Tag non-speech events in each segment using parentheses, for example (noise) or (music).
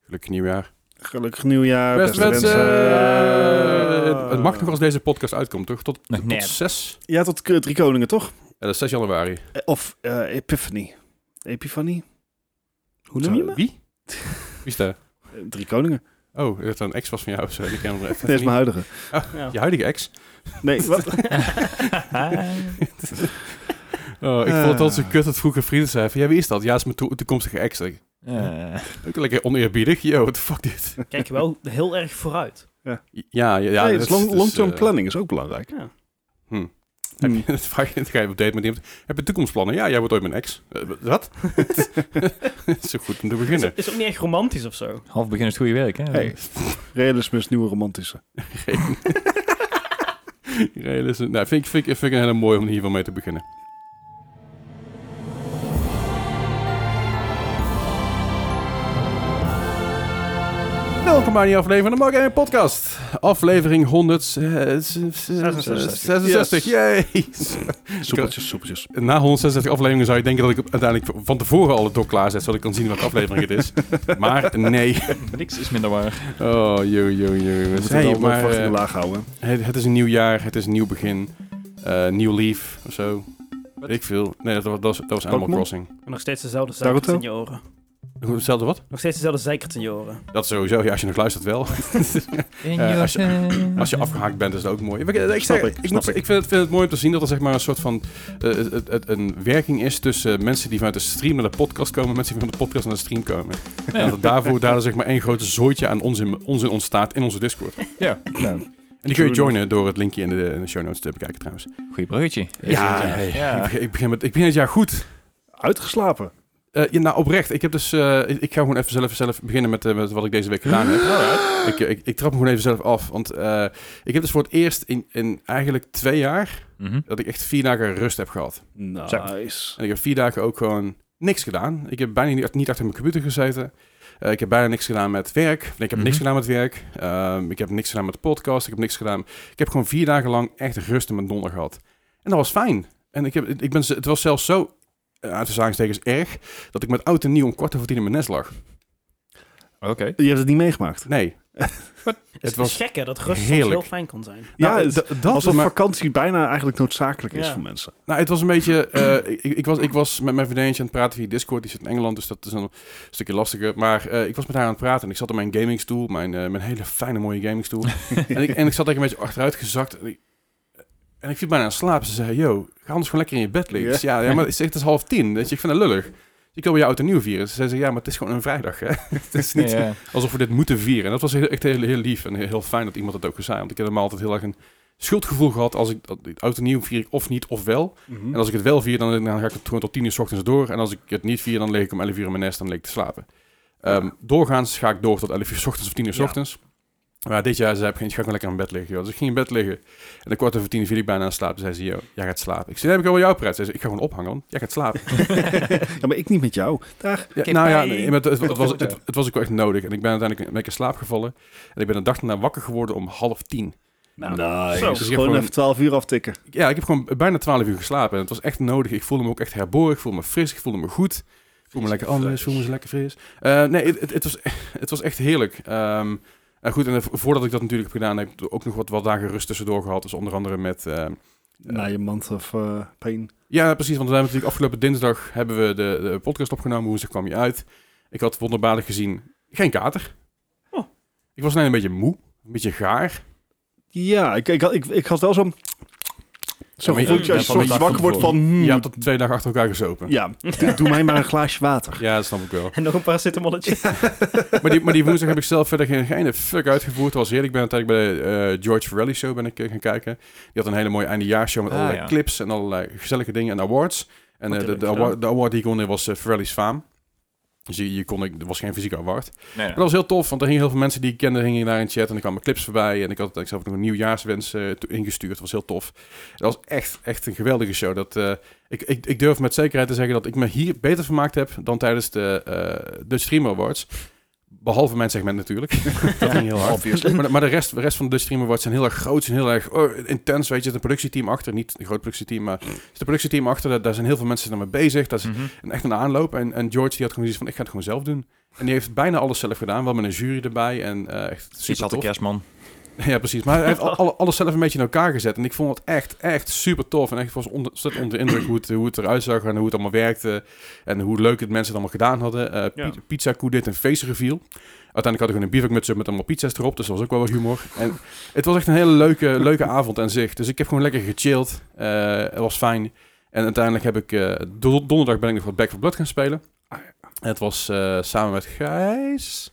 Gelukkig nieuwjaar. Gelukkig nieuwjaar. Beste mensen. Ja. Het mag nog als deze podcast uitkomt, toch? Tot, Nog tot net. (laughs) 6, Ja, tot eh, Drie Koningen, toch? ja, dat is 6 januari. Eh, Of eh, Epiphany. Epiphany? Hoe noem je me? Wie? Wie is dat? Eh, Drie (laughs) Koningen. Oh, dat een ex was van jou of zo. Die kennen (laughs) we Dat is echt mijn niet. huidige. Je huidige ex? (laughs) Nee, wat? Oh, ik Eh. vond het altijd zo kut dat vroeger vrienden zeiden van... Ja, wie is dat? Ja, dat is mijn to- toekomstige ex. Ik- Eh, Ook lekker oneerbiedig. Yo, what the fuck (laughs) dit? Kijk je wel heel erg (laughs) vooruit. Ja, ja, ja. nee, dat dus is- long- dat is, long-term eh, planning is ook belangrijk. Ja. Heb Hmm. je, (laughs) dat vraag je, dan ga je op date met iemand. Heb je toekomstplannen? Ja, jij wordt ooit mijn ex. Eh, (laughs) wat? (laughs) Dat is zo goed om te Is, beginnen. is ook niet echt romantisch of zo. half begin is het goede werk, hè? Hey. Realisme is nieuwe romantische. (laughs) Realisme. Nou, vind ik, vind, ik, vind ik een hele mooie om hiervan mee te beginnen. Welkom bij die aflevering van de Mark Gaming Podcast. Aflevering 66. 166. Yes. Yay! Soepeltjes, soepeltjes. Na 166 afleveringen zou je denken dat ik uiteindelijk van tevoren al het doc klaarzet, zodat ik kan zien welke aflevering het is. Maar nee. Niks is minder waar. Oh, yo, yo, yo. We zitten We moeten je al maar, verwachtingen eh, laag houden. het, het is een nieuw jaar, het is een nieuw begin. Eh, nieuw lief of zo. Weet ik veel. Nee, dat, was- dat was, dat was Animal Pokémon? Crossing. En nog steeds dezelfde zeikert in je oren. Hetzelfde wat? Nog steeds dezelfde zeikert in je oren. Dat sowieso, ja, als je nog luistert wel. (laughs) Eh, als Als je afgehaakt bent, is dat ook mooi. Ik, ik, Snap zeg- ik, ik, snap moet- ik. ik vind, het, vind het mooi om te zien dat er zeg maar een soort van eh, het- het- het- een werking is tussen mensen die vanuit de stream naar de podcast komen en mensen die van de podcast naar de stream komen. En dat er daarvoor daar zeg maar één grote zooitje aan onzin, onzin ontstaat in onze Discord. Ja. Nou, En die kun je True joinen door het linkje in de, in de show notes te bekijken trouwens. Goeie bruggetje. Ja, hey, Ik, begin- ik, begin met, ik begin het jaar goed. uitgeslapen. Eh, ja, nou, oprecht. Ik heb dus... eh, ik, ik ga gewoon even zelf, zelf beginnen met, eh, met wat ik deze week gedaan heb. ik, eh, ik, ik trap me gewoon even zelf af. Want eh, ik heb dus voor het eerst in, in eigenlijk twee jaar... Mhm. dat ik echt vier dagen rust heb gehad. Nice. En ik heb vier dagen ook gewoon niks gedaan. Ik heb bijna niet, niet achter mijn computer gezeten. Eh, ik heb bijna niks gedaan met werk. Nee, ik heb Mhm. niks gedaan met werk. Ehm, ik heb niks gedaan met de podcast. Ik heb niks gedaan. Ik heb gewoon vier dagen lang echt rust in mijn donder gehad. En dat was fijn. En ik heb, ik ben, z- het was zelfs zo, eh, uit de zaagstekens, erg... dat ik met oud en nieuw om kwart over tien in mijn nest lag. Oké. Je hebt het niet meegemaakt. Nee. Het, was is was gek hè, dat rust soms heerlijk. heel fijn kan zijn. Ja, Nou, het- d- dat Alsof maar- vakantie bijna eigenlijk noodzakelijk is Ja. voor mensen. Nou, het was een beetje. eh, ik, ik, was, ik was met mijn vriendinnetje aan het praten via Discord. Die zit in Engeland, dus dat is een stukje lastiger. Maar eh, ik was met haar aan het praten en ik zat op mijn gamingstoel. Mijn, eh, mijn hele fijne, mooie gamingstoel. (laughs) en, ik, en ik zat eigenlijk een beetje achteruit gezakt. En ik, en ik viel bijna aan slaap. Ze zei: Yo, ga anders gewoon lekker in je bed liggen. Ik zei, Ja, ja, maar het is, het is half tien. Weet je, ik vind dat lullig. Dus Ik wil je oud en nieuw vieren. Ze zei: Ja, maar het is gewoon een vrijdag. Hè? (laughs) het is niet Ja, ja. (laughs) alsof we dit moeten vieren. En dat was heel- echt heel, heel lief en heel, heel fijn dat iemand dat ook zei. Want ik heb normaal altijd heel erg een schuldgevoel gehad als ik dat- oud en nieuw vier ik of niet of wel. Hm? En als ik het wel vier, dan, dan ga ik het gewoon tot tien uur 's ochtends door. En als ik het niet vier, dan lig ik om 11 uur in mijn nest en leek te slapen. Ehm, Doorgaans ga ik door tot 11 uur 's ochtends of 10 uur 's Ja. ochtends. Maar dit jaar zei ik, ik ga gewoon lekker in bed liggen. Joh. Dus ik ging in bed liggen. En dan kwart over tien viel ik bijna aan slaap. Toen zei ze, joh, jij gaat slapen. Ik zei, heb ik al wel jouw pret. Zei ze, ik ga gewoon ophangen, want jij gaat (laughs) slapen. (laughs) ja, maar ik niet met jou. Dag. Ja, Oké, nou ja, bye. nee, maar het, het- het Tot was, volgend het, het was ook wel echt nodig. En ik ben uiteindelijk een beetje in slaap gevallen. En ik ben een dag daarna wakker geworden om half tien. Nou, nice. zo. Dus gewoon, even 12 uur aftikken. Ja, ik heb gewoon bijna twaalf uur geslapen. En het was echt nodig. Ik voelde me ook echt herboren. Ik voelde me fris. Ik voelde me goed. Ik voelde me lekker anders. Ik voelde me zo lekker fris. Eh, nee, het, het, het was, (laughs) het was echt heerlijk. Ehm, en goed, en eh, voordat ik dat natuurlijk heb gedaan, heb ik ook nog wat, wat dagen rust tussendoor gehad. Dus onder andere met... ehm, Na je mand of eh pain. Ja, precies. Want we hebben natuurlijk afgelopen dinsdag hebben we de, de podcast opgenomen. Woensdag kwam je uit. Ik had wonderbaarlijk gezien geen kater. Oh. Ik was alleen een beetje moe. Een beetje gaar. Ja, ik, ik, had- ik, ik had wel zo'n... Zo'n maar je- gevoeltje als je je bent soms wel wakker wordt van... hmm, Je hebt dat twee dagen achter elkaar gezopen. ja, doe mij maar een glaasje water. Ja, dat snap ik wel. (laughs) En nog een (laughs) paracetamolletje. maar, die, maar die woensdag heb ik zelf verder geen, geen fuck uitgevoerd. Het was heerlijk. Ik ben uiteindelijk bij de eh, George Farrelly Show ben ik, eh, gaan kijken. Die had een hele mooie eindejaarshow met Ah, allerlei ja. clips en allerlei gezellige dingen en awards. En Wat eh, de, leuk de, gedaan. award, de award die ik won was eh, Farrelly's Faam. Dus je, je kon, ik- er was geen fysieke award. Nee, Maar dat was heel tof, want er hingen heel veel mensen die ik kende hingen daar in chat. En er kwamen clips voorbij. En ik had ik zelf nog een nieuwjaarswens eh, toe- ingestuurd. Dat was heel tof. Dat was echt, echt een geweldige show. Dat, eh, ik, ik, ik durf met zekerheid te zeggen dat ik me hier beter vermaakt heb dan tijdens de, eh, de Stream Awards. Behalve mijn segment natuurlijk. (laughs) dat ging heel hard. maar, de- maar de, rest, de rest van de Dutch Stream Awards zijn heel erg groot. Zijn heel erg oh, intens. Weet je, er zit een productieteam achter. Niet een groot productieteam, maar er zit een productieteam achter. Daar, daar zijn heel veel mensen daarmee bezig. Daar is Mhm. een- echt een aanloop. En, en George die had gewoon zoiets van, ik ga het gewoon zelf doen. En die heeft bijna alles zelf gedaan. Wel met een jury erbij. En eh, echt Iets super had de tof. kerstman. Ja, precies. Maar hij heeft al- alle- alles zelf een beetje in elkaar gezet. En ik vond het echt, echt super tof. En echt ik was onder, ontzettend onder de indruk hoe het, hoe het eruit zag en hoe het allemaal werkte. En hoe leuk het mensen het allemaal gedaan hadden. Eh, Ja. Pi- Pizza Koe deed een face reveal. Uiteindelijk had ik gewoon een bivakmuts op met allemaal pizza's erop. Dus dat was ook wel wat humor. En het was echt een hele leuke, leuke avond aan zich. Dus ik heb gewoon lekker gechilled. Eh, het was fijn. En uiteindelijk heb ik... eh, do- donderdag ben ik nog wat Back for Blood gaan spelen. Het was eh, samen met Gijs.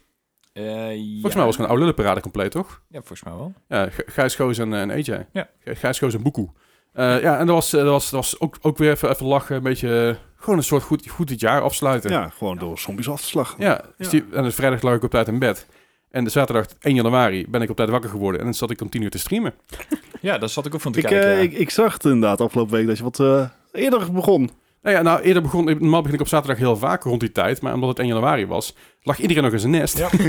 Volgens mij was het gewoon een oude lullenparade compleet, toch? Eh, Ja, volgens mij wel. Ja, G- Gijs Goos en, eh, en AJ. Ja. G- Gijs Goos en Boekoe. Eh, ja, en dat was, eh, dat was, dat was ook, ook weer even, even lachen. Een beetje eh, gewoon een soort goed, goed het jaar afsluiten. Ja, gewoon door zombies af te slagen. Ja, Steve- en dus vrijdag lag ik op tijd in bed. En de zaterdag 1 januari ben ik op tijd wakker geworden. En dan zat ik om 10 uur te streamen. Ja, daar zat ik ook van te Ik, kijken. eh, ja. ik, ik zag het inderdaad afgelopen week dat je wat eh, eerder begon. Nou ja, nou eerder begon... Normaal begin ik op zaterdag heel vaak rond die tijd. Maar omdat het 1 januari was, lag iedereen nog in zijn nest. (laughs)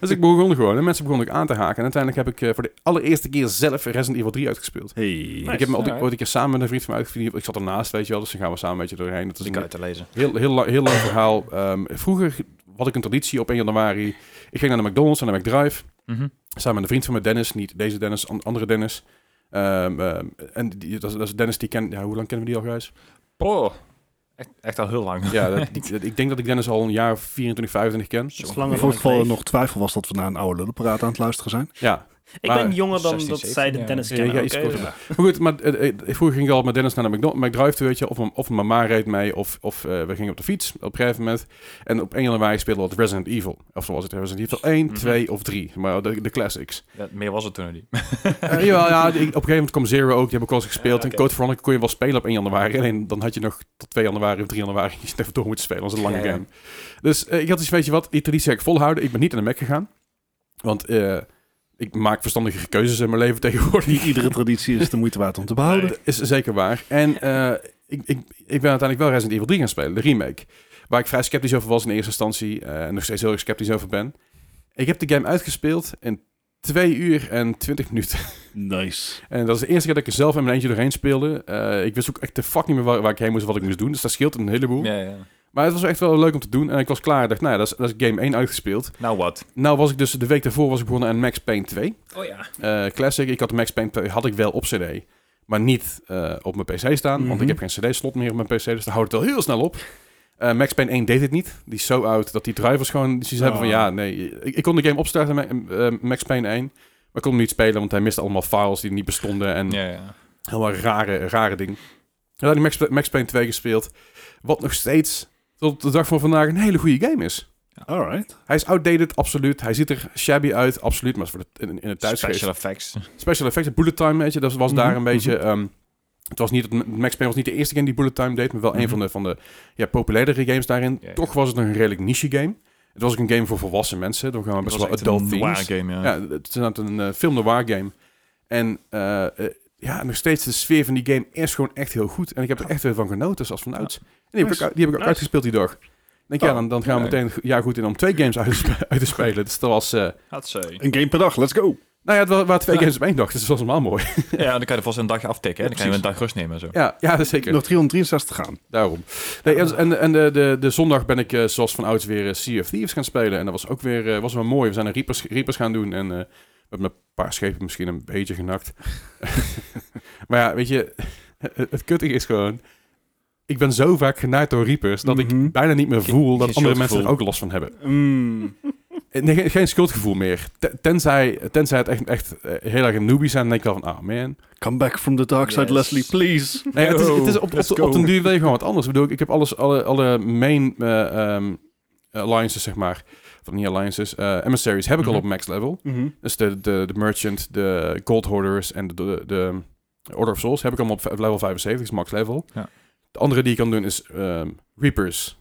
dus ik begon gewoon. En mensen begonnen ook aan te haken. En uiteindelijk heb ik eh, voor de allereerste keer zelf Resident Evil 3 uitgespeeld. Hey. ik heb me Nice. ooit, ooit een keer samen met een vriend van mij uitgediend. Ik zat ernaast, weet je wel. Dus dan gaan we samen een beetje doorheen. Dat is Dus ik een- kan het te lezen. Heel, heel, lang, heel lang verhaal. Ehm, vroeger had ik een traditie op 1 januari. Ik ging naar de McDonald's en naar McDrive. Mhm. Samen met een vriend van me, Dennis. Niet deze Dennis, an- andere Dennis. Ehm, ehm, en die, dat, is, dat is Dennis die ken... Ja, hoe lang kennen we die al, Gijs? Oh, echt, echt al heel lang. Ja, (laughs) dat- die- dat- ik denk dat ik Dennis al een jaar of 24, 25 ken. Dat is In langer ieder dan ik geval leef. nog twijfel was dat we naar een oude lullenpraat aan het luisteren zijn. Ja. Ik maar- ben jonger dan 16, dat zij de 17, Dennis ja. kennen. Ja, iets oké? korter. Maar goed, maar, eh, eh, vroeger ging ik al met Dennis naar de McDonald's, McDrive, toe, weet je. Of, m- of mijn ma reed mee, of, of eh, we gingen op de fiets op een gegeven moment. En op 1 januari speelden we wat Resident Evil. Of zo was het Resident Evil 1, Mhm. 2 of 3. Maar de, de classics. (laughs) (laughs) Ja, meer was het toen niet. Eh, jawel, ja, ik- op een gegeven moment kwam Zero ook, die heb ik wel eens gespeeld. Ja, En oké. Code Veronica kon je wel spelen op 1 januari. Alleen dan had je nog tot 2 januari of 3 januari (laughs) je even door moeten spelen. Dat was een lange Ja, ja. game. Dus eh, ik had iets, weet je wat, die traditie heb ik volhouden. Ik ben niet naar de Mac gegaan. Want eh, ik maak verstandige keuzes in mijn leven (laughs) tegenwoordig. Niet iedere traditie is de moeite waard om te behouden. Dat is zeker waar. En eh, ik, ik, ik ben uiteindelijk wel Resident Evil 3 gaan spelen, de remake. Waar ik vrij sceptisch over was in eerste instantie. eh, en nog steeds heel erg sceptisch over ben. Ik heb de game uitgespeeld in 2 uur en 20 minuten. (laughs) Nice. En dat is de eerste keer dat ik er zelf in mijn eentje doorheen speelde. Eh, ik wist ook echt de fuck niet meer waar, waar ik heen moest, wat ik moest doen. Dus dat scheelt een heleboel. Ja, ja. Maar het was echt wel leuk om te doen. En ik was klaar. Ik dacht, nou ja, dat is, dat is game 1 uitgespeeld. Nou, wat? Nou was ik dus, de week daarvoor was ik begonnen aan Max Payne 2. Oh ja. Eh, Classic. Ik had de Max Payne 2, had ik wel op cd. Maar niet eh, op mijn pc staan. Want Mhm. ik heb geen cd-slot meer op mijn pc. Dus daar houdt het wel heel snel op. Eh, Max Payne 1 deed het niet. Die is zo oud dat die drivers gewoon zoiets hebben van... Oh. Ja, nee. Ik, ik kon de game opstarten, Ma- eh, Max Payne 1. Maar ik kon hem niet spelen, want hij miste allemaal files die niet bestonden. En Ja, ja. Helemaal een rare, rare ding. En dan Max, Max Payne 2 gespeeld. Wat nog steeds tot de dag van vandaag een hele goede game is. Alright. Hij is outdated, absoluut. Hij ziet er shabby uit, absoluut. Maar voor de, in, in het tijdsgeest. Special Special, effects. effects, bullet time, weet je. Dat was daar Mhm, een beetje... ehm, het was niet, dat- Max Payne was niet de eerste game die bullet time deed. Maar wel een Mhm. van de, van de ja, populairdere games daarin. Ja, ja. Toch was het nog een redelijk niche game. Het was ook een game voor volwassen mensen. Dan gaan we best wel echt adult een themes. noir game, ja. Ja, het is inderdaad een eh, film noir game. En eh, eh, ja, nog steeds de sfeer van die game is gewoon echt heel goed. En ik heb er echt weer van genoten, zoals vanouds. En die heb, ik, Nice. ook- die heb ik ook Nice. uitgespeeld die dag. Ik denk, Oh, ja, dan, dan gaan we oké. meteen ja, goed in om twee games uit te, spe- (laughs) uit te spelen. Dus dat was... eh, Had ze. Een game per dag, let's go. nou ja, het wa- waren twee Ja. games op één dag, dus dat was helemaal mooi. Ja, dan kan je er vast een dag aftikken. hè. Dan kan je een dag rust nemen en zo. Ja, ja zeker. Nog 363 gaan. Daarom. Nee, en en, en de, de, de zondag ben ik, eh, zoals van ouds, weer eh, Sea of Thieves gaan spelen. En dat was ook weer eh, was wel mooi. We zijn een Reapers, Reapers gaan doen en eh met mijn paar schepen misschien een beetje (laughs) genakt. (laughs) maar ja, weet je, het, het kuttige is gewoon... Ik ben zo vaak genaaid door Reapers dat Mhm. ik bijna niet meer Geen- voel geen dat andere mensen er schuldgevoel. ook last van hebben. Mm. Eh, Nee, geen, geen schuldgevoel meer. Ten- Tenzij, tenzij het echt, echt eh, heel erg een newbie zijn, dan denk ik wel van, ah man. Come back from the dark side, Yes. Leslie, please. Nee, het is, het Oh, is op, Let's op, go. op den duur wil je gewoon wat anders. Ik bedoel, ik heb alles, alle, alle main eh, ehm, alliances, zeg maar. Of niet alliances, eh, emissaries heb ik al Mhm. op max level. Dus de, de, de merchant, de gold hoarders en de, de, de order of souls heb ik allemaal op v- level 75, is max level. Ja. De andere die ik kan doen is ehm, reapers,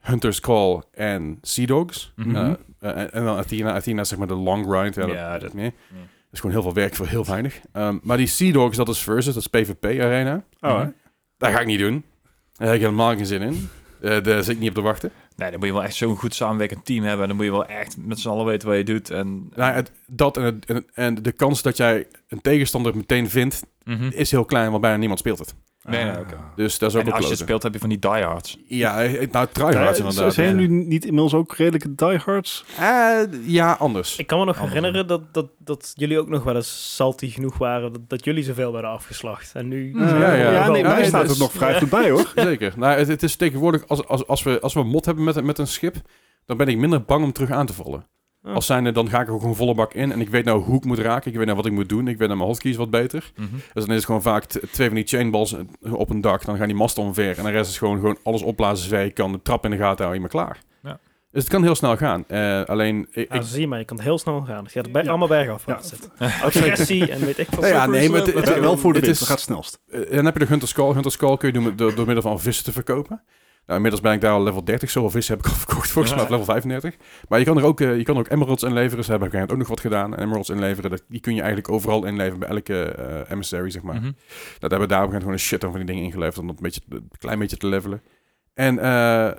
hunter's call en sea dogs. Mhm. Eh, eh, en- en dan Athena. Athena is zeg maar de long grind. Ja, Ja, dat, dat- dat meer. ja. Dat is gewoon heel veel werk voor heel weinig. Ehm, maar die sea dogs, dat is versus, dat is PvP arena. Alright. Dat ga ik niet doen. Daar heb ik helemaal geen zin in. Eh, daar zit ik niet op te wachten. Nee, dan moet je wel echt zo'n goed samenwerkend team hebben. En dan moet je wel echt met z'n allen weten wat je doet. En, Nou, het, dat en, het- en, en de kans dat jij een tegenstander meteen vindt, Mhm. is heel klein, want bijna niemand speelt het. Nee, nee, Ah. oké. Dus dat is ook En wel als je het kloten. speelt, heb je van die diehards. Ja, eh, nou, tryhards Ja, inderdaad. zijn jullie niet inmiddels ook redelijke diehards? Eh, ja, anders. Ik kan me nog Andersom. herinneren dat, dat, dat jullie ook nog wel eens salty genoeg waren. Dat, dat jullie zoveel werden afgeslacht. En nu... Ja, ja. ja nee, Ja, mij nee, staat dat het is- nog vrij goed bij, hoor. (laughs) Zeker. Nou, het, het is tegenwoordig, als, als, als, we, als we een mot hebben met, een- met een schip, dan ben ik minder bang om terug aan te vallen. Oh. Als zijnde, dan ga ik er gewoon volle bak in. En ik weet nou hoe ik moet raken. Ik weet nou wat ik moet doen. Ik weet nou mijn hotkeys wat beter. Mhm. Dus dan is het gewoon vaak t- twee van die chainballs eh, op een dak. Dan gaan die masten omver. En de rest is gewoon, gewoon alles opblazen zover je kan. De trap in de gaten houden. Je maar klaar. Ja. Dus het kan heel snel gaan. Eh, alleen, ik, Ja, ik- zie je maar, je kan het heel snel gaan. Het gaat bij, Ja. allemaal bergaf. Ja. Ja. Agressie en weet ik veel. Nou Ah, ja, nee, maar het- Ja, wel voor de Het wind, is- dat gaat het snelst. Eh, En dan heb je de Hunter's Call. Hunter's Call kun je doen met- door, door middel van vissen te verkopen. Nou, inmiddels ben ik daar al level 30. Zoveel vissen heb ik al (laughs) verkocht, volgens mij, Ja. op level 35. Maar je kan er ook, eh, je kan er ook emeralds inleveren. Ze hebben op een gegeven moment ook nog wat gedaan. En emeralds inleveren, dat, die kun je eigenlijk overal inleveren bij elke eh, emissary, zeg maar. Mhm. Dat hebben we Nou, daar op een gegeven moment gewoon een shit van die dingen ingeleverd. Om dat een, beetje, een klein beetje te levelen. En eh,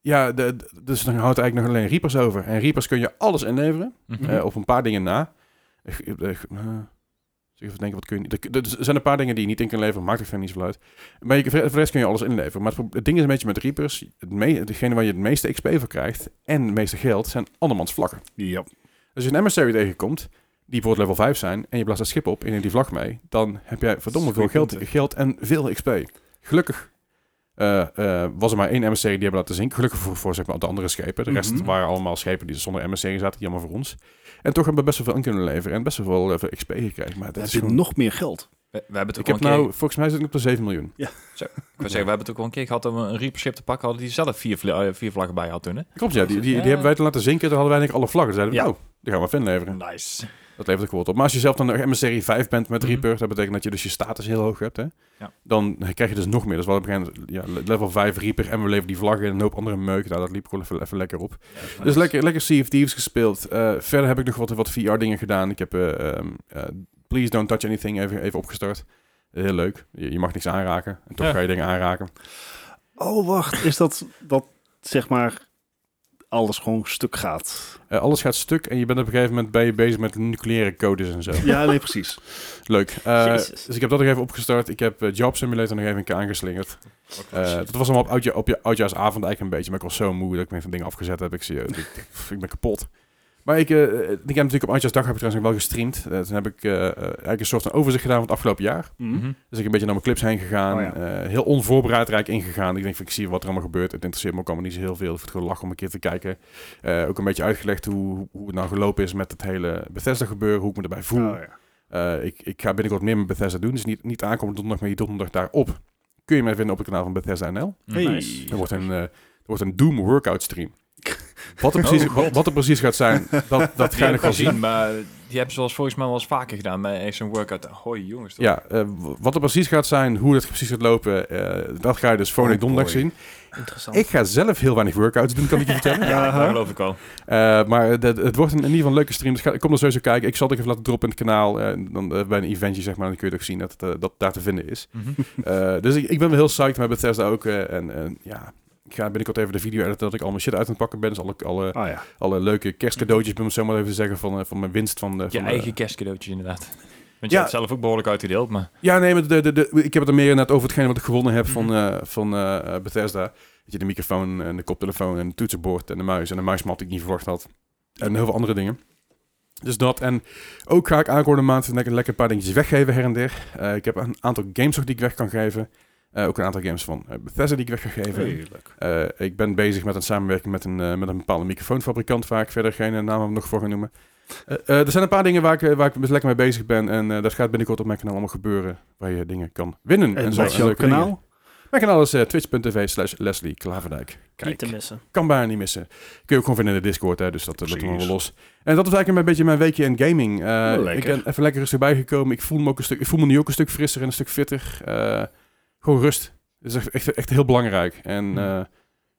ja, de, de- dus dan houdt eigenlijk nog alleen Reapers over. En Reapers kun je alles inleveren. Mhm. Eh, op een paar dingen na. Eh, eh, eh, dus ik even denken, wat kun je... niet- Er er zijn een paar dingen die je niet in kan leveren, maakt er verder niet zoveel uit. Maar je, voor de rest kun je alles inleveren. Maar het, pro- het ding is een beetje met Reapers, het me, degene waar je het meeste XP voor krijgt en het meeste geld, zijn andermans vlakken. Ja. Als je een emissary tegenkomt, die bijvoorbeeld level 5 zijn, en je blaast dat schip op en neemt die vlag mee, dan heb jij verdomme veel Goeie geld, punten. geld en veel XP. Gelukkig eh, eh, was er maar één emissary die hebben laten zinken. Gelukkig voor, voor zeg maar, de andere schepen. De rest Mhm. waren allemaal schepen die zonder emissary zaten, jammer voor ons. En toch hebben we best wel veel in kunnen leveren en best wel veel eh, XP gekregen. Maar dat Dan is heb je gewoon- nog meer geld. We, we hebben het ik ook al heb een keer... nou, volgens mij zit ik op de 7 miljoen. Ik wou zeggen, we hebben het ook al een keer gehad dat we een reaperschip te pakken hadden die zelf vier, vla- eh, vier vlaggen bij had toen. Hè? Klopt, ja. Die, die, die Ja. hebben wij te laten zinken. Toen hadden wij eigenlijk alle vlaggen. Toen zeiden we, Ja. nou, die gaan we even inleveren. Nice. Dat levert ook wel wat op. Maar als je zelf dan nog MSRI 5 bent met Mhm. Reaper, dat betekent dat je dus je status heel hoog hebt, hè? Ja. Dan krijg je dus nog meer. Dus we hadden op een gegeven moment ja, level 5 Reaper en we leveren die vlaggen en een hoop andere meuk. Nou, dat liep gewoon even, even lekker op. Dus lekker, lekker Sea of Thieves gespeeld. Eh, verder heb ik nog wat, wat VR-dingen gedaan. Ik heb eh, ehm, eh, Please Don't Touch Anything even, even opgestart. Heel leuk. Je, je mag niks aanraken. En toch Ja. ga je dingen aanraken. Oh, wacht. Is dat dat, zeg maar, alles gewoon stuk gaat? Eh, alles gaat stuk en je bent op een gegeven moment ben je bezig met nucleaire codes en zo. Ja, nee, precies. Leuk. Eh, Jezus. dus ik heb dat nog even opgestart. Ik heb eh, Job Simulator nog even een keer aangeslingerd. Eh, dat was allemaal op, oudja, op je, oudjaarsavond eigenlijk een beetje. Maar ik was zo moe dat ik mijn van dingen afgezet heb. Ik, zie, ik, ik, (laughs) pff, ik ben kapot. Maar ik, eh, ik heb natuurlijk op oudjaarsdag heb ik trouwens nog wel gestreamd. Eh, toen heb ik eh, eh, eigenlijk een soort van overzicht gedaan van het afgelopen jaar. Mhm. Dus ik een beetje naar mijn clips heen gegaan. Oh ja. eh, heel onvoorbereid rijk ingegaan. Ik denk van, ik zie wat er allemaal gebeurt. Het interesseert me ook allemaal niet zo heel veel. Ik vind het gewoon lachen om een keer te kijken. Eh, ook een beetje uitgelegd hoe, hoe het nou gelopen is met het hele Bethesda gebeuren. Hoe ik me erbij voel. Oh, ja. Eh, ik, ik ga binnenkort meer met Bethesda doen. Dus niet, niet aankomende donderdag, maar die donderdag daarop. Kun je mij vinden op het kanaal van Bethesda NL. Hey. Er wordt een, eh, er wordt een Doom workout stream. Wat er precies, wat, wat er precies gaat zijn, dat, dat ga je nog wel zien. Maar die hebben ze wel eens volgens mij wel eens vaker gedaan. Maar echt zo'n workout. Hoi jongens. toch? Ja, eh, w- wat er precies gaat zijn, hoe dat precies gaat lopen, eh, dat ga je dus volgende Oh boy. donderdag zien. Interessant. Ik ga zelf heel weinig workouts doen, kan ik je vertellen. dat geloof ik wel. Eh, maar dat- het wordt in ieder geval een leuke stream. Dus ga, ik kom er sowieso kijken. Ik zal het even laten droppen in het kanaal. eh, dan, eh, bij een eventje, zeg maar. Dan kun je het ook zien dat het eh, dat daar te vinden (laughs) is. Eh, dus ik, ik ben wel heel psyched met Bethesda ook. eh, en, en ja, ik ga binnenkort even de video editen dat ik al mijn shit uit aan het pakken ben. Dus alle, alle, Ah, ja. alle leuke kerstcadeautjes, om het zo maar even te zeggen, van, eh, van mijn winst. Van, eh, Je van, eh, eigen kerstcadeautjes inderdaad. Want je Ja. hebt zelf ook behoorlijk uitgedeeld. Maar ja, nee, maar de, de, de, ik heb het er meer net over hetgeen wat ik gewonnen heb Mhm. van, eh, van eh, eh, Bethesda. Weet je, de microfoon en de koptelefoon en het toetsenbord en de muis. En de muismat die ik niet verwacht had. En heel veel andere dingen. Dus dat. En ook ga ik aankomende maand lekker, lekker een paar dingetjes weggeven her en der. Eh, ik heb een aantal games nog die ik weg kan geven. Eh, ook een aantal games van eh, Bethesda die ik weg ga geven. Heerlijk. Eh, ik ben bezig met een samenwerking met een, eh, met een bepaalde microfoonfabrikant, waar ik verder geen eh, naam nog voor ga noemen. Eh, eh, er zijn een paar dingen waar ik, eh, waar ik best lekker mee bezig ben. En eh, dat gaat binnenkort op mijn kanaal allemaal gebeuren. Waar je dingen kan winnen. En, zo. wat is jouw leuke dingen. kanaal? Mijn kanaal is eh, twitch.tv slash Leslie Klaverdijk. Niet Kijk, te missen. kan bijna niet missen. Kun je ook gewoon vinden in de Discord, hè, dus dat, eh, dat doen we wel Precies. los. En dat was eigenlijk een beetje mijn weekje in gaming. Eh, Oh, lekker. ik ben even lekker rustig bijgekomen. Ik voel me, ook een stuk, ik voel me nu ook een stuk frisser en een stuk fitter. Eh, gewoon rust. Dat is echt, echt, echt heel belangrijk. En Hmm. eh,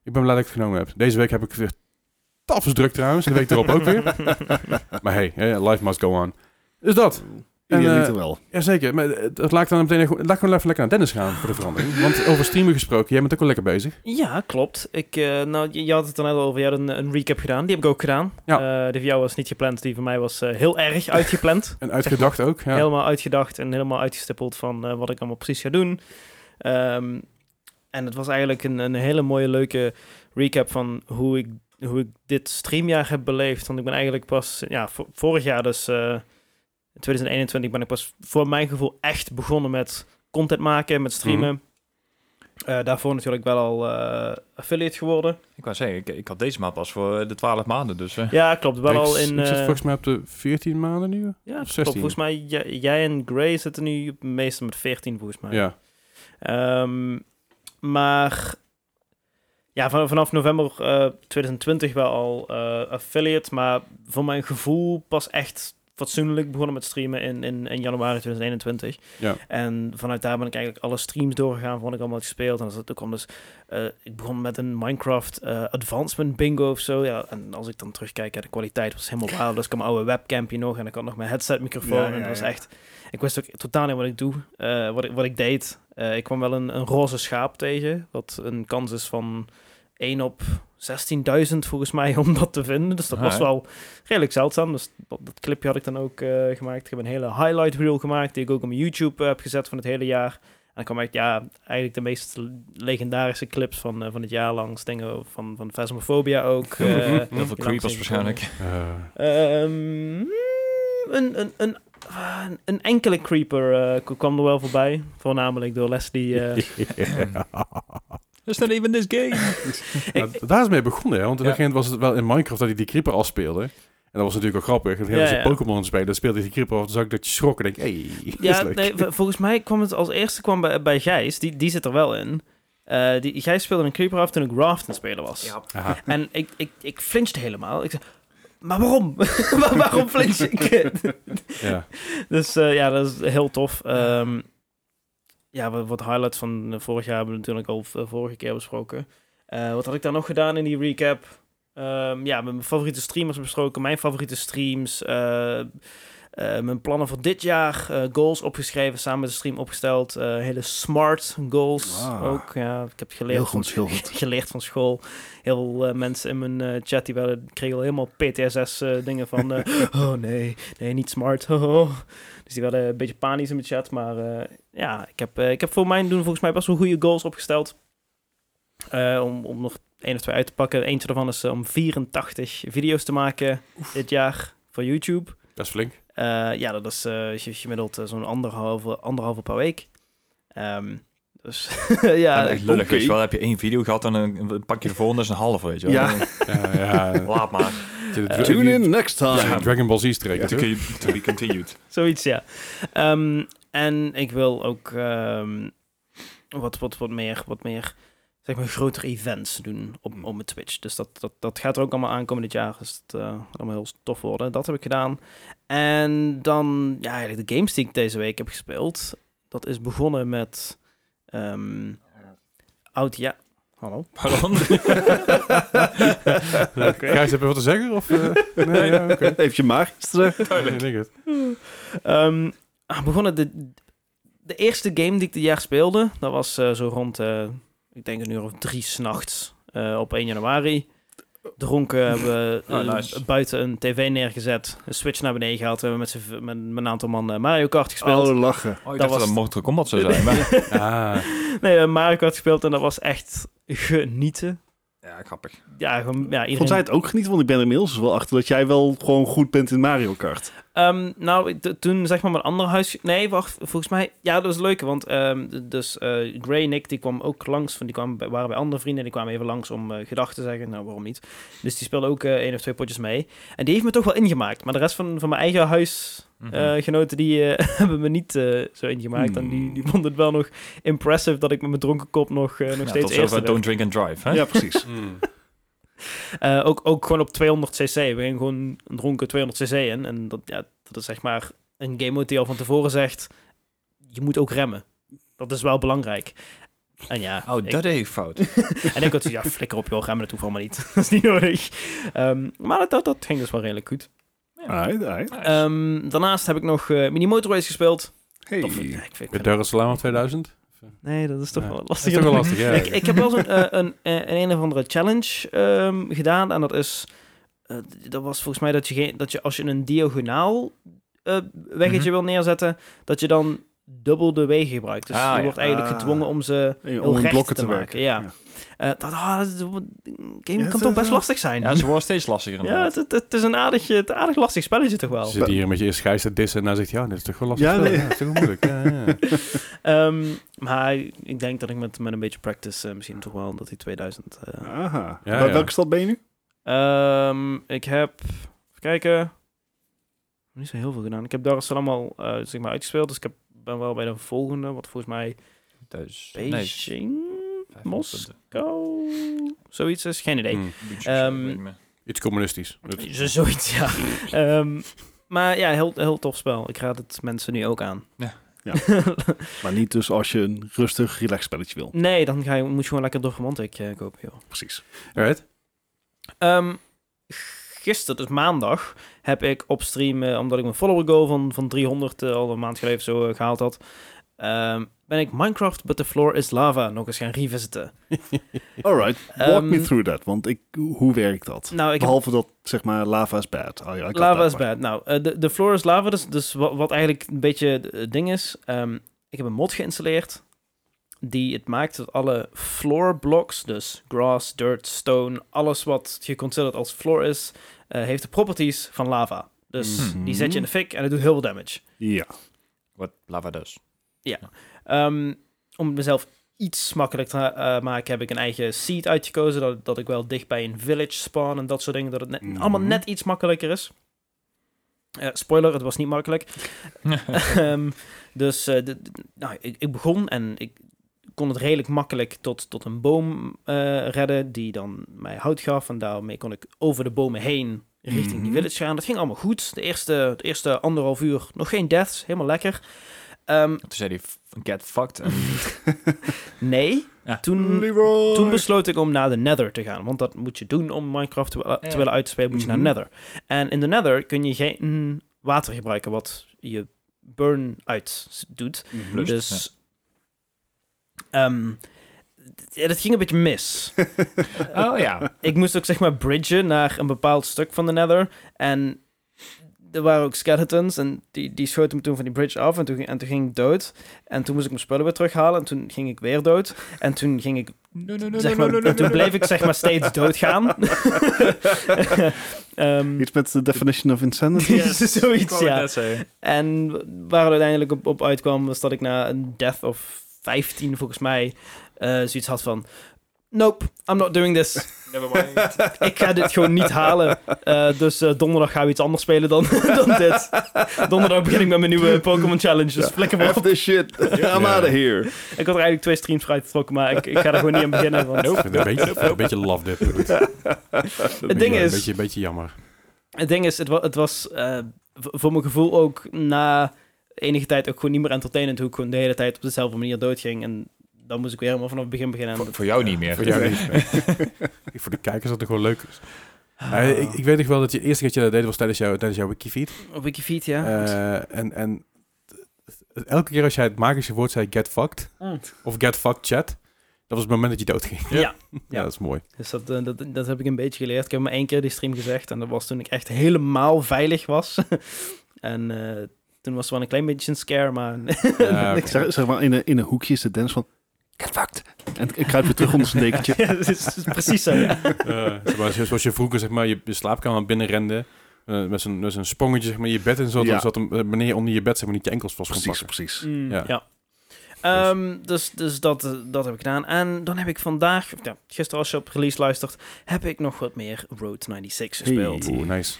ik ben blij dat ik het genomen heb. Deze week heb ik weer (laughs) tafels druk trouwens. De week erop ook weer. Maar hey, eh, life must go on. Dus dat. En, Idealiter eh, wel. Jazeker, maar eh, dat laat ik dan meteen even- laat ik gewoon even lekker naar Dennis gaan voor de verandering. Want over streamen gesproken, jij bent ook wel lekker bezig. Ja, klopt. Ik, eh, nou, je, je had het er net over. Je had een, een recap gedaan. Die heb ik ook gedaan. Ja. Eh, die van jou was niet gepland. Die van mij was eh, heel erg uitgepland. En uitgedacht ook. Ja. Helemaal uitgedacht en helemaal uitgestippeld van eh, wat ik allemaal precies ga doen. Ehm, en het was eigenlijk een, een hele mooie, leuke recap van hoe ik, hoe ik dit streamjaar heb beleefd. Want ik ben eigenlijk pas, ja, vo- vorig jaar dus, eh, in 2021, ben ik pas voor mijn gevoel echt begonnen met content maken, met streamen. Eh, daarvoor natuurlijk wel al eh, affiliate geworden. Ik wou zeggen, ik, ik had deze maand pas voor eh, de 12 maanden, dus... eh, Ja, klopt. Wel Ik al s- in... ik zit eh, volgens mij op de 14 maanden nu. ja, klopt. 16. Volgens mij, jij, jij en Gray zitten nu het meeste met 14, volgens mij. Ja. Ehm, maar ja, van- vanaf november eh, 2020 wel al eh, affiliate, maar voor mijn gevoel pas echt fatsoenlijk begonnen met streamen in, in, in januari 2021. Ja. En vanuit daar ben ik eigenlijk alle streams doorgegaan, wat ik allemaal had gespeeld. En dat- dat kwam dus, eh, ik begon met een Minecraft eh, Advancement Bingo of zo. Ja, en als ik dan terugkijk, ja, de kwaliteit was helemaal wild. Dus ik had mijn oude webcampje nog en ik had nog mijn headset microfoon. Ja, ja, en dat was ja. echt, ik wist ook totaal niet wat ik doe, eh, wat, ik, wat ik deed. Eh, ik kwam wel een, een roze schaap tegen, wat een kans is van 1 op 16.000 volgens mij (laughs) om dat te vinden. Dus dat Ah, was hè? wel redelijk zeldzaam. Dus dat, dat clipje had ik dan ook eh, gemaakt. Ik heb een hele highlight reel gemaakt die ik ook op mijn YouTube eh, heb gezet van het hele jaar. En dan kwam uit, ja, eigenlijk de meest legendarische clips van, eh, van het jaar langs. Dingen van, van Phasmophobia (laughs) ook. eh, Heel veel die creepers langs zijn waarschijnlijk. Eh, Ehm, een, een, een, ah, een- een enkele creeper eh, k- kwam er wel voorbij. Voornamelijk door Leslie. eh. Is dat even this game? nou, d- (laughs) daar is mee begonnen, hè? want op een Ja. gegeven moment was het wel in Minecraft dat hij die creeper afspeelde. En dat was natuurlijk ook grappig. En heel Ja, zijn ja. Pokémon spelen, dan speelde hij die creeper af. Dan zag ik dat je schrok en denk hey, ja, nee, v- volgens mij kwam het als eerste kwam bij, bij Gijs. Die, die zit er wel in. Eh die, Gijs speelde een creeper af toen ik Raft aan het spelen was. Aha. En ik, ik, ik flinchte helemaal. Ik zei, maar waarom? (laughs) Waar- waarom flinch (laughs) ik? Ja. (laughs) Dus eh, ja, dat is heel tof. Ehm, ja, wat, wat highlights van eh, vorig jaar hebben we natuurlijk al v- vorige keer besproken. Eh, wat had ik daar nog gedaan in die recap? Ehm, ja, mijn favoriete streamers besproken, mijn favoriete streams, eh, eh, mijn plannen voor dit jaar, eh, goals opgeschreven, samen met de stream opgesteld, eh, hele smart goals Wow. ook. Ja, ik heb geleerd Heel van goed, heel goed. (laughs) geleerd van school. Heel veel mensen in mijn eh, chat die waren, kregen al helemaal PTSS eh, dingen van... eh, oh nee, nee, niet smart. (laughs) oh, oh." Dus die werden een beetje panisch in mijn chat. Maar eh, ja, ik heb, eh, ik heb voor mijn doen volgens mij best wel goede goals opgesteld. Eh, om, om nog één of twee uit te pakken. Eentje daarvan is eh, om 84 video's te maken dit jaar voor YouTube. Dat is flink. Eh, ja, dat is eh, ge- gemiddeld eh, zo'n anderhalve, anderhalve per week. Ehm, dus (laughs) ja, Ja, echt lullig, oké. weet je wel. heb je één video gehad en dan pak je de volgende, dat is een half, weet je wel. Ja. Ja, ja. Laat maar. (laughs) Zit het- Eh, Tune in next time. Ja, Dragon Ball Z-streek. To be- to be continued. (laughs) Zoiets, ja. Ehm, en ik wil ook ehm, wat, wat, wat meer, wat meer zeg maar, grotere events doen op, op mijn Twitch. Dus dat, dat, dat gaat er ook allemaal aankomen dit jaar. Dus het eh, gaat allemaal heel tof worden. Dat heb ik gedaan. En dan, ja, eigenlijk de games die ik deze week heb gespeeld. Dat is begonnen met ehm oud, ja. Hallo. Pardon? (laughs) Eh, Gijs, heb je wat te zeggen? Of, eh, nee, ja, oké. (laughs) Heeft je maar iets te zeggen? Nee, ik denk het. Ehm, ah, begonnen de, de eerste game die ik dit jaar speelde. Dat was eh, zo rond, eh, ik denk een uur of drie s'nachts eh op 1 januari. Dronken hebben we Oh, eh, nice. buiten een tv neergezet, een switch naar beneden gehaald. Hebben we met, z'n- met, met een aantal man eh, Mario Kart gespeeld. Oh, lachen. Oh, ik Dat dacht was- dat het Mortal Kombat zou zijn, maar... Ah, Nee, eh, Mario Kart gespeeld en dat was echt genieten. (laughs) Ja, grappig. Ja, gewoon, ja iedereen... Vond zij het ook genieten? Want ik ben er inmiddels wel achter dat jij wel gewoon goed bent in Mario Kart. Ehm, nou, ik- t- toen zeg maar mijn andere huis... Nee, wacht, volgens mij... Ja, dat was het leuke, want ehm, d- dus eh, Gray en ik, die kwam ook langs. Van, die kwamen, bij- waren bij andere vrienden, die kwamen even langs om eh, gedag te zeggen. Nou, waarom niet? Dus die speelde ook eh, één of twee potjes mee. En die heeft me toch wel ingemaakt. Maar de rest van, van mijn eigen Mhm. huisgenoten, die eh, (laughs) hebben me niet eh, zo ingemaakt. En die, die vonden het wel nog impressive dat ik met mijn dronken kop nog, eh, nog Hmm. Ja, tot steeds eerste zover werd. Don't Drink and Drive, hè? Ja, (laughs) precies. Hmm. Eh, ook, ook gewoon op 200cc. We gingen gewoon een dronken 200cc in. En dat, ja, dat is zeg maar een game mode die al van tevoren zegt... Je moet ook remmen. Dat is wel belangrijk. En ja, Oh, ik- dat deed ik (laughs) fout. en ik had zoiets, (laughs) ja, flikker op joh, remmen, dat hoeft allemaal niet. dat is niet nodig. Ehm, maar dat, dat ging dus wel redelijk goed. Ja. Alright, alright. Ehm, daarnaast heb ik nog eh Mini Motor Race gespeeld. Hey. Of, eh, ik weet- Met Darren Salama 2000? nee, dat is toch Nee. wel Dat is lastig. toch wel lastig, ja. ik, ik heb wel zo'n, eh, een, een, een of andere challenge ehm, gedaan. En dat is. eh, dat was volgens mij dat je, geen- dat je als je een diagonaal eh, Mhm. weggetje wil neerzetten. dat je dan dubbel de wegen gebruikt. Dus Ah, je ja. wordt eigenlijk Ah. gedwongen om ze. (laughs) Hey, heel om in recht blokken te te maken, werken. ja. eh, dat, ah, dat is- game dat kan is toch best wel- lastig zijn. Ja, Ja, ze worden steeds lastiger. inderdaad. het, het, het is een aardig, een aardig lastig spelletje toch wel. Je zit hier met je eerste gijs te dissen en dan zegt hij, ja, dit is toch wel lastig. Ja, spel. nee. Ja, dat is toch wel moeilijk. Ja, ja. (laughs) Ehm, maar ik denk dat ik met, met een beetje practice eh, misschien toch wel dat die 2000. eh, Aha. Ja, Wel- ja. Welke stad ben je nu? Ehm, ik heb, even kijken, niet zo heel veel gedaan. Ik heb Dar es Salaam al eh, zeg maar uitgespeeld, dus ik heb, ben wel bij de volgende, wat volgens mij Thuis. Dus, Nee, Beijing, 500 Moskou, punten. zoiets is, geen idee. Hm. Budget, Ehm, ik weet niet meer. Iets communistisch. Het- Zo- Zoiets, ja. Ehm, maar ja, heel, heel tof spel. Ik raad het mensen nu ook aan. Ja. Ja. Maar niet dus als je een rustig, relaxed spelletje wil. nee, dan ga je, moet je gewoon lekker door romantic eh, kopen, joh. Precies. Alright. Ehm gisteren, dus maandag, heb ik op stream, eh, omdat ik mijn follower goal van, van 300 eh, al een maand geleden of zo eh, gehaald had, ehm, ben ik Minecraft But The Floor Is Lava nog eens gaan revisiten. Alright, walk Ehm, me through that. Want ik, hoe werkt dat? Nou, ik heb Behalve dat, zeg maar, lava is bad. Oh I- I got Lava that is part. bad. Nou, eh, de, de floor is lava, dus, dus wat, wat eigenlijk een beetje het ding is. ehm, ik heb een mod geïnstalleerd die het maakt dat alle floor blocks, dus grass, dirt, stone, alles wat geconsidered als floor is, eh, heeft de properties van lava. Dus Mhm. die zet je in de fik en het doet heel veel damage. Ja. Wat lava dus. Ehm, om het mezelf iets makkelijker te eh, maken, heb ik een eigen seed uitgekozen. Dat, dat ik wel dicht bij een village spawn en dat soort dingen. Dat het net, Mhm. allemaal net iets makkelijker is. Eh, spoiler, het was niet makkelijk. Ehm, dus eh, de- de- nou, ik, ik begon en ik kon het redelijk makkelijk tot, tot een boom eh, redden, die dan mij hout gaf. En daarmee kon ik over de bomen heen richting die Mhm. village gaan. Dat ging allemaal goed. De eerste, het eerste anderhalf uur nog geen deaths, helemaal lekker. Ehm, Toen zei hij, "F- get fucked. (laughs) En nee, Ja. toen, Leroy. toen besloot ik om naar de Nether te gaan. Want dat moet je doen om Minecraft te, te Ja. willen uitspelen, moet je Mhm. naar Nether. En in de Nether kun je geen water gebruiken, wat je burn uit doet. Mhm. Plus. Dus. ehm, d- ja, dat ging een beetje mis. oh ja. ik moest ook zeg maar bridgen naar een bepaald stuk van de Nether. En er waren ook skeletons. En die, die schoten me toen van die bridge af. En toen, en toen ging ik dood. En toen moest ik mijn spullen weer terughalen. En toen ging ik weer dood. En toen ging ik. (laughs) zeg (laughs) maar, en toen bleef ik zeg maar steeds doodgaan. Ehm Iets met de definition of insanity. (laughs) Yes. Zoiets, ja. ja. En waar het uiteindelijk op, op uitkwam, was dat ik na een death of 15, volgens mij, eh, zoiets had van... Nope, I'm not doing this. (laughs) Never mind. Ik ga dit gewoon niet halen. Eh, dus eh, donderdag gaan we iets anders spelen dan, (laughs) dan dit. Donderdag begin ik met mijn (laughs) nieuwe Pokémon Challenge, dus flikker me F op. this shit. I'm Ja. out of here. Ik had er eigenlijk twee streams vrij getrokken, maar ik, ik ga er gewoon niet aan beginnen. Want Ik vind het een beetje, een beetje love dip. het ding Ja, is... Een beetje, een beetje jammer. Het ding is, het, wa- het was eh, v- voor mijn gevoel ook na enige tijd ook gewoon niet meer entertainend hoe ik gewoon de hele tijd op dezelfde manier doodging. En dan moest ik weer helemaal vanaf het begin beginnen. En voor, dat- voor jou niet meer. Voor, jou (laughs) niet. voor de kijkers dat het gewoon leuk is. Ah. Eh, ik, ik weet nog wel dat je de eerste keer dat je dat deed was tijdens, jou, tijdens jouw wikifeed. Op Wikifeed, ja. Eh, en en t- elke keer als jij het magische woord zei get fucked Mm. of get fucked chat, dat was het moment dat je doodging. Ja. Ja. ja. dat is mooi. Dus dat, eh, dat, dat heb ik een beetje geleerd. Ik heb maar één keer die stream gezegd. En dat was toen ik echt helemaal veilig was. (laughs) en eh, toen was er wel een klein beetje een scare, maar... Ja, oké. Zeg, zeg maar, in een, in een hoekje is de dance van... Get fucked. En ik kruip weer terug onder zijn (laughs) dekentje. (laughs) ja, dat is, precies zo, ja. Eh, zeg maar, zo- zoals je vroeger zeg maar, je, je slaapkamer binnenrende. eh met zo'n met zo'n sprongetje zeg maar, in je bed en zo. Ja. zat een eh, meneer onder je bed zeg maar, niet je enkels vast kon Precies, pakken. precies. Mm, Ja. ja. Ehm, dus dus dat, eh, dat heb ik gedaan. En dan heb ik vandaag, of ja, gisteren als je op release luistert, heb ik nog wat meer Road 96 gespeeld. Hey. Oeh, nice.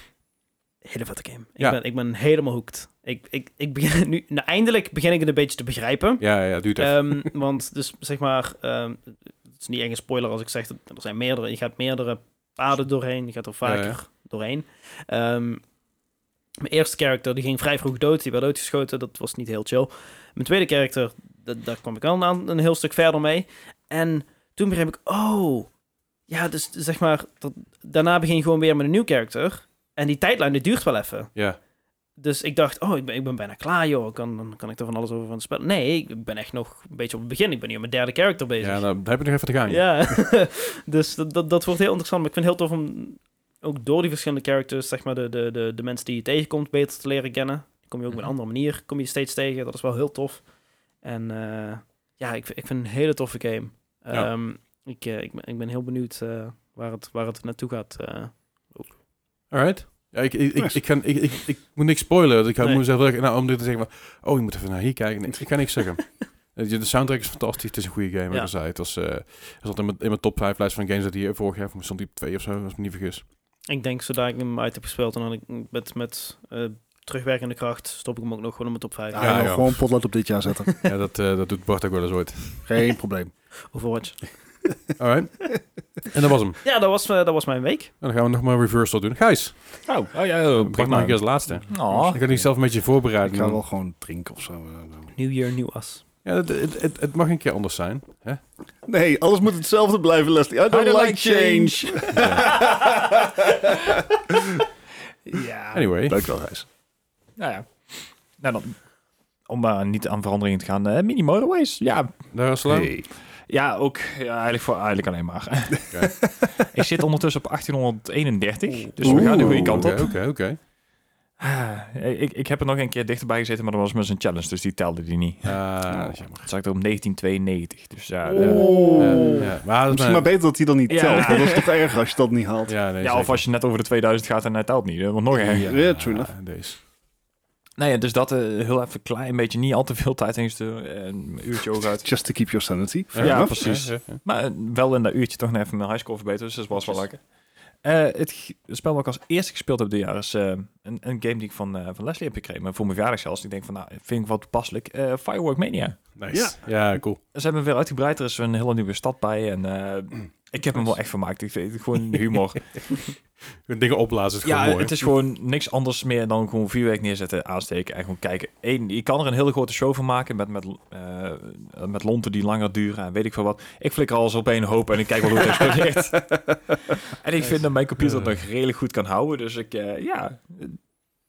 Hele vette game. Ik, Ja. ben, ik ben helemaal hooked. Ik, ik, ik begin (laughs) nu, nou, eindelijk begin ik het een beetje te begrijpen. Ja, ja, duurt even. Ehm, want dus zeg maar, ehm, het is niet echt een spoiler als ik zeg, dat er zijn meerdere, je gaat meerdere paden doorheen, je gaat er vaker Ja, ja. doorheen. Ehm, mijn eerste character die ging vrij vroeg dood, die werd doodgeschoten, dat was niet heel chill. Mijn tweede character, da- daar kwam ik al een, een heel stuk verder mee. En toen begreep ik, oh, ja, dus zeg maar, dat, daarna begin je gewoon weer met een nieuw character. En die tijdlijn, die duurt wel even. Ja. Dus ik dacht, oh, ik ben, ik ben bijna klaar, joh. Kan, dan kan ik er van alles over van het spel. Nee, ik ben echt nog een beetje op het begin. Ik ben nu aan mijn derde character bezig. Ja, nou, daar heb ik nog even te gaan. Ja, (laughs) dus dat, dat, dat wordt heel interessant. Maar ik vind het heel tof om ook door die verschillende characters, zeg maar, de, de, de, de mensen die je tegenkomt, beter te leren kennen. Dan kom je ook op een Mhm. andere manier, kom je steeds tegen. Dat is wel heel tof. En eh, ja, ik, ik vind het een hele toffe game. Ja. Ehm, ik, eh, ik, ben, ik ben heel benieuwd eh, waar, het, waar het naartoe gaat. eh. Alright. Ja, ik, ik, ik, Nice. ik, kan, ik, ik, ik moet niks spoilen. Dus ik Nee. moet zelf nou, om dit te zeggen, van, oh, je moet even naar hier kijken. Nee, ik kan niks (laughs) zeggen. Weet je, De soundtrack is fantastisch. Het is een goede game, wat ik Ja. al zei. Het was, eh, het zat in mijn, in mijn top 5 lijst van games dat hier vorig jaar stond die op twee of zo, als ik me niet (laughs) vergis. Ik denk zodra ik hem uit heb gespeeld en dan ik met, met eh, terugwerkende kracht stop ik hem ook nog gewoon op mijn top 5. Ah, Ja, Ja, nou, ja. Gewoon potlood op dit (laughs) jaar zetten. ja, dat, eh, dat doet Bart ook wel eens ooit. (laughs) Geen probleem. (laughs) Overwatch. Alright. En dat was hem. Ja, dat was, eh, dat was mijn week. En dan gaan we nog maar een reversal doen. Gijs, Oh, oh ja, Bart mag ik als laatste. Oh, Ik had niet zelf een beetje voorbereid. Ik ga wel gewoon drinken of zo. Nieuw jaar, nieuw as. Ja, het, het, het, het mag een keer anders zijn. Hè? Nee, alles moet hetzelfde blijven, Leslie. I don't, like, change. ja. Anyway. (laughs) Leuk wel, Gijs. nou ja. Nou dan, om maar niet aan veranderingen te gaan. eh, mini motorways, ja. Daar was het Hey. Ja, ook ja, eigenlijk, voor, eigenlijk alleen maar. Oké. (laughs) ik zit ondertussen op 1831, dus we Oeh. gaan de goede kant op. Oké, oké, oké. Ah, ik, ik heb er nog een keer dichterbij gezeten, maar dat was met zijn challenge, dus die telde die niet. Ah, dat is jammer. Het zat op 1992, dus ja. eh, Oh. Ja, ja. Maar dat is Misschien mijn- maar beter dat hij dan niet Ja. telt. want Dat is toch erg als je dat niet haalt. Ja, nee, eh, ja, of als je net over de 2000 gaat en hij telt niet, hè, want nog erger. Ja, ja, true enough. Deze. Nee, dus dat eh, heel even klein beetje, niet al te veel tijd in gestoken, een uurtje ook (laughs) uit. Just to keep your sanity. Fair Ja, enough. precies. Ja, ja. Maar eh, wel in dat uurtje toch nog even mijn highscore verbeteren, dus dat was wel lekker. Eh, het g- het spel wat ik als eerste gespeeld heb dit jaar is eh, een, een game die ik van, eh, van Leslie heb gekregen, maar voor mijn verjaardag zelfs. Ik denk van, nou, vind ik wel toepasselijk. Eh, Firework Mania. Nice. Ja, cool. Ze hebben hem weer uitgebreid, er is een hele nieuwe stad bij en eh, ik heb hem wel echt vermaakt. Ik vind het gewoon humor. Dingen opblazen, is gewoon ja, mooi. het is gewoon niks anders meer dan gewoon vuurwerk neerzetten, aansteken en gewoon kijken. Eén, je kan er een hele grote show van maken met, met, eh, met lonten die langer duren en weet ik veel wat. Ik flikker alles op één hoop en ik kijk wel (laughs) hoe het explodeert. en ik vind dat mijn computer het nog redelijk goed kan houden, dus ik, eh, ja,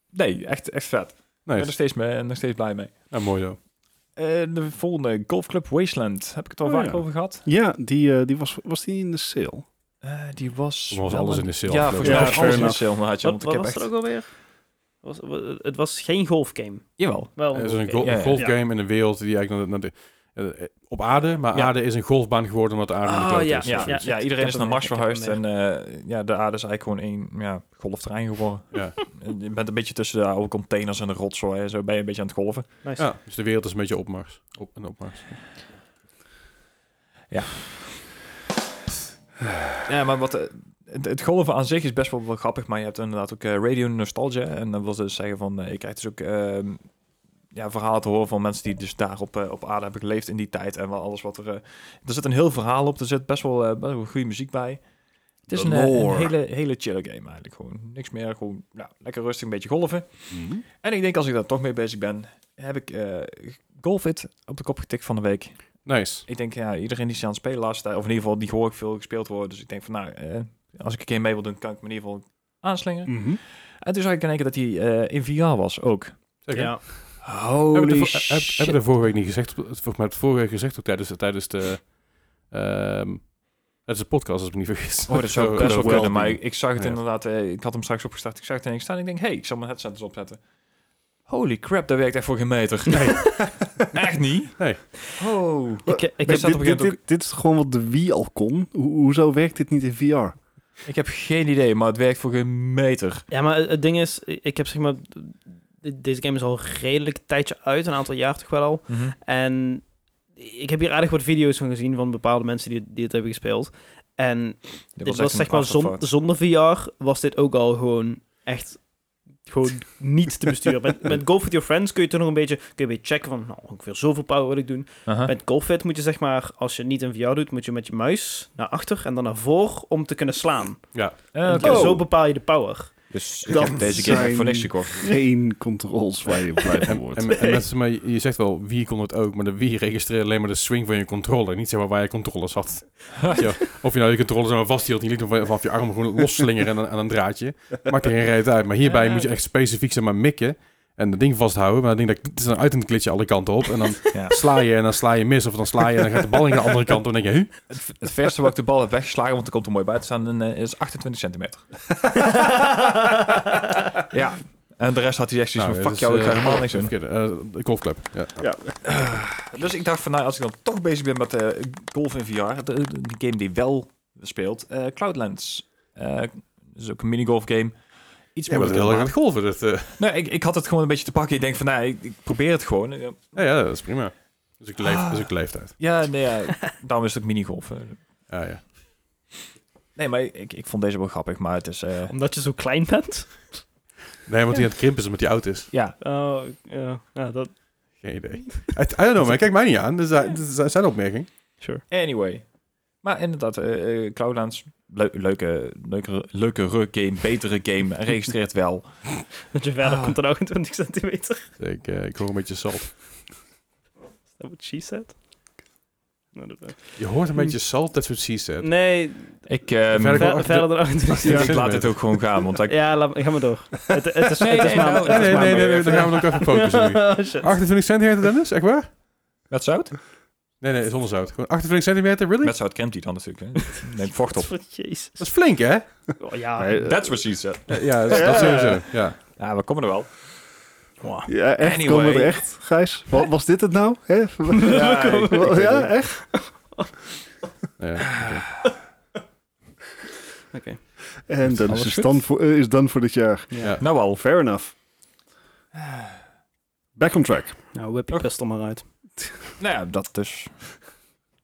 nee, echt, echt vet. Ik ben er Nice. steeds, mee, nog steeds blij mee. Nou, mooi zo. Eh, de volgende, Golfclub Wasteland. Heb ik het al Oh, vaak ja. over gehad? Ja, die, eh, die was, was die in de sale? Eh, die was... Was wel alles een- in de sale Ja, afgelopen. volgens mij Ja, was fair alles in enough. de sale. Maatje, Wat, want ik heb wat was echt... het ook alweer? Was, wa- het was geen golfgame. Jawel. Wel Het een is een golfgame. gol- ja, ja. golfgame in een wereld die eigenlijk naar de, naar de- eh, op aarde, maar Ja. Ah, aarde is een golfbaan geworden omdat de aarde naar de Oh, klote ja. is. Ja, of ja, zoiets. ja, ik iedereen heb is naar hem Mars echt, ik heb hem verhuisd en eh, ja, de aarde is eigenlijk gewoon één ja, golfterrein geworden. Ja. En Je bent een beetje tussen de oude containers en de rotzooi en zo ben je een beetje aan het golven. Nice. Ja, dus de wereld is een beetje opmars. Op en opmars. Ja, maar wat, eh, het, het golven aan zich is best wel, wel grappig, maar je hebt inderdaad ook eh, radio nostalgia. En dat wil dus zeggen van, eh, je krijgt dus ook ehm, ja, verhalen te horen van mensen die dus daar op, eh, op aarde hebben geleefd in die tijd. En wel alles wat er... eh, er zit een heel verhaal op, er zit best wel, eh, best wel goede muziek bij. Het is The een, eh, een lore. hele, hele chille game eigenlijk. Gewoon niks meer, gewoon nou, lekker rustig een beetje golven. Mhm. En ik denk als ik daar toch mee bezig ben, heb ik eh Golfit op de kop getikt van de week. Nice. Ik denk, ja, iedereen die is aan het spelen laatst, of in ieder geval die hoor ik veel gespeeld worden. Dus ik denk van, nou, eh, als ik een keer mee wil doen, kan ik me in ieder geval aanslingen. Mhm. En toen zag ik in één keer dat hij eh, in VR was ook. Zeker. Ja. Hebben we Holy de vo- heb- hebben we de vorige week niet gezegd, op- volgens mij het vorige week gezegd ook tijdens, tijdens de... ehm het is een podcast, als ik me niet vergis. Oh, dat (laughs) zou Zo- best wel zo- kunnen, maar ik, ik zag het Ja. inderdaad, eh, ik had hem straks opgestart, ik zag het in één keer staan en ik denk, hey, ik zal mijn headset eens opzetten. Holy crap, dat werkt echt voor geen meter. (laughs) echt niet? Nee. Oh. Ik, eh, ik, Best heb, zat Dit, op een dit, gegeven dit, dit is gewoon wat de Wii al kon. Ho- hoezo werkt dit niet in VR? (laughs) Ik heb geen idee, maar het werkt voor geen meter. ja, maar het ding is, ik heb zeg maar... de- Deze game is al redelijk een tijdje uit, een aantal jaar toch wel al. En ik heb hier aardig wat video's van gezien van bepaalde mensen die, die het hebben gespeeld. En dit was, echt een zeg maar zon- afterthought. zonder VR was dit ook al gewoon echt gewoon niet te besturen. Met, met Golf With Your Friends kun je toch nog een beetje, kun je een beetje checken van nou, ongeveer zoveel power wil ik doen. Aha. Met GoFit moet je zeg maar, als je niet in VR doet, moet je met je muis naar achter en dan naar voor om te kunnen slaan. Ja. Eh, En oké. Oh. (laughs) Zo bepaal je de power. Dus ik Dat heb deze game echt voor zijn- niks gekocht. Geen controls waar je blij van En, wordt. en, en mensen, maar je je zegt wel, wie kon het ook, maar de wie registreerde alleen maar de swing van je controller, niet zeg maar waar je controllers (laughs) had. ja, of je nou je controller zomaar vasthield, en je liet hem vanaf je arm gewoon losslingeren aan, aan een draadje. Maakt er geen reet uit. Maar hierbij Ja. moet je echt specifiek zeg maar mikken en dat ding vasthouden. Maar dan denk ik, dit is een uit een klitje alle kanten op. En dan Ja. sla je en dan sla je mis, of dan sla je en dan gaat de bal in de andere kant op. En dan denk je, huh? Het, het verste wat ik de bal heb weggeslagen, want er komt er mooi buiten staan, en, eh, is 28 centimeter. Ja. En de rest had hij echt zoiets van, het fuck is, jou, ik eh, ga helemaal niks doen. verkeerde, eh, de golfclub. Ja. Ja. Dus ik dacht van, nou, als ik dan toch bezig ben met eh, golf in VR, de, de- die game die wel speelt, eh, Cloudlands. Eh, dat is ook een minigolf game. Iets Ja, maar dat is moeilijker, heel erg aan maar- het golven. Dat, eh, Nee, ik, ik had het gewoon een beetje te pakken. Ik denk van, nou, ik, ik probeer het gewoon. Eh, ja, ja, dat is prima. Dat is ook, Dus leef, dat is ook leeftijd. Ja, nee, ja, (laughs) daarom is het ook minigolf. Eh, Ja, ja. Nee, maar ik, ik vond deze wel grappig, maar het is... eh, Omdat je zo klein bent? Nee, want hij aan het krimpen is omdat hij oud is. ja, Oh, ja. Ja, dat... Geen idee. (laughs) I, I don't know, man. Kijk mij niet aan. Dat is, dat is- dat is zijn opmerking. Sure. anyway. Maar inderdaad, eh eh, Cloudlands, leu- leuke, leuke, leukere game, betere (laughs) game, registreert wel. Dat je verder Ah. komt dan ook 20 centimeter. Ik, eh, ik hoor een beetje salt. Is dat wat she said? Nou, dat wel. Je hoort een beetje salt, that's what she said. Nee, Ik, ehm, Verder- ver- verder dan 28 Ja. ik laat het ook gewoon gaan, (laughs) want ik, Ja, laat, ga maar door. Het, het is, Nee, het is nee, maar- nou, het is nee, maar- nee, nee, nee, even- daar gaan we dan ook even focussen (laughs) nu. (laughs) Oh, shit. 28 centimeter, Dennis? Echt waar? met zout? Nee, nee, zonder zout. Gewoon 28 centimeter, really? Met zout kent hij dan natuurlijk. Hè? Neem (laughs) vocht op. Jezus. Dat is flink, hè? Oh, ja. eh, Nee, That's what she said. Ja, ja, dat, dat sowieso. Ja. Ja, we komen er wel. Ja, echt? Anyway. Komen we er echt, Gijs? (laughs) Wa- Was dit het nou? Hè? Ja, ik- ik weet ja, het. echt? Ja, oké. En dan Alles is goed? het dan voor, eh, is dan voor dit jaar. Ja. Nou al. (sighs) Fair enough. Back on track. Nou, whip je Oké. pistol maar uit. Nou ja, dat dus.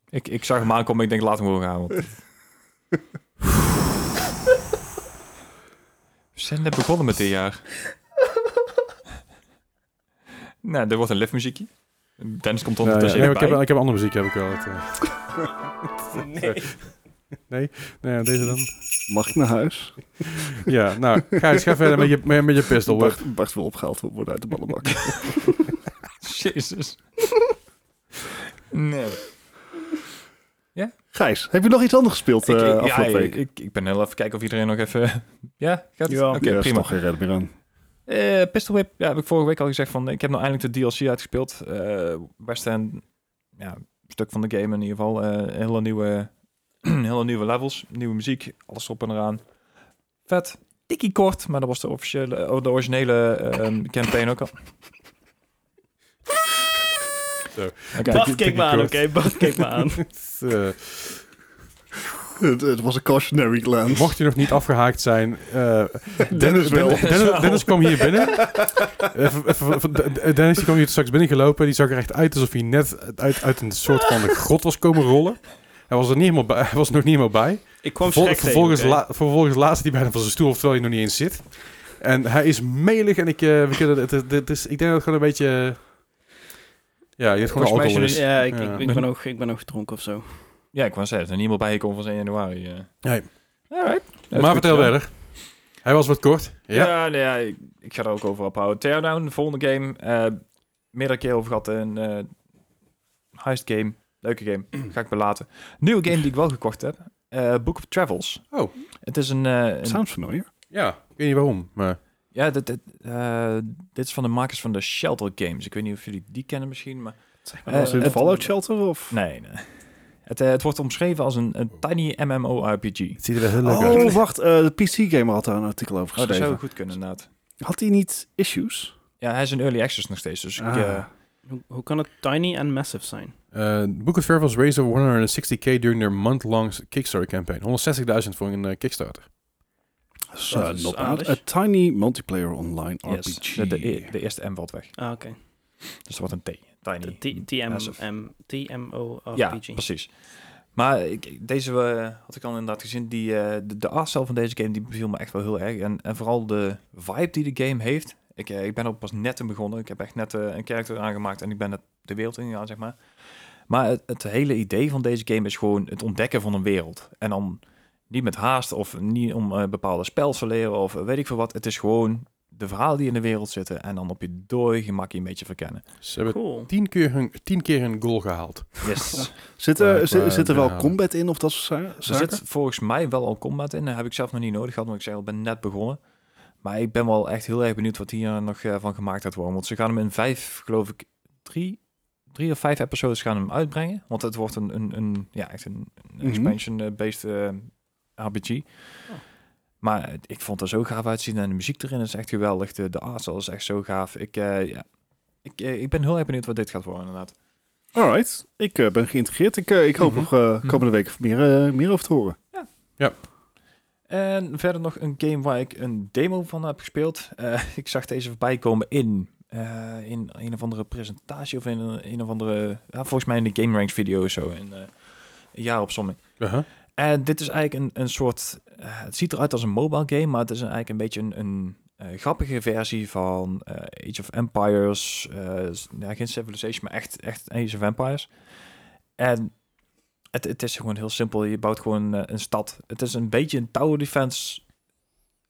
Ik, ik zag hem aankomen, ik denk laat hem gewoon gaan. Want... We zijn net begonnen met dit jaar. nou, er wordt een liftmuziekje. Dennis komt Ja, ja. ondertussen Nee, maar even ik, heb, bij. ik heb een andere muziek, heb ik wel. Het, eh, (laughs) Nee. nou ja, deze dan. Mag ik naar huis? Ja, nou, Gijs, ga verder met je, met, met je pistol. hoor. Bart, Bart wil opgehaald worden uit de ballenbak. (laughs) (laughs) (laughs) Jezus. nee. Gijs, heb je nog iets anders gespeeld eh Ik- ik- ja, afgelopen ik- week? ik, ik ben heel even kijken of iedereen nog even... (laughs) ja, gaat het? Ja. Oké, Ja, is prima. toch geen redder meer aan. Eh, Pistol Whip, ja, heb ik vorige week al gezegd van, ik heb nou eindelijk de DLC uitgespeeld. Eh best een ja, stuk van de game in ieder geval. Eh, hele, nieuwe, (clears throat) hele nieuwe levels, nieuwe muziek, alles erop en eraan. Vet, tikkie kort, maar dat was de, officiële, oh, de originele ehm, campaign ook al. (laughs) Zo. Oké. Bah. Bart, kijk maar aan, oké? Bart, kijk maar aan. Het, eh, Het, het was een cautionary glance. Mocht je nog niet afgehaakt zijn, eh, Dennis wel. Den- Dennis, Dennis kwam hier binnen. Even- even- even- Den- Dennis die kwam hier straks binnengelopen. Die zag er echt uit alsof hij net uit, uit een soort van grot was komen rollen. Hij was er niet helemaal bij. Hij was er nog niet helemaal bij. Ik kwam Vervol- schrik vervolgens, tegen, oké? la, vervolgens laatste die bijna van zijn stoel, terwijl hij nog niet eens zit. En hij is melig en ik, eh, we kunnen, het, het- het is, ik denk dat het gewoon een beetje... eh, ja, je hebt gewoon Volgens mij alcohol is jullie- is. Ja, ik, Dus- Ja. ik, ik ben ook, ik ben ook gedronken of zo. Ja, ik wou zeggen, er is niemand bij gekomen van 1 januari. eh. Nee. Alright. Maar vertel verder. Hij was wat kort. Ja. Ja, nee, ja, ik, ik ga er ook over ophouden. Teardown, de volgende game. eh meerdere keer over gehad. Een eh, heist game. Leuke (clears throat) game. ga ik belaten. Nieuwe game die ik wel gekocht heb. eh, Book of Travels. Oh. Het is een... eh, een- Sounds familiar. Ja, ik weet niet waarom, maar... ja, dit, dit, eh, dit is van de makers van de Shelter games. Ik weet niet of jullie die kennen misschien, maar... Was Eh, was het het- Fallout Shelter of? Nee, nee. Het, eh, het wordt omschreven als een, een tiny MMORPG. Het ziet er wel heel Oh, wacht. eh, de PC-gamer had daar een artikel over Oh, dat geschreven. zou goed kunnen, inderdaad. had hij niet issues? Ja, hij is een early access nog steeds, dus ik... Ah. eh, Hoe, hoe kan het tiny en massive zijn? Uh, Book of Travels raised over 160k during their month-long Kickstarter campaign. 160.000 voor een eh, Kickstarter. So, Dat is not aardig. bad. A tiny multiplayer online yes. RPG. De, E. de, de eerste M valt weg. Ah, oké. Dus wat een T. Tiny. De T- TM, Massive. M, ja, TMORPG. precies. Maar ik, deze eh, had ik al inderdaad gezien. Die, eh, de, de artstijl van deze game die beviel me echt wel heel erg. En, en vooral de vibe die de game heeft. Ik, eh, ik ben er pas net in begonnen. Ik heb echt net eh, een karakter aangemaakt en ik ben het, de wereld ingegaan, zeg maar. Maar het, het hele idee van deze game is gewoon het ontdekken van een wereld. En dan Niet met haast of niet om eh, bepaalde spels te leren of eh, weet ik veel wat. Het is gewoon de verhalen die in de wereld zitten en dan op je dooi gemakkie een beetje verkennen. Ze hebben Cool. tien keer hun, tien keer hun goal gehaald. Yes. Zit er, Eh, zit- eh, zit er wel ja. combat in of dat soort za- er zaken? zit volgens mij wel al combat in. Dat heb ik zelf nog niet nodig gehad, want ik zeg al, ik ben net begonnen. Maar ik ben wel echt heel erg benieuwd wat hier nog eh, van gemaakt gaat worden. Want ze gaan hem in vijf, geloof ik, drie, drie of vijf episodes gaan hem uitbrengen. Want het wordt een, een, een ja, echt een, een Mhm. expansion-based eh, RPG. Maar ik vond het er zo gaaf uitzien en de muziek erin is echt geweldig. De, de artstyle is echt zo gaaf. Ik, eh, ja, ik, eh, ik ben heel erg benieuwd wat dit gaat worden inderdaad. Alright, ik eh, ben geïntegreerd. Ik, eh, ik hoop Mhm. nog eh, komende week meer, eh, meer over te horen. En verder nog een game waar ik een demo van heb gespeeld. Eh, (laughs) ik zag deze voorbij komen in, eh, in een of andere presentatie of in een, een of andere... ja, volgens mij in de Game Ranks video of zo. In, eh een jaaropsomming. Uh-huh. En dit is eigenlijk een, een soort... eh, het ziet eruit als een mobile game, maar het is een- eigenlijk een beetje een, een eh, grappige versie van eh, Age of Empires. eh, s- ja, geen Civilization, maar echt, echt Age of Empires. En het, het is gewoon heel simpel. Je bouwt gewoon eh, een stad. Het is een beetje een tower defense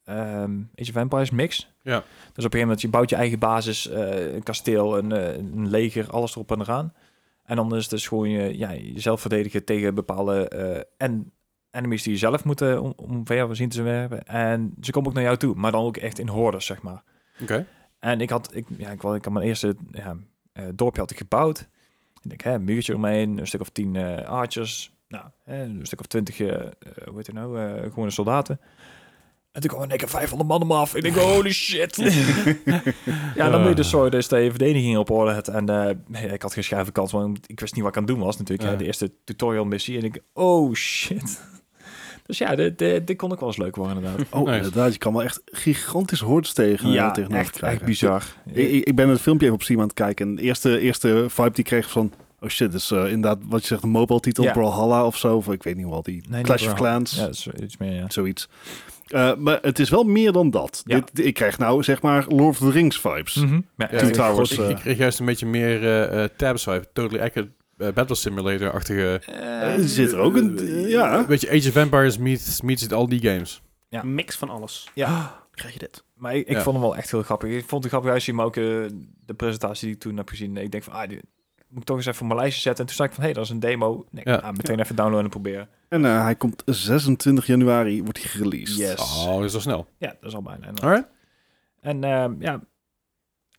ehm, Age of Empires mix. Ja. Dus op een gegeven moment, je bouwt je eigen basis, eh, een kasteel, een, eh, een leger, alles erop en eraan. En dan is het dus gewoon je, ja, jezelf verdedigen tegen bepaalde eh, en enemies die je zelf moet eh, om, omver zien te werpen. En ze komen ook naar jou toe, maar dan ook echt in hordes, zeg maar. Oké. En ik had, ik, ja, ik, wou- ik had mijn eerste ja, eh, dorpje had ik gebouwd. En ik, hè, een muurtje omheen, een stuk of tien eh archers. Nou, hè, een stuk of twintig, eh, eh, hoe heet het nou, eh, gewone soldaten. En toen kwam in één keer 500 man om af. En ik denk, holy shit. ja, dan moet je dus zorgen dus dat je verdediging op orde hebt. En eh, ja, ik had geen schuiven kans, want ik wist niet wat ik aan het doen was natuurlijk. hè, Ja. de eerste tutorial missie. En ik, oh shit. Dus ja, dit, dit, dit kon ook wel eens leuk worden inderdaad. Oh, Nice. inderdaad. Je kan wel echt gigantische hordes tegen, eh, ja, tegen echt, echt bizar. Ik, ik- ik ben het filmpje even op Steam aan het kijken. En de eerste, eerste vibe die ik kreeg van... Oh shit, dus eh, inderdaad wat je zegt, een mobile titel, Ja. Brawlhalla of zo. Of ik weet niet hoe al die. Nee, niet Clash of Brawlhalla. Clans, Ja, zo- iets meer, ja. zoiets. Eh, maar het is wel meer dan dat. Ja. Hm. Dit, ik krijg nou zeg maar Lord of the Rings vibes. Ja, Ja, Two ik- Towers, Ik, eh. ik kreeg juist een beetje meer eh eh, tab swipe. Totally Accurate eh, Battle Simulator-achtige... Eh, zit er ook een... ja. Weet je, Age of Empires meets, meets al die games. Ja. Mix van alles. ja, Krijg je dit? maar ik, ik Ja. vond hem wel echt heel grappig. Ik vond het grappig uitzien, maar ook eh, de presentatie die ik toen heb gezien. Ik denk van, ah, die moet ik toch eens even op mijn lijstje zetten. En toen zei ik van, hé, hey, dat is een demo. Nee, Ja. nou, meteen even downloaden en proberen. En eh, hij komt 26 januari, wordt hij gereleased. Yes. Oh, dat is al snel. Ja, dat is al bijna. En, Alright. en ehm, ja,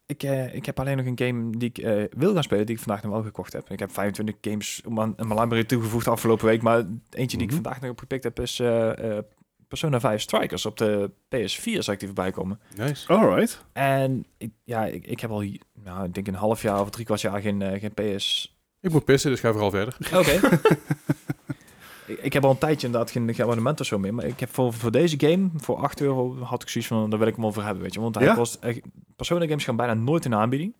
ik, eh, ik heb alleen nog een game die ik eh, wil gaan spelen, die ik vandaag nog wel gekocht heb. Ik heb 25 games om aan, aan mijn library toegevoegd de afgelopen week. Maar eentje die ik Mhm. vandaag nog opgepikt heb is eh, eh, Persona 5 Strikers op de PS4 zag ik die voorbij komen. Nice. Alright. En ik, ja, ik, ik heb al, hi- nou, ik denk een half jaar of drie kwart jaar geen, eh, geen PS. Ik moet pissen, dus ga vooral verder. Oké. (laughs) (laughs) ik, ik heb al een tijdje inderdaad geen, geen abonnement of zo meer. Maar ik heb voor, voor deze game, voor 8 euro, had ik zoiets van, daar wil ik hem over hebben, weet je. Want hij Ja? kost echt, Persona games gaan bijna nooit in aanbieding.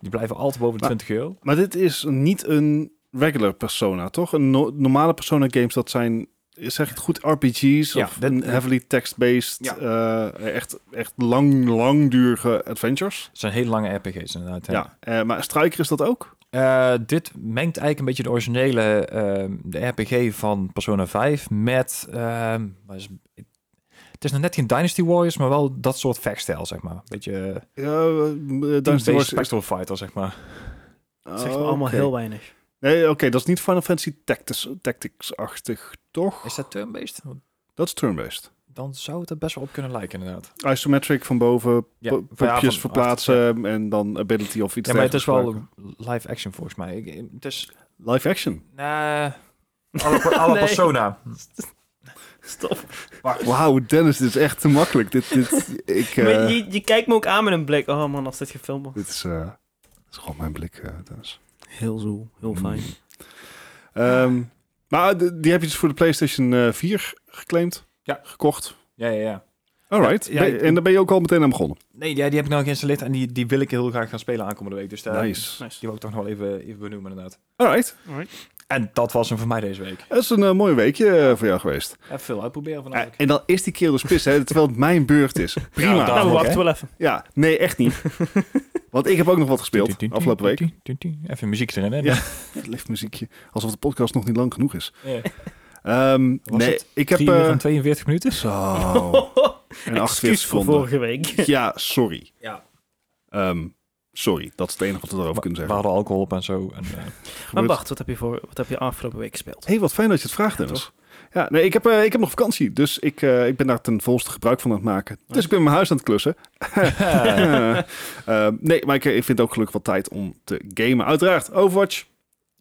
Die blijven altijd boven de Maar- 20 euro. Maar dit is niet een regular persona, toch? Een no- normale persona games, dat zijn, zeg ik het goed, RPG's Ja, of dit- een heavily text-based, Ja. eh, echt, echt lang, langdurige adventures. Het zijn hele lange RPG's inderdaad. hè. Ja, eh, maar Striker is dat ook? Eh, dit mengt eigenlijk een beetje de originele eh, de RPG van Persona 5 met. eh, wat is, het is nog net geen Dynasty Warriors, maar wel dat soort vechtstijl, zeg maar. Beetje Ja, eh, eh, uh, Dynasty Warriors is- Spectral Fighter, zeg maar. Dat zegt me allemaal Oh, Ah, Oké. heel weinig. Nee, oké, dat is niet Final Fantasy Tactics- Tactics-achtig, toch? Is dat turn-based? Want Dat is turn-based. Dan zou het er best wel op kunnen lijken, inderdaad. Isometric van boven, Ja, po- van- ja, popjes van verplaatsen en dan ability of iets Ja, maar het is dergelijks gebruiken. wel live action volgens mij. Ik- Het is. eh, Live action. (laughs) Nee. Alle, (laughs) alle Nee. persona. Stop. Wauw, Dennis, dit is echt te makkelijk. dit, (laughs) dit, ik, eh, Maar je, je kijkt me ook aan met een blik. Oh man, als dit gefilmd wordt. dit, is, eh, dit is gewoon mijn blik, eh, Dennis. Heel zo, heel fijn. Mm. Ehm, maar d- die heb je dus voor de PlayStation eh, 4 geclaimd? Ja. Gekocht? Ja, ja, ja. Alright. Ja, ja, Ben- ik- en daar ben je ook al meteen aan begonnen. Nee, ja, die heb ik nou geïnstalleerd en die, die wil ik heel graag gaan spelen aankomende week. Dus daar, nice. Nice. die wil ik toch nog wel even, even benoemen, inderdaad. Alright. En dat was hem voor mij deze week. Dat is een eh, mooi weekje eh, voor jou geweest. Even veel uitproberen Eh, vanavond. en dan is die kerel dus pis, hè, terwijl het mijn beurt is. Prima. (laughs) Ja, Ja, daar- nou, we ook, wachten hè? wel even. nee, echt (laughs) niet. Want ik heb ook nog wat gespeeld afgelopen week. Even muziek erin, hè? Dus, Ja. Lift muziekje. Alsof de podcast nog niet lang genoeg is. Ja. Eh, Ehm, Was nee, het ik Ik heb heb... Drie uur eh, en 42 minuten. (laughs) Zo. Oh. (laughs) en 48 Excuus voor seconden. vorige week. Ja, sorry. Ja. Ehm, sorry, dat is het enige wat we erover kunnen We zeggen. hadden alcohol op en zo. En, eh, Maar Gebeurt- Bart, wat heb je, voor, wat heb je afgelopen week gespeeld? Hé, hey, wat fijn dat je het vraagt, Dennis. Ja, nee, ik heb, eh, ik heb nog vakantie, dus ik, eh, ik ben daar ten volste gebruik van aan het maken. Dus ik ben mijn huis aan het klussen. (laughs) Eh, nee, maar ik, ik vind ook gelukkig wat tijd om te gamen. Uiteraard, Overwatch,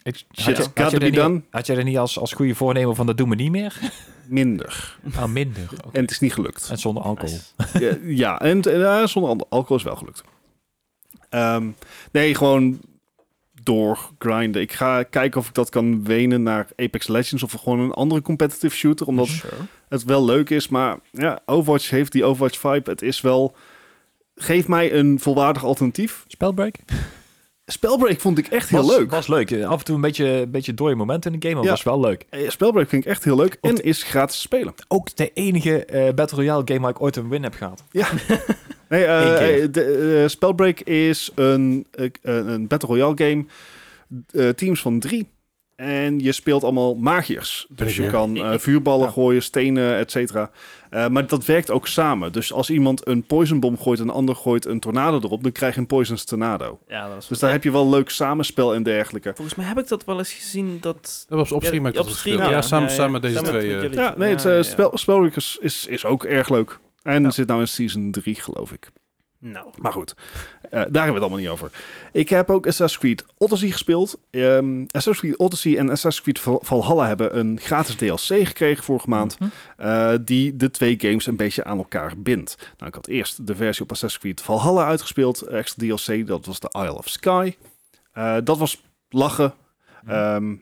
ik, shit, had, je, had, gotta je be er niet, done. had je er niet als, als goede voornemen van dat doen we niet (laughs) meer? Minder. Ah, minder. Oké. En het is niet (laughs) gelukt. En zonder alcohol. Nice. Ja, ja, en t- ja, zonder al- alcohol is wel gelukt. Ehm, nee, gewoon doorgrinden. Ik ga kijken of ik dat kan wenen naar Apex Legends of gewoon een andere competitive shooter. Omdat Mhm. Sure. het wel leuk is. Maar ja, Overwatch heeft die Overwatch vibe. Het is wel... Geef mij een volwaardig alternatief. Spelbreak? Spellbreak vond ik echt heel was, leuk. Was leuk. Eh, Af en toe een beetje, een beetje dode momenten in de game, maar Ja. was wel leuk. Eh, Spellbreak vind ik echt heel leuk. Of En de- is gratis te spelen. Ook de enige eh, Battle Royale game waar ik ooit een win heb gehad. Nee, eh, Eén keer. eh, de, eh, Spellbreak is een, eh, een Battle Royale game. Eh, teams van drie. En je speelt allemaal magiërs. Dus ik je weer. kan eh, vuurballen Ja. gooien, stenen, et cetera. Eh, maar dat werkt ook samen. Dus als iemand een poisonbom gooit en een ander gooit een tornado erop... dan krijg je een poison's tornado. Ja, dat was Dus daar heb je wel leuk samenspel en dergelijke. Volgens mij heb ik dat wel eens gezien dat... Dat was op stream. heb ik op dat stream, gespeeld. ja, samen, ja, samen ja. met deze Samen twee. met eh, jullie. Ja, nee, het Ja, eh, ja, ja. Spel, Spellbreak is, is, is ook erg leuk. En Ja. zit nou in season 3, geloof ik. Nou, Maar goed, eh, daar hebben we het allemaal niet over. Ik heb ook Assassin's Creed Odyssey gespeeld. Ehm, Assassin's Creed Odyssey en Assassin's Creed Val- Valhalla hebben een gratis DLC gekregen vorige maand. Mhm. eh, die de twee games een beetje aan elkaar bindt. Nou, ik had eerst de versie op Assassin's Creed Valhalla uitgespeeld. Extra DLC, dat was de Isle of Sky. Eh, dat was lachen. Mhm. Ehm,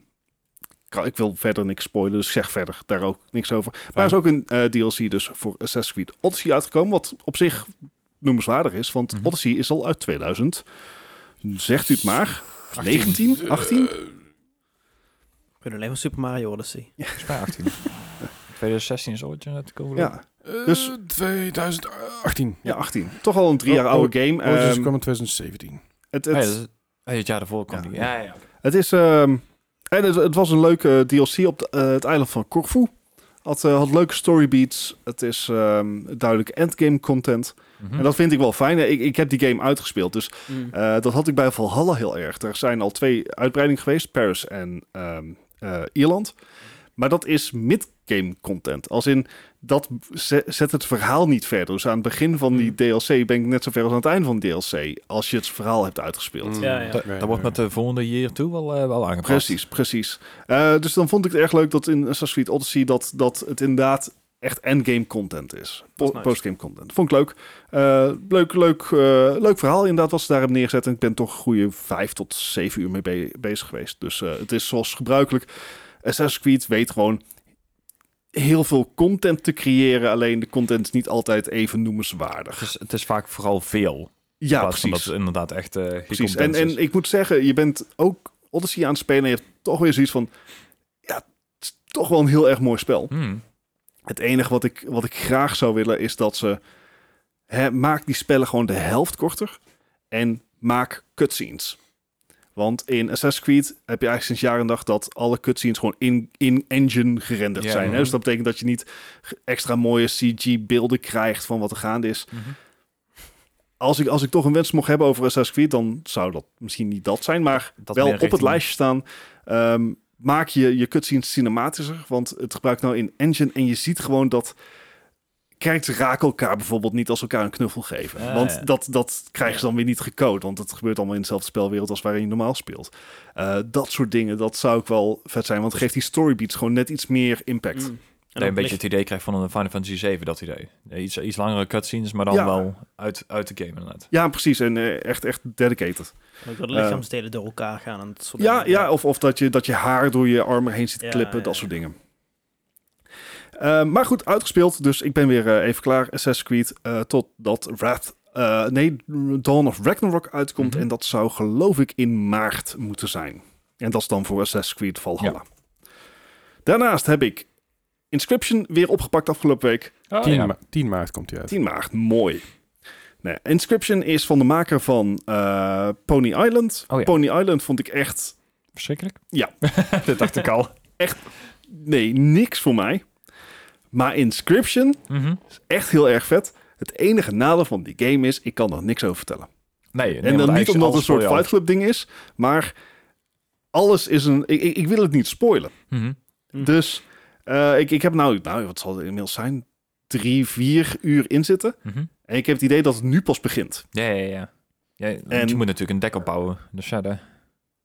kan- ik wil verder niks spoilen, dus ik zeg verder daar ook niks over. Maar er is ook een eh, DLC dus voor Assassin's Creed Odyssey uitgekomen. Wat op zich noemenswaardig is, want Mhm. Odyssey is al uit 2000. Zegt u het maar. 19? Eh, 18? we kunnen alleen maar Super Mario Odyssey. Volgens mij 18. 2016 is ooit net komen. Ja, eh, Dus- 2018. ja, 18. Toch al een drie jaar Oh, oude game. Oh, dus Ah het Ehm, kwam in 2017. het, Oh, ja, het, dat is- oh, het jaar daarvoor kwam Ja. die. Ja, ja. Het is. ehm, en het, het was een leuke DLC op de- eh, het eiland van Corfu. Had, eh, had leuke storybeats. Het is ehm, duidelijk endgame content. Mhm. Hm. En dat vind ik wel fijn. Ik, ik heb die game uitgespeeld. Dus Mm. eh, dat had ik bij Valhalla heel erg. Er zijn al twee uitbreidingen geweest. Paris en ehm, eh, Ierland. Maar dat is mid-game content. Als in, dat ze- zet het verhaal niet verder. Dus aan het begin van die DLC ben ik net zo ver als aan het eind van de DLC. Als je het verhaal hebt uitgespeeld. Mm. Ja, ja. Dat, dat wordt met de volgende year toe wel, eh, wel aangepast. Precies, precies. Eh, dus dan vond ik het erg leuk dat in Assassin's Creed Odyssey dat, dat het inderdaad echt endgame content is. Po- Dat is nice. Postgame content. Vond ik leuk. Eh, leuk, leuk, eh, leuk verhaal inderdaad wat ze daar hebben neergezet. En ik ben toch een goede vijf tot zeven uur mee be- bezig geweest. Dus eh, het is zoals gebruikelijk. Assassin's Creed weet gewoon heel veel content te creëren. Alleen de content is niet altijd even noemenswaardig. Het is, het is vaak vooral veel. in Ja, plaats van precies. dat het inderdaad echt eh, geen Precies. En, content en is. ik moet zeggen, je bent ook Odyssey aan het spelen en je hebt toch weer zoiets van... Ja, het is toch wel een heel erg mooi spel. Hmm. Het enige wat ik, wat ik graag zou willen is dat ze... Hè, maak die spellen gewoon de helft korter en maak cutscenes. Want in Assassin's Creed heb je eigenlijk sinds jaar en dag dat alle cutscenes gewoon in- in-engine gerenderd Ja, zijn. Hè? mhm. Dus dat betekent dat je niet extra mooie CG-beelden krijgt van wat er gaande is Mhm. als ik, als ik toch een wens mocht hebben over Assassin's Creed, dan zou dat misschien niet dat zijn, maar Dat wel meer op het richting- lijstje staan. Ehm, maak je je cutscenes cinematischer, want het gebruikt nou in engine en je ziet gewoon dat characters raken elkaar bijvoorbeeld niet als ze elkaar een knuffel geven. Ah, want ja. dat, dat krijgen ze dan weer niet gecode, want het gebeurt allemaal in dezelfde spelwereld als waarin je normaal speelt. Eh, dat soort dingen, dat zou ik wel vet zijn, want het geeft die storybeats gewoon net iets meer impact. Mm. Dat je een beetje het idee krijgt van een Final Fantasy 7, dat idee. Iets, iets langere cutscenes, maar dan Ja. wel uit, uit de game inderdaad. Ja, precies. En eh, echt, echt dedicated. Ook dat de Eh, lichaamsdelen door elkaar gaan en dat soort Ja, dingen. ja of, of dat, je, dat je haar door je armen heen zit Ja, klippen, ja, dat ja. soort dingen. Eh, maar goed, uitgespeeld. Dus ik ben weer eh, even klaar. Assassin's Creed eh, totdat Wrath... eh, nee, Dawn of Ragnarok uitkomt. Mhm. En dat zou geloof ik in maart moeten zijn. En dat is dan voor Assassin's Creed Valhalla. Daarnaast heb ik Inscription weer opgepakt afgelopen week. 10, Oh, ja. ma- 10 maart komt hij uit. 10 maart, mooi. Nee, Inscription is van de maker van eh, Pony Island. Oh ja. Pony Island vond ik echt (laughs) Verschrikkelijk. Ja. dat dacht ik al. nee, niks voor mij. Maar Inscription Mhm. is echt heel erg vet. Het enige nadeel van die game is, ik kan er niks over vertellen. Nee, nee, en want dan hij eh, niet omdat is het een alles soort voor jou. Fight Club ding is, maar alles is een... Ik, ik, ik wil het niet spoilen. Mhm. Hm. Dus eh, ik, ik heb nou, nou, wat zal het inmiddels zijn? Drie, vier uur in zitten. Mhm. En ik heb het idee dat het nu pas begint. Ja, ja, ja. ja want En- je moet natuurlijk een deck opbouwen. Dus ja, daar-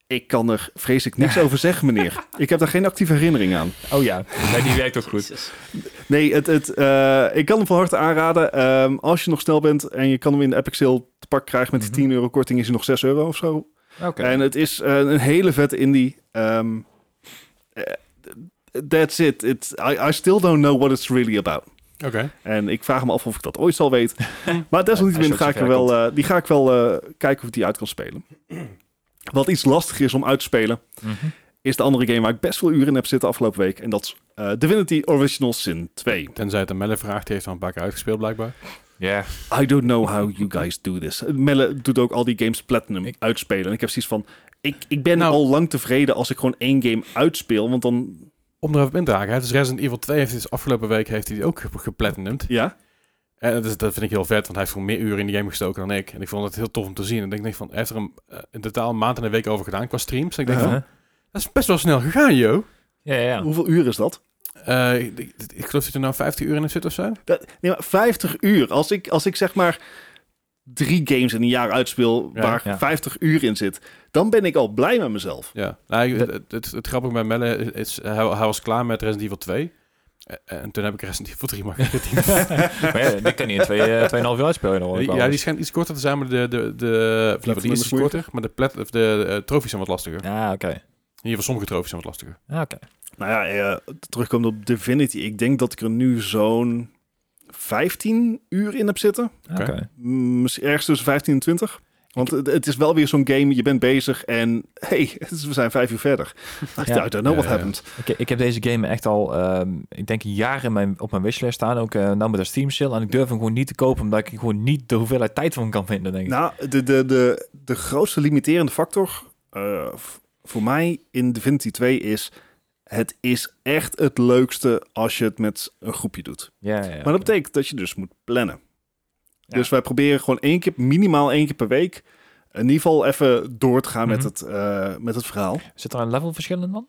Ik kan er vrees ik niks (laughs) over zeggen, meneer. Ik heb daar geen actieve herinnering aan. Oh (laughs) ja, nee, die werkt ook goed. (laughs) Jezus. Nee, het, het, eh, ik kan hem van harte aanraden. Ehm, als je nog snel bent en je kan hem in de Epic Sale te pak krijgen met die Mhm. 10 euro korting, is hij nog 6 euro of zo. Oké. En het is eh, een hele vette indie. Ehm, eh, that's it. It's, I, I still don't know what it's really about. Oké. En ik vraag me af of ik dat ooit zal (laughs) weten. maar desalniettemin Als ga je ook ik er zover wel, eh, die ga ik wel eh, kijken of ik die uit kan spelen. Wat iets lastiger is om uit te spelen, Mhm. is de andere game waar ik best veel uren in heb zitten afgelopen week. En dat is eh, Divinity Original Sin 2. Tenzij het een Melle vraagt, die heeft al een paar keer uitgespeeld blijkbaar. Ja, I don't know how you guys do this. Melle doet ook al die games platinum Ik- uitspelen. En ik heb zoiets van, ik, ik ben Nou- al lang tevreden als ik gewoon één game uitspeel. Want dan, Om er even op in te haken, het is Resident Evil 2, heeft dus afgelopen week heeft hij die ook ge- geplatinumd. ja, En dat, is- dat vind ik heel vet, want hij heeft gewoon meer uren in die game gestoken dan ik. En ik vond het heel tof om te zien. En ik denk van, hij heeft er een, eh, in totaal een maand en een week over gedaan qua streams. En ik denk Ja. van, dat is best wel snel gegaan, joh. ja, ja. ja. hoeveel uur is dat? Eh, ik, ik- ik geloof dat er nou 15 uur in heeft zitten of zo. dat nee, maar 50 uur. Als ik, als ik zeg maar drie games in een jaar uitspeel Ja, waar ja. 50 uur in zit, dan ben ik al blij met mezelf. Ja, nou, ik- Dat- het, het, het grappige bij Melle is, is, hij, hij was klaar met Resident Evil 2. Eh, En toen heb ik Resident Evil (laughs) 3 maar geredeemd. (laughs) Maar ja, die kan niet in twee, eh, 2,5 jaar uitspelen. hoor ik wel Ja, die eens. schijnt iets korter te zijn, maar de, de, de, of liever, die is is iets moeilijk. korter, maar de, plat, of de eh, trofies zijn wat lastiger. Ah, oké. In ieder geval sommige trofies zijn wat lastiger. Ah, oké. Nou ja, eh, terugkomend op Divinity. Ik denk dat ik er nu zo'n 15 uur in heb zitten. Oké. Ah, Oké. Mm, misschien Ergens tussen 15 en 20. Want het, het is wel weer zo'n game, je bent bezig en hey, (laughs) we zijn vijf uur (laughs) verder. Ja. I don't know what Ja, ja. happened. Ik, ik heb deze game echt al, ehm, ik denk, jaren in mijn, op mijn wishlist staan. Ook eh nou met de Steam sale. En ik durf hem gewoon niet te kopen, omdat ik gewoon niet de hoeveelheid tijd van kan vinden, denk ik. Nou, de, de, de, de grootste limiterende factor eh, v- voor mij in Divinity 2 is... het is echt het leukste als je het met een groepje doet. ja, ja, ja. Maar dat betekent dat je dus moet plannen. Ja. Dus wij proberen gewoon één keer, minimaal één keer per week... in ieder geval even door te gaan Mhm. met, het, eh, met het verhaal. Zit er een levelverschil in dan?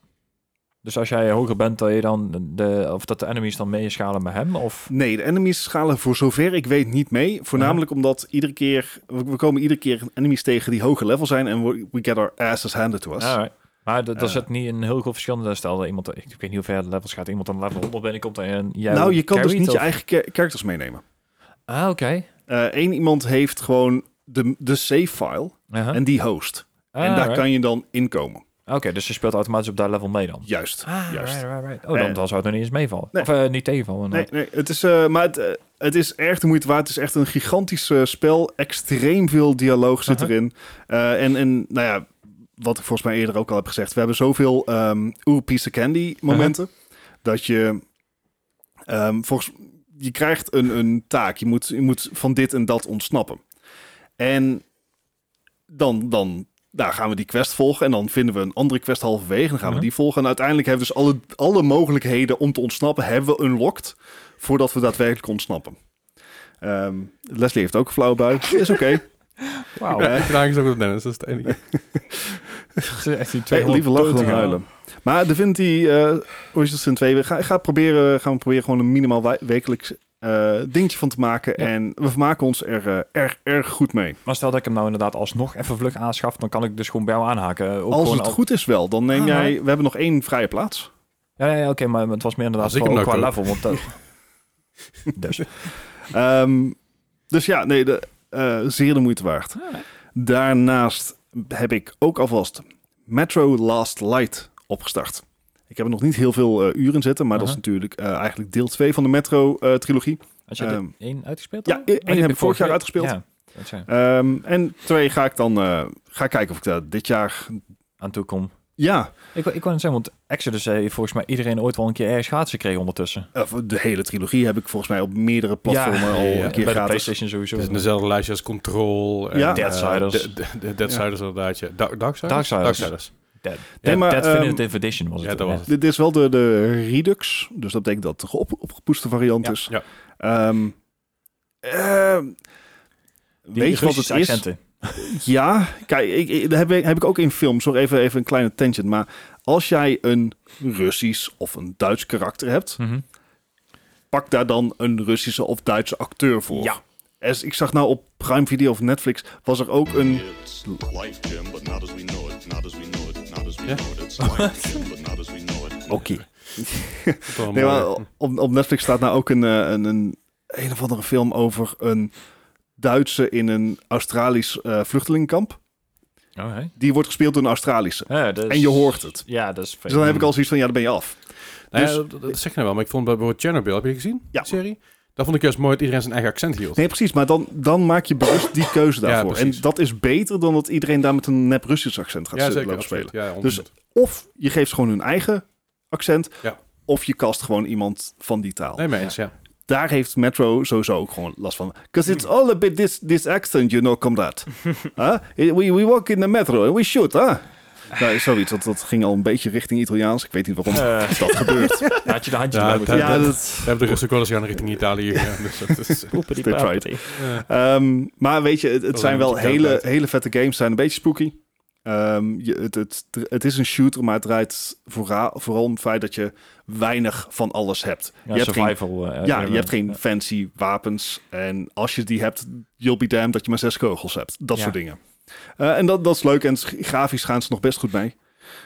Dus als jij hoger bent, dat je dan de, of dat de enemies dan meeschalen met hem? Of... Nee, de enemies schalen voor zover ik weet niet mee. Voornamelijk omdat iedere keer... We, we komen iedere keer enemies tegen die hoger level zijn... en we, we get our asses handed to us. Alright. Maar dat Eh. is het niet een heel groot verschil. Dan Stel dat iemand, ik weet niet hoe ver de levels gaat, iemand aan level 100 binnenkomt en jij nou, je kan dus carried, niet je of- eigen cha- characters meenemen. Ah, oké. Eén iemand heeft gewoon de, de save file Uh-huh. en die host. Ah, en daar alright. kan je dan inkomen. Oké, dus je speelt automatisch op dat level mee dan? Juist. Ah, Juist. right, right, right. Oh, dan, Eh. dan zou het nog niet eens meevallen. Nee. Of eh, niet tegenvallen. Nee, inderdaad. nee het is, eh, maar het, eh, het is erg de moeite waard. Het is echt een gigantisch eh, spel. Extreem veel dialoog zit Aha. erin. Eh, en, en nou ja, wat ik volgens mij eerder ook al heb gezegd. We hebben zoveel ehm ooh, piece of candy momenten. Dat je ehm, volgens je krijgt een, een taak. Je moet, je moet van dit en dat ontsnappen. En dan, dan nou, gaan we die quest volgen. En dan vinden we een andere quest halverwege. En dan gaan Mhm. we die volgen. En uiteindelijk hebben we dus alle, alle mogelijkheden om te ontsnappen... hebben we unlocked voordat we daadwerkelijk ontsnappen. Ehm, Leslie heeft ook een flauwe bui. Is oké. (laughs) Wauw. Eh. Ja, ik ben eigenlijk zo goed op Dennis, dat is het (laughs) enige. Het is (laughs) echt die Hey, 200 liever lachen dan punten. huilen. Maar Divinity eh Original Sin 2, we gaan, gaan, proberen, gaan we proberen gewoon een minimaal wij- wekelijks eh, dingetje van te maken. Ja. En we vermaken ons er eh, erg, erg goed mee. Maar stel dat ik hem nou inderdaad alsnog even vlug aanschaf, dan kan ik dus gewoon bij jou aanhaken. eh, Ook Als gewoon het al- goed is wel, dan neem Ah, jij... nee. We hebben nog één vrije plaats. Ja, ja, ja, oké, maar het was meer inderdaad Als ik hem qua, nou qua koop. level. Want dat... (laughs) dus. Ehm, dus ja, nee, de, eh, zeer de moeite waard. Daarnaast heb ik ook alvast Metro Last Light opgestart. Ik heb er nog niet heel veel eh, uren zitten, maar dat is natuurlijk eh, eigenlijk deel 2 van de eh, Metro-trilogie. Had je er Ehm, één uitgespeeld? ja, dan? één Oh, die heb ik vorig jaar uitgespeeld. Ja, dat zijn. Ehm, en twee ga ik dan eh, ga kijken of ik daar dit jaar. aan toe kom. Ja, Ik, wou- ik wou net zeggen, want Exodus heeft volgens mij iedereen ooit wel een keer ergens gratis gekregen ondertussen. of eh, de hele trilogie heb ik volgens mij op meerdere platformen Ja, al ja, een ja. Bij keer de gratis. Dus PlayStation sowieso. Het is in dezelfde lijstje als Control. En, Ja. eh, Deadsiders. de- de- de Deadsiders inderdaad, ja. Da- Darksiders? Darksiders. Dead, Nee, maar, Dead ehm, Definitive Edition was het. ja, dat was het. Dit is wel de, de Redux, dus dat betekent dat het de geop, opgepoetste variant Ja. is. Ja. Ehm, ehm, Die weet je wat het Russische is? accenten. Ja, kijk, ik, ik- dat heb, ik- heb ik ook in films. Sorry, even, even een kleine tangent. Maar als jij een Russisch of een Duits karakter hebt, Mhm. pak daar dan een Russische of Duitse acteur voor. Ja. Als- ik zag nou op Prime Video of Netflix, was er ook een... It's life, Jim, but not as we know it, not as we know it, not as we Ja. know it. It's life, Jim, but not as we know it. Oké. Dat was wel Nee, mooi. maar op, op Netflix staat nou ook een, eh, een, een een of andere film over een Duitse in een Australisch eh vluchtelingenkamp. Oké. Die wordt gespeeld door een Australische. Oh, Ja, dat is- En je hoort het. Ja, dat is Dus dan heb ik al zoiets van, ja, dan ben je af. Nou ja, dus- dat- dat zeg je nou wel, maar ik vond bij bijvoorbeeld Chernobyl, heb je die gezien? Ja. Die serie? Daar vond ik juist mooi dat iedereen zijn eigen accent hield. Nee, precies. Maar dan, dan maak je bewust die (laughs) keuze Ja, daarvoor. en precies. dat is beter dan dat iedereen daar met een nep Russisch accent gaat ja, zitten zeker. lopen absoluut. spelen. Ja, Dus 100%. Of je geeft ze gewoon hun eigen accent. Ja. Of je kast gewoon iemand van die taal. nee, mee eens, ja. Daar heeft Metro sowieso ook gewoon last van. Because it's all a bit this, this accent, you know, (laughs) comrade. huh? we, we walk in the metro and we shoot, huh? Nou, zoiets. Dat, dat ging al een beetje richting Italiaans. Ik weet niet waarom Eh, dat gebeurt. had je de (laughs) handje Ja, bij moeten dat- ja, hebben. dat... We hebben de Russen ook wel eens gaan richting (laughs) Italië gegaan. Dus dat is, Poepity That's right. papity. eh, (laughs) Ehm, maar weet je, het, het is zijn een wel beetje hele, koud. hele vette games. zijn een beetje spooky. Ehm, je, het, het, het is een shooter, maar het draait vooral, vooral om het feit dat je weinig van alles hebt. Ja, je hebt geen, survival. eh, ja, je element. hebt geen Ja. fancy wapens. En als je die hebt, you'll be damned dat je maar zes kogels hebt. Dat Ja. soort dingen. Eh, en dat, dat is leuk. En sch- grafisch gaan ze nog best goed mee.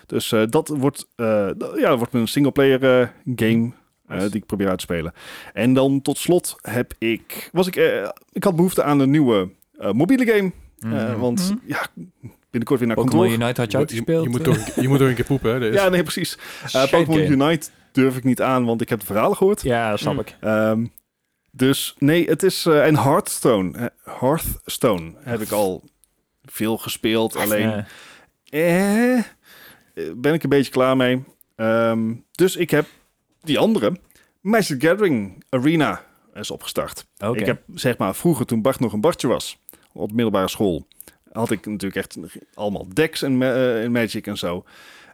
Dus eh, dat wordt, eh, d- ja, dat wordt een singleplayer eh, game eh, Nice. die ik probeer uit te spelen. En dan tot slot heb ik... Was ik, eh, ik had behoefte aan een nieuwe eh, mobiele game. Mhm. Eh, want Mhm. ja, binnenkort weer naar Pokémon kantoor. Unite had je je, je, uitgespeeld. je moet toch, een- je moet toch een keer (laughs) poepen, hè? Dat is- Ja, nee, precies. Eh, Pokémon Unite durf ik niet aan, want ik heb de verhalen gehoord. Ja, snap Mm. ik. Ehm, dus nee, het is. eh, en Hearthstone. eh, Hearthstone heb ik al veel gespeeld. Alleen. Ja. eh, eh, ben ik een beetje klaar mee. Ehm, dus ik heb die andere. Magic Gathering Arena is opgestart. Oké. Ik heb zeg maar vroeger, toen Bart nog een Bartje was. op middelbare school. had ik natuurlijk echt allemaal decks en, ma- eh, en Magic en zo.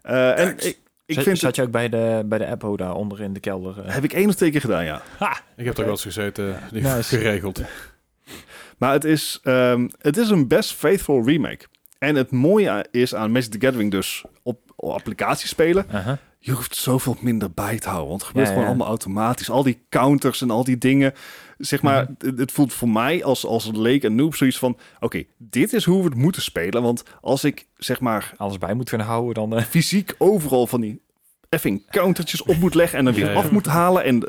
Eh, en ik, ik Zat- vind. Zat het- je ook bij de, bij de Apple daar onder in de kelder? eh? Heb ik één of twee keer gedaan, ja. Ik heb toch wel eens gezeten, eh, die- Nice. geregeld. Maar het is, ehm, het is een best faithful remake. En het mooie a- is aan Magic the Gathering dus op, op applicaties spelen... Aha. je hoeft zoveel minder bij te houden. Want het gebeurt Ja, ja. gewoon allemaal automatisch. Al die counters en al die dingen. Zeg maar, het, het voelt voor mij als, als een leek en noob zoiets van... oké, dit is hoe we het moeten spelen. Want als ik, zeg maar, Alles bij moet kunnen houden dan... eh, fysiek overal van die effing countertjes op moet leggen... en dan weer Ja, ja. af moet halen en...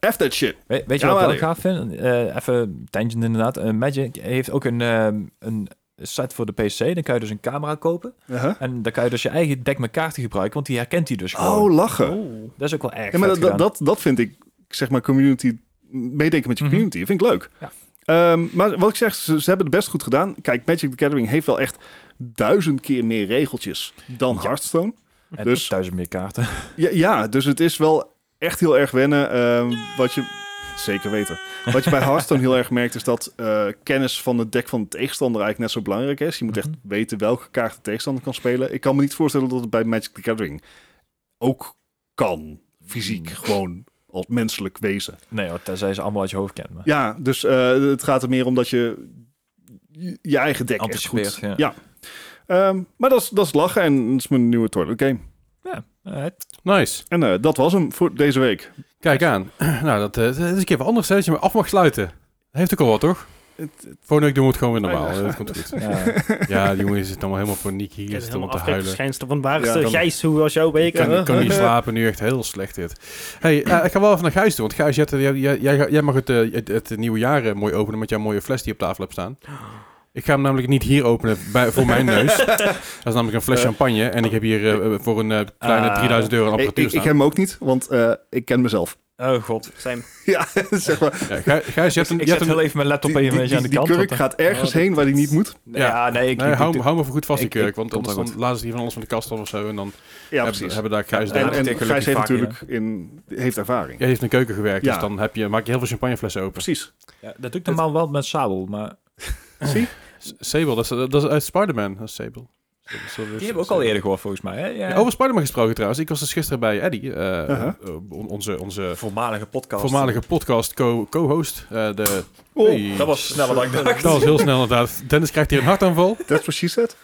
eh, F that shit. Weet, weet je Ja, wat ik maar- wel gaaf vind? Eh, even tangent inderdaad. Eh, Magic heeft ook een, ehm, een set voor de PC. Dan kan je dus een camera kopen. Uh-huh. En dan kan je dus je eigen deck met kaarten gebruiken. Want die herkent hij dus gewoon. Oh, lachen. Oeh. dat is ook wel erg Ja, maar vet dat, dat, gedaan. dat, dat vind ik, zeg maar, community, meedenken met je Mhm. community, vind ik leuk. Ja. Ehm, maar wat ik zeg, ze, ze hebben het best goed gedaan. Kijk, Magic the Gathering heeft wel echt duizend keer meer regeltjes dan Hearthstone. En dus- duizend meer kaarten. (laughs) Ja, ja, dus het is wel echt heel erg wennen. ehm, wat je... Zeker weten. Wat je bij Hearthstone heel erg merkt, is dat eh, kennis van het deck van de tegenstander eigenlijk net zo belangrijk is. Je moet echt Mhm. weten welke kaart de tegenstander kan spelen. Ik kan me niet voorstellen dat het bij Magic the Gathering ook kan. Fysiek, gewoon als menselijk wezen. Nee hoor, tenzij je ze allemaal uit je hoofd kent. Maar. Ja, dus eh, het gaat er meer om dat je je- je eigen deck echt Anticipeert, goed... ja. Ja. Ehm, maar dat is, dat is lachen en dat is mijn nieuwe toilet game. Ja, alright. Nice. En eh, dat was hem voor deze week. Kijk aan. (clears throat) Nou, dat, eh, dat is een keer wat anders, hè, dat je me af mag sluiten. Dat heeft ook al wat, toch? Volgende week doen we het gewoon weer normaal. Ja. hè, Dat komt goed. (laughs) Ja. Ja, jongens, is het allemaal helemaal paniek hier. Ik Is is het allemaal helemaal te huilen. afkijkverschijnsel. Want waar is Ja, de dan- Gijs? Hoe was jouw week? Ik kan, ik kan niet Huh? slapen nu, echt heel slecht dit. hey, eh, ik ga wel even naar Gijs toe, want Gijs, jij, jij, jij, jij- jij mag het, eh, het, het nieuwe jaar eh, mooi openen met jouw mooie fles die op tafel hebt staan. Ik ga hem namelijk niet hier openen bij, voor mijn neus. Dat is namelijk een fles Eh. champagne en ik heb hier eh, voor een eh, kleine Ah. 3000 euro aan Ik, ik, apparatuur ik heb staan. hem ook niet, want eh, ik ken mezelf. (laughs) Oh god. Zijn. ja, zeg maar. Ja, Gij- Gijs, je hebt een... Ik je hebt zet een- heel even mijn laptop Die, die, een beetje aan die, de die kant. want kurk dan- gaat ergens heen waar die niet moet. Ja, nee, ik, Nee, ik- hou, ik- hem- hou me voor goed vast, die ik- kurk, ik- want komt anders wel dan goed. laten ze hier van alles van de kast af of zo en dan Ja, hebben, precies. hebben daar Gijs Ja, deel En, aan. en gelukkig Gijs heeft vaak in, natuurlijk in, heeft ervaring. Jij heeft in de keuken gewerkt, Ja. dus dan heb je, maak je heel veel champagneflessen open. Precies. eh, Ja, dat doe ik normaal wel met sabel, maar... Zie? S- Sable, dat is, dat is uit Spider-Man, dat is Sable. Zullen- zullen we Die eens- hebben we ook al eerder gehoord, volgens mij. Hè? Dus- Ja. Over Spider-Man gesproken trouwens. Ik was dus gisteren bij Eddie, eh, Uh-huh. eh, on- onze, onze voormalige podcast. voormalige podcast co- co-host. eh, de... Oh, Hey. dat was sneller dan ik dacht. Dat was heel snel inderdaad. Dennis krijgt hier een hartaanval. That's what she said.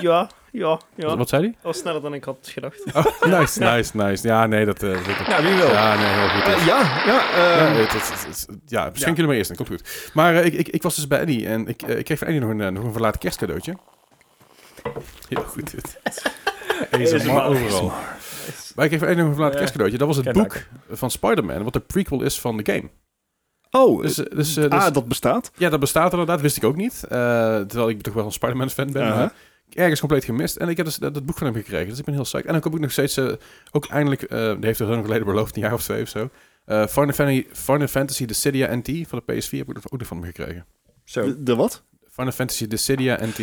Ja, ja, ja. Wat, Dat wat zei hij? was sneller dan ik had gedacht. Oh, nice, nice, nice. Ja, nee, dat... eh, dat weet ik. Ja, wie wil. ja, nee, heel goed. Eh, ja, ja. eh, Ja, het, het, het- het- ja, misschien jullie maar eerst, dan komt het goed. Maar eh, ik, ik, ik was dus bij Eddie en ik, eh, ik kreeg van Eddie nog een, eh, nog een verlaten kerstcadeautje. Heel goed. dit. ASMR ASMR. overal. Maar ik kreeg van Eddie nog een verlaten Ja. kerstcadeautje. Dat was het Ken boek van Spider-Man, wat de prequel is van de game. oh, Dus, dus, eh, dus, eh, dus- ah, dat bestaat. ja, dat bestaat inderdaad, wist ik ook niet. Eh, terwijl ik toch wel een Spider-Man fan ben. Uh-huh. maar Ergens compleet gemist. En ik heb dus dat, dat boek van hem gekregen. Dus ik ben heel psyched. En dan kom ik nog steeds... eh, ook eindelijk... eh, die heeft er heel lang geleden beloofd. Een jaar of twee of zo. Eh Final, Fantasy, Final Fantasy Dissidia NT van de PS4 heb ik nog- ook nog van hem gekregen. Zo. De, de wat? Final Fantasy Dissidia NT.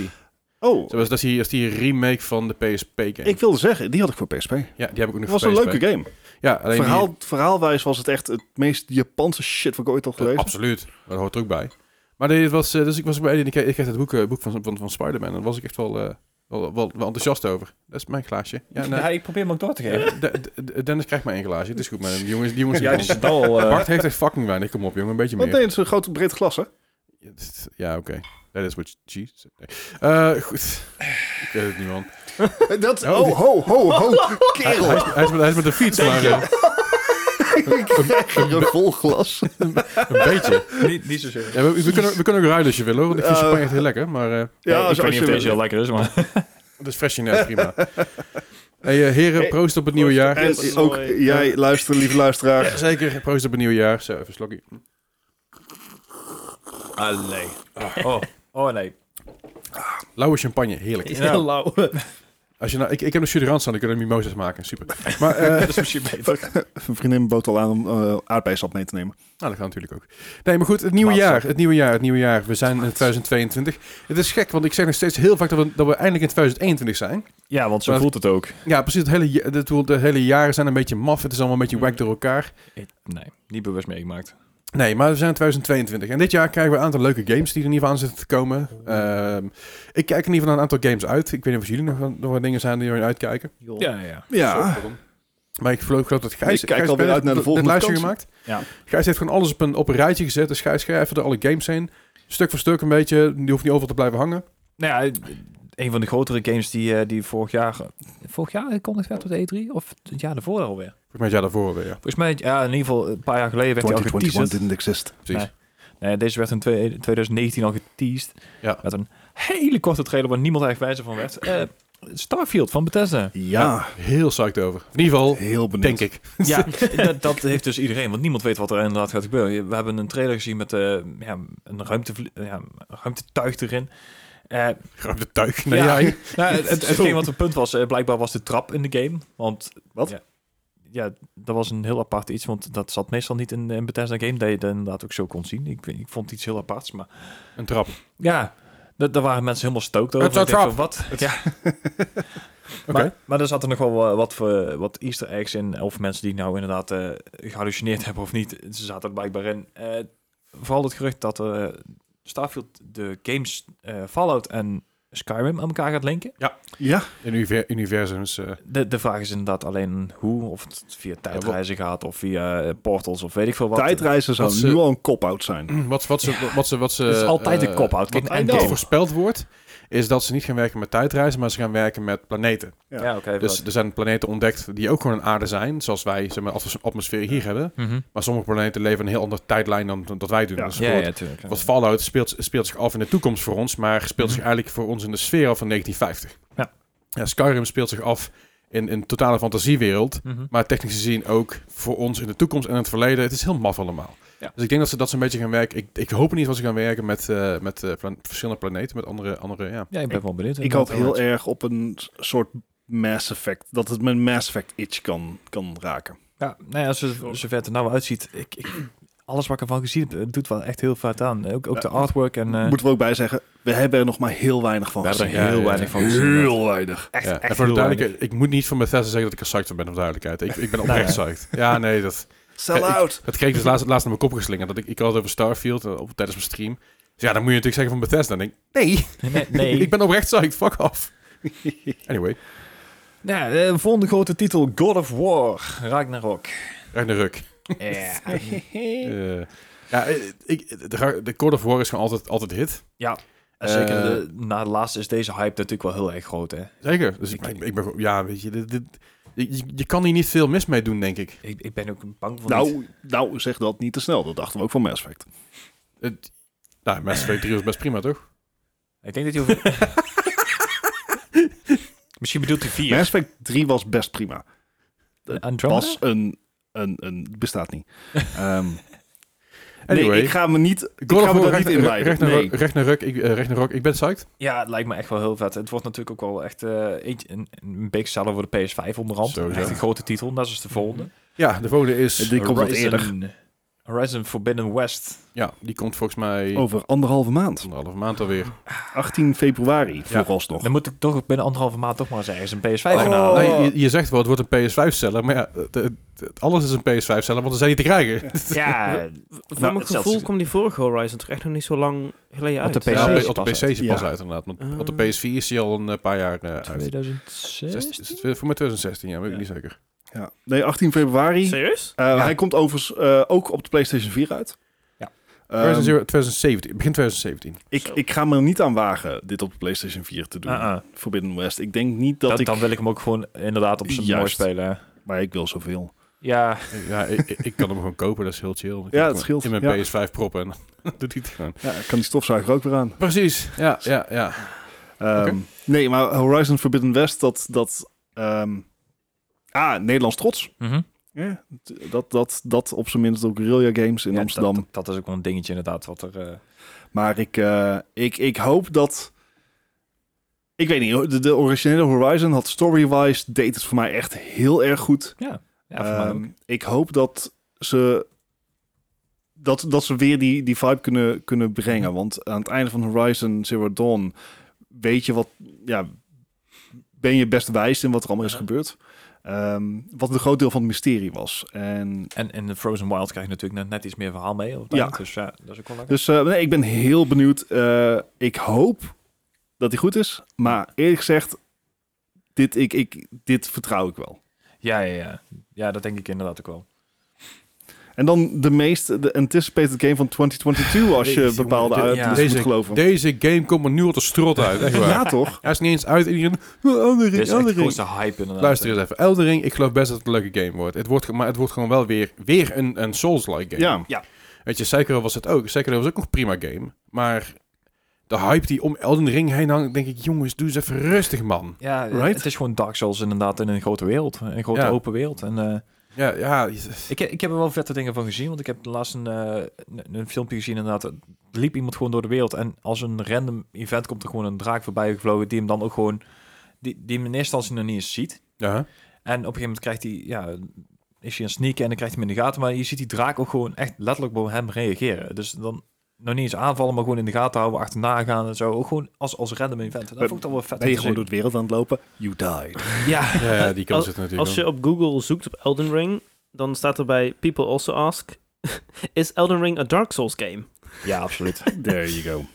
Oh, Dus dat is die, dat is die remake van de PSP game. ik wilde zeggen, die had ik voor PSP. Het ja, die heb ik ook nog was voor een PSP. leuke game. Ja, alleen die- Verhaal, verhaalwijs was het echt het meest Japanse shit wat ik ooit had Eh, gelezen. absoluut. Dat hoort er ook bij. Maar dit was, eh, dus ik was bij Eddie en ik, kreeg- ik kreeg het boek, eh, boek van, van, van Spider-Man. En daar was ik echt wel, eh, wel, wel, wel enthousiast over. Dat is mijn glaasje. Ja, nee. (laughs) Ja, ik probeer hem ook door te geven. Eh, de- de- de- Dennis krijgt maar één glaasje. Het is goed, man. Die jongens, die jongens Ja, die zit (laughs) al... eh, Bart heeft echt fucking weinig. Kom op, jongen. Een beetje Want meer. nee, het is een groot breed (laughs) glas, hè? Ja, dit- Ja, oké. Dat is wat je said. Eh, goed. Ik weet het niet, man. Dat, Oh, oh, die- ho, ho, (laughs) ho, Hij, hij, kerel. is, hij, is met, hij is met de fiets, maar eh, Ik krijg er een vol glas. eh, een beetje. niet, niet zozeer. Ja, we, we kunnen, we kunnen ook ruilen als je wil, hoor. Want ik vind Eh, champagne echt heel lekker. Maar eh, Ja, ik als, weet als niet je of deze wil. heel lekker is, maar... het is fresh in huis, (laughs) prima. Hey, eh, heren, Hey, proost op het nieuwe jaar. En Heel ook mooi. jij, luister, lieve luisteraar. Ja, zeker. Proost op het nieuwe jaar. Zo, even een slokje. Allee. (laughs) Oh, oh (laughs) nee. Lauwe champagne, heerlijk. Ja. Ja. Lauw. Als je nou, ik, ik heb een suderans aan, dan kunnen we mimosas maken. Super. Maar, eh, Dat is misschien beter. Een vriendin bood al aan om eh aardbeiensap mee te nemen. Nou, dat gaat natuurlijk ook. Nee, maar goed, het nieuwe Maatstaf. jaar, het nieuwe jaar, het nieuwe jaar. We zijn in 2022. Het is gek, want ik zeg nog steeds heel vaak dat we, dat we eindelijk in 2021 zijn. Ja, want zo Maar- voelt het ook. Ja, precies. Het hele, ja- dat bedoel, de hele jaren zijn een beetje maf. Het is allemaal een beetje wack door elkaar. Nee, niet bewust meegemaakt. Nee, maar we zijn in 2022. En dit jaar krijgen we een aantal leuke games die er in ieder geval aan zitten te komen. Ehm, ik kijk in ieder geval naar een aantal games uit. Ik weet niet of jullie nog, nog wat dingen zijn die jullie uitkijken. Joh. Ja, ja. Ja, Maar ik geloof, geloof dat Gijs... Ik kijk Gijs alweer Bennett uit naar de dit volgende lijstje vakantie. gemaakt. Ja. Gijs heeft gewoon alles op een, op een rijtje gezet. Dus Gijs, ga even door alle games heen. Stuk voor stuk een beetje. Die hoeft niet overal te blijven hangen. Nou ja, een van de grotere games die, eh, die vorig jaar... Vorig jaar gekondigd werd op de E3? Of het jaar daarvoor alweer? Volgens mij is jij daarvoor weer, ja. Volgens mij, ja, in ieder geval een paar jaar geleden werd hij al 2021 geteased. didn't exist. Precies. Nee, deze werd in twee- 2019 al geteased. Ja. Met een hele korte trailer waar niemand eigenlijk wijzer van werd. Eh, Starfield van Bethesda. Ja, Heel psyched over. In ieder geval, heel benieuwd. denk ik. (laughs) Ja, dat, dat heeft dus iedereen, want niemand weet wat er inderdaad gaat gebeuren. Je- We hebben een trailer gezien met eh, ja, een ruimtevlie- ja, een ruimtetuig erin. Eh, Ruimte tuig. Nee, ja, ja. nou, het, het, hetgeen wat het punt was, eh, blijkbaar was de trap in de game. Want Wat? Ja, ja, dat was een heel apart iets, want dat zat meestal niet in een Bethesda game, dat je dat inderdaad ook zo kon zien. Ik, weet- ik vond het iets heel aparts, maar Een trap. ja, da- daar waren mensen helemaal stoked over. Het is een Ik denk trap. van, Wat? Ja. (laughs) Oké. Maar, maar er zaten nog wel eh, wat, voor, wat easter eggs in. Of mensen die nou inderdaad eh, gehallucineerd hebben of niet. Ze zaten er blijkbaar in. Eh, vooral het gerucht dat eh, Starfield de games eh, Fallout en Skyrim aan elkaar gaat linken. Ja, In univer- universums. eh, (clears throat) De, de vraag is inderdaad alleen hoe. Of het via tijdreizen gaat of via eh, portals of weet ik veel wat. Mm. tijdreizen zou wat ze- nu al een kop-out zijn. wat, wat, ze, wat ze... Wat ze Het is altijd eh, een kop-out. Kijk, Wat, een wat game. voorspeld wordt, is dat ze niet gaan werken met tijdreizen, maar ze gaan werken met planeten. Ja, Ja, oké. Dus wat. er zijn planeten ontdekt die ook gewoon een aarde zijn, zoals wij zeg maar, atmos- atmosfeer hier hebben. Mhm. Maar sommige planeten leven een heel andere tijdlijn dan dan dat wij doen. Ja. Dus Ja, bijvoorbeeld, ja, tuurlijk. Wat Fallout speelt, speelt zich af in de toekomst voor ons, maar speelt zich Mhm. eigenlijk voor ons in de sfeer af van 1950. Ja. Ja, Skyrim speelt zich af in een totale fantasiewereld, Mhm. maar technisch gezien ook voor ons in de toekomst en in het verleden. Het is heel maf allemaal. Ja. Dus ik denk dat ze dat zo'n beetje gaan werken. Ik, ik hoop niet dat ze gaan werken met, eh, met eh, plan- verschillende planeten, met andere, andere ja. Ja, ik ben wel benieuwd. Ik hoop heel inderdaad. erg op een soort Mass Effect. Dat het mijn Mass Effect itch kan, kan raken. Ja, nou ja, zo, zover het er nou uitziet. Ik, ik, alles wat ik ervan gezien heb, het doet wel echt heel vaak aan. Eh, Ook, ook de artwork en... eh, Moeten we ook bij zeggen, we hebben er nog maar heel weinig van We hebben er gezien. Ja, heel ja, weinig ja. van gezien. Heel weinig. Echt, ja. En echt voor de heel duidelijkheid, ik moet niet van Bethesda zeggen dat ik er psyched van ben, om duidelijkheid. Ik, (laughs) ik ben Nou oprecht psyched. Ja, nee, dat... Sell Ja, ik- out. Dat kreeg ik dus laatst, laatst naar mijn kop geslingerd. Dat ik, ik had het over Starfield eh, op, eh, tijdens mijn stream. Dus ja, dan moet je natuurlijk zeggen van Bethesda. Dan denk ik, nee, Nee. (laughs) nee. (laughs) ik ben oprecht psyched, fuck off. (laughs) anyway, Nou, de volgende grote titel, God of War, Ragnarok. Ragnarok. Ja. Eh ja, ik, de, ra- de God of War is gewoon altijd, altijd de hit. En Zeker Eh. de- na de laatste is deze hype natuurlijk wel heel erg groot, hè. Zeker. Dus ik, Ik- ik, ik ben gewoon- ja, weet je, dit, dit- je, je kan hier niet veel mis mee doen, denk ik. Ik, ik ben ook bang voor niet. Nou, nou, zeg dat niet te snel. Dat dachten we ook van Mass Effect. Het, nou, Mass Effect 3 was best prima, toch? Ik denk dat je over... Misschien bedoelt hij vier. Eh, Mass Effect 3 was best prima. Andromeda? Was een... een, een bestaat (laughs) niet. Ehm, Anyway. nee, ik ga me niet, ik God ga of me War, daar niet in Ragnarok, Ragnarok, leiden. Nee. Ragnarok, ik, eh, Ragnarok, ik ben psyched. Ja, het lijkt me echt wel heel vet. Het wordt natuurlijk ook wel echt eh, eentje- een, een big seller voor de PS5 onderhand. Sowieso. Echt een grote titel, net zoals de volgende. Ja, de volgende is... Mm-hmm. Die komt wat Horizon- eerder. Horizon Forbidden West. Ja, die komt volgens mij Over anderhalve maand. anderhalve maand alweer. 18 februari, vooralsnog. Dan moet ik toch binnen anderhalve maand toch maar eens ergens een PS5 Oh. halen. Nee, Nou, je, je zegt wel, het wordt een PS5-seller, maar ja, het- het- het- alles is een PS5-seller, want er zijn niet te krijgen. (laughs) Ja, Voor Nou, mijn hetzelfde gevoel is- kwam die vorige Horizon toch echt nog niet zo lang geleden Op uit. de PC. Ja, op Ja, de- pas op de PC uit. is hij pas Ja. uit, inderdaad. Want Ah. op Oh. de PS4 is hij al een eh, paar jaar eh, uit. 2006? Zestien- is het Voor mij 2016, ja, weet ik Ja. niet zeker. Ja. Ehm. Nee, 18 februari. Serieus? Eh, Hij komt overigens eh, ook op de PlayStation 4 uit. Ja. Ehm, Horizon Zero- 2017, begin 2017. ik, ik ga me er niet aan wagen dit op de PlayStation 4 te doen. Uh-uh. Forbidden West. Ik denk niet Ah, dat, Dat- ik... Dan wil ik hem ook gewoon inderdaad op zijn mooi Juist. spelen. Maar ik wil zoveel. Ja, Ja, ik, ik- ik kan hem gewoon kopen, dat is heel chill. Ik Ja, kan dat scheelt, In mijn ja. PS5 proppen en dan (laughs) doet hij het gewoon. Ja, ik kan die stofzuiger ook weer aan. Precies, ja, ja, ja. Ehm, Oké. Nee, maar Horizon Forbidden West, dat... dat ehm, ah, Nederlands trots. Mhm. Ja, dat, dat, dat op zijn minst door Guerrilla Games in Ja, Amsterdam. Dat, dat is ook wel een dingetje inderdaad. Wat er, eh, Maar ik, eh, ik, ik hoop dat... Ik weet niet, de, de originele Horizon had story-wise... deed het voor mij echt heel erg goed. ja, ja, voor mij Ehm, ook. Ik hoop dat ze, dat, dat ze weer die, die vibe kunnen, kunnen brengen. Want aan het einde van Horizon Zero Dawn weet je wat... Ja, ben je best wijs in wat er allemaal is Ja. gebeurd. Ehm, wat een groot deel van het mysterie was. En En in de Frozen Wild krijg je natuurlijk net, net iets meer verhaal mee. Op het Ja. eind, Dus ja, dat is ook wel lekker. dus eh, nee, ik ben heel benieuwd. Eh, ik hoop dat hij goed is. Maar eerlijk gezegd, dit, ik, ik, dit vertrouw ik wel. Ja, ja, ja. Ja, dat denk ik inderdaad ook wel. En dan de meest de anticipated game van 2022, als je Deze, bepaalde jongen, dit- uitkomsten ja. moet geloven. Deze game komt me nu al de strot uit, echt waar. Ja, toch? Hij is niet eens uit. Iedereen, "Oh, Elden Dit Ring, is echt de Elden Ring." grootste hype inderdaad. Luister eens even. Elden Ring, ik geloof best dat het een leuke game wordt. Het wordt ge- maar het wordt gewoon wel weer, weer een, een Souls-like game. Ja. Weet je, Sekiro was het ook. Sekiro was ook nog een prima game. Maar de hype die om Elden Ring heen hangt, denk ik, jongens, doe eens even rustig, man. Ja, Right? het is gewoon Dark Souls inderdaad in een grote wereld. Een grote Ja. open wereld. En eh, Ja, ja. ik, ik heb er wel vette dingen van gezien. Want ik heb laatst een, eh, een, een filmpje gezien inderdaad. Er liep iemand gewoon door de wereld. En als een random event komt er gewoon een draak voorbij gevlogen. Die hem dan ook gewoon... Die, die hem in eerste instantie nog niet eens ziet. ja. En op een gegeven moment krijgt hij, ja, is hij een sneak en dan krijgt hij hem in de gaten. Maar je ziet die draak ook gewoon echt letterlijk op hem reageren. Dus dan nog niet eens aanvallen, maar gewoon in de gaten houden, achterna gaan en zo. Ook gewoon als, als random event. En dat Ben- vond ik dan wel Ben vet. om je te gewoon door zien. de wereld aan het lopen? You died. Ja. ja, ja, die kans zit natuurlijk Als je op Google zoekt op Elden Ring, dan staat er bij People Also Ask... (laughs) Is Elden Ring a Dark Souls game? ja, absoluut. There you go.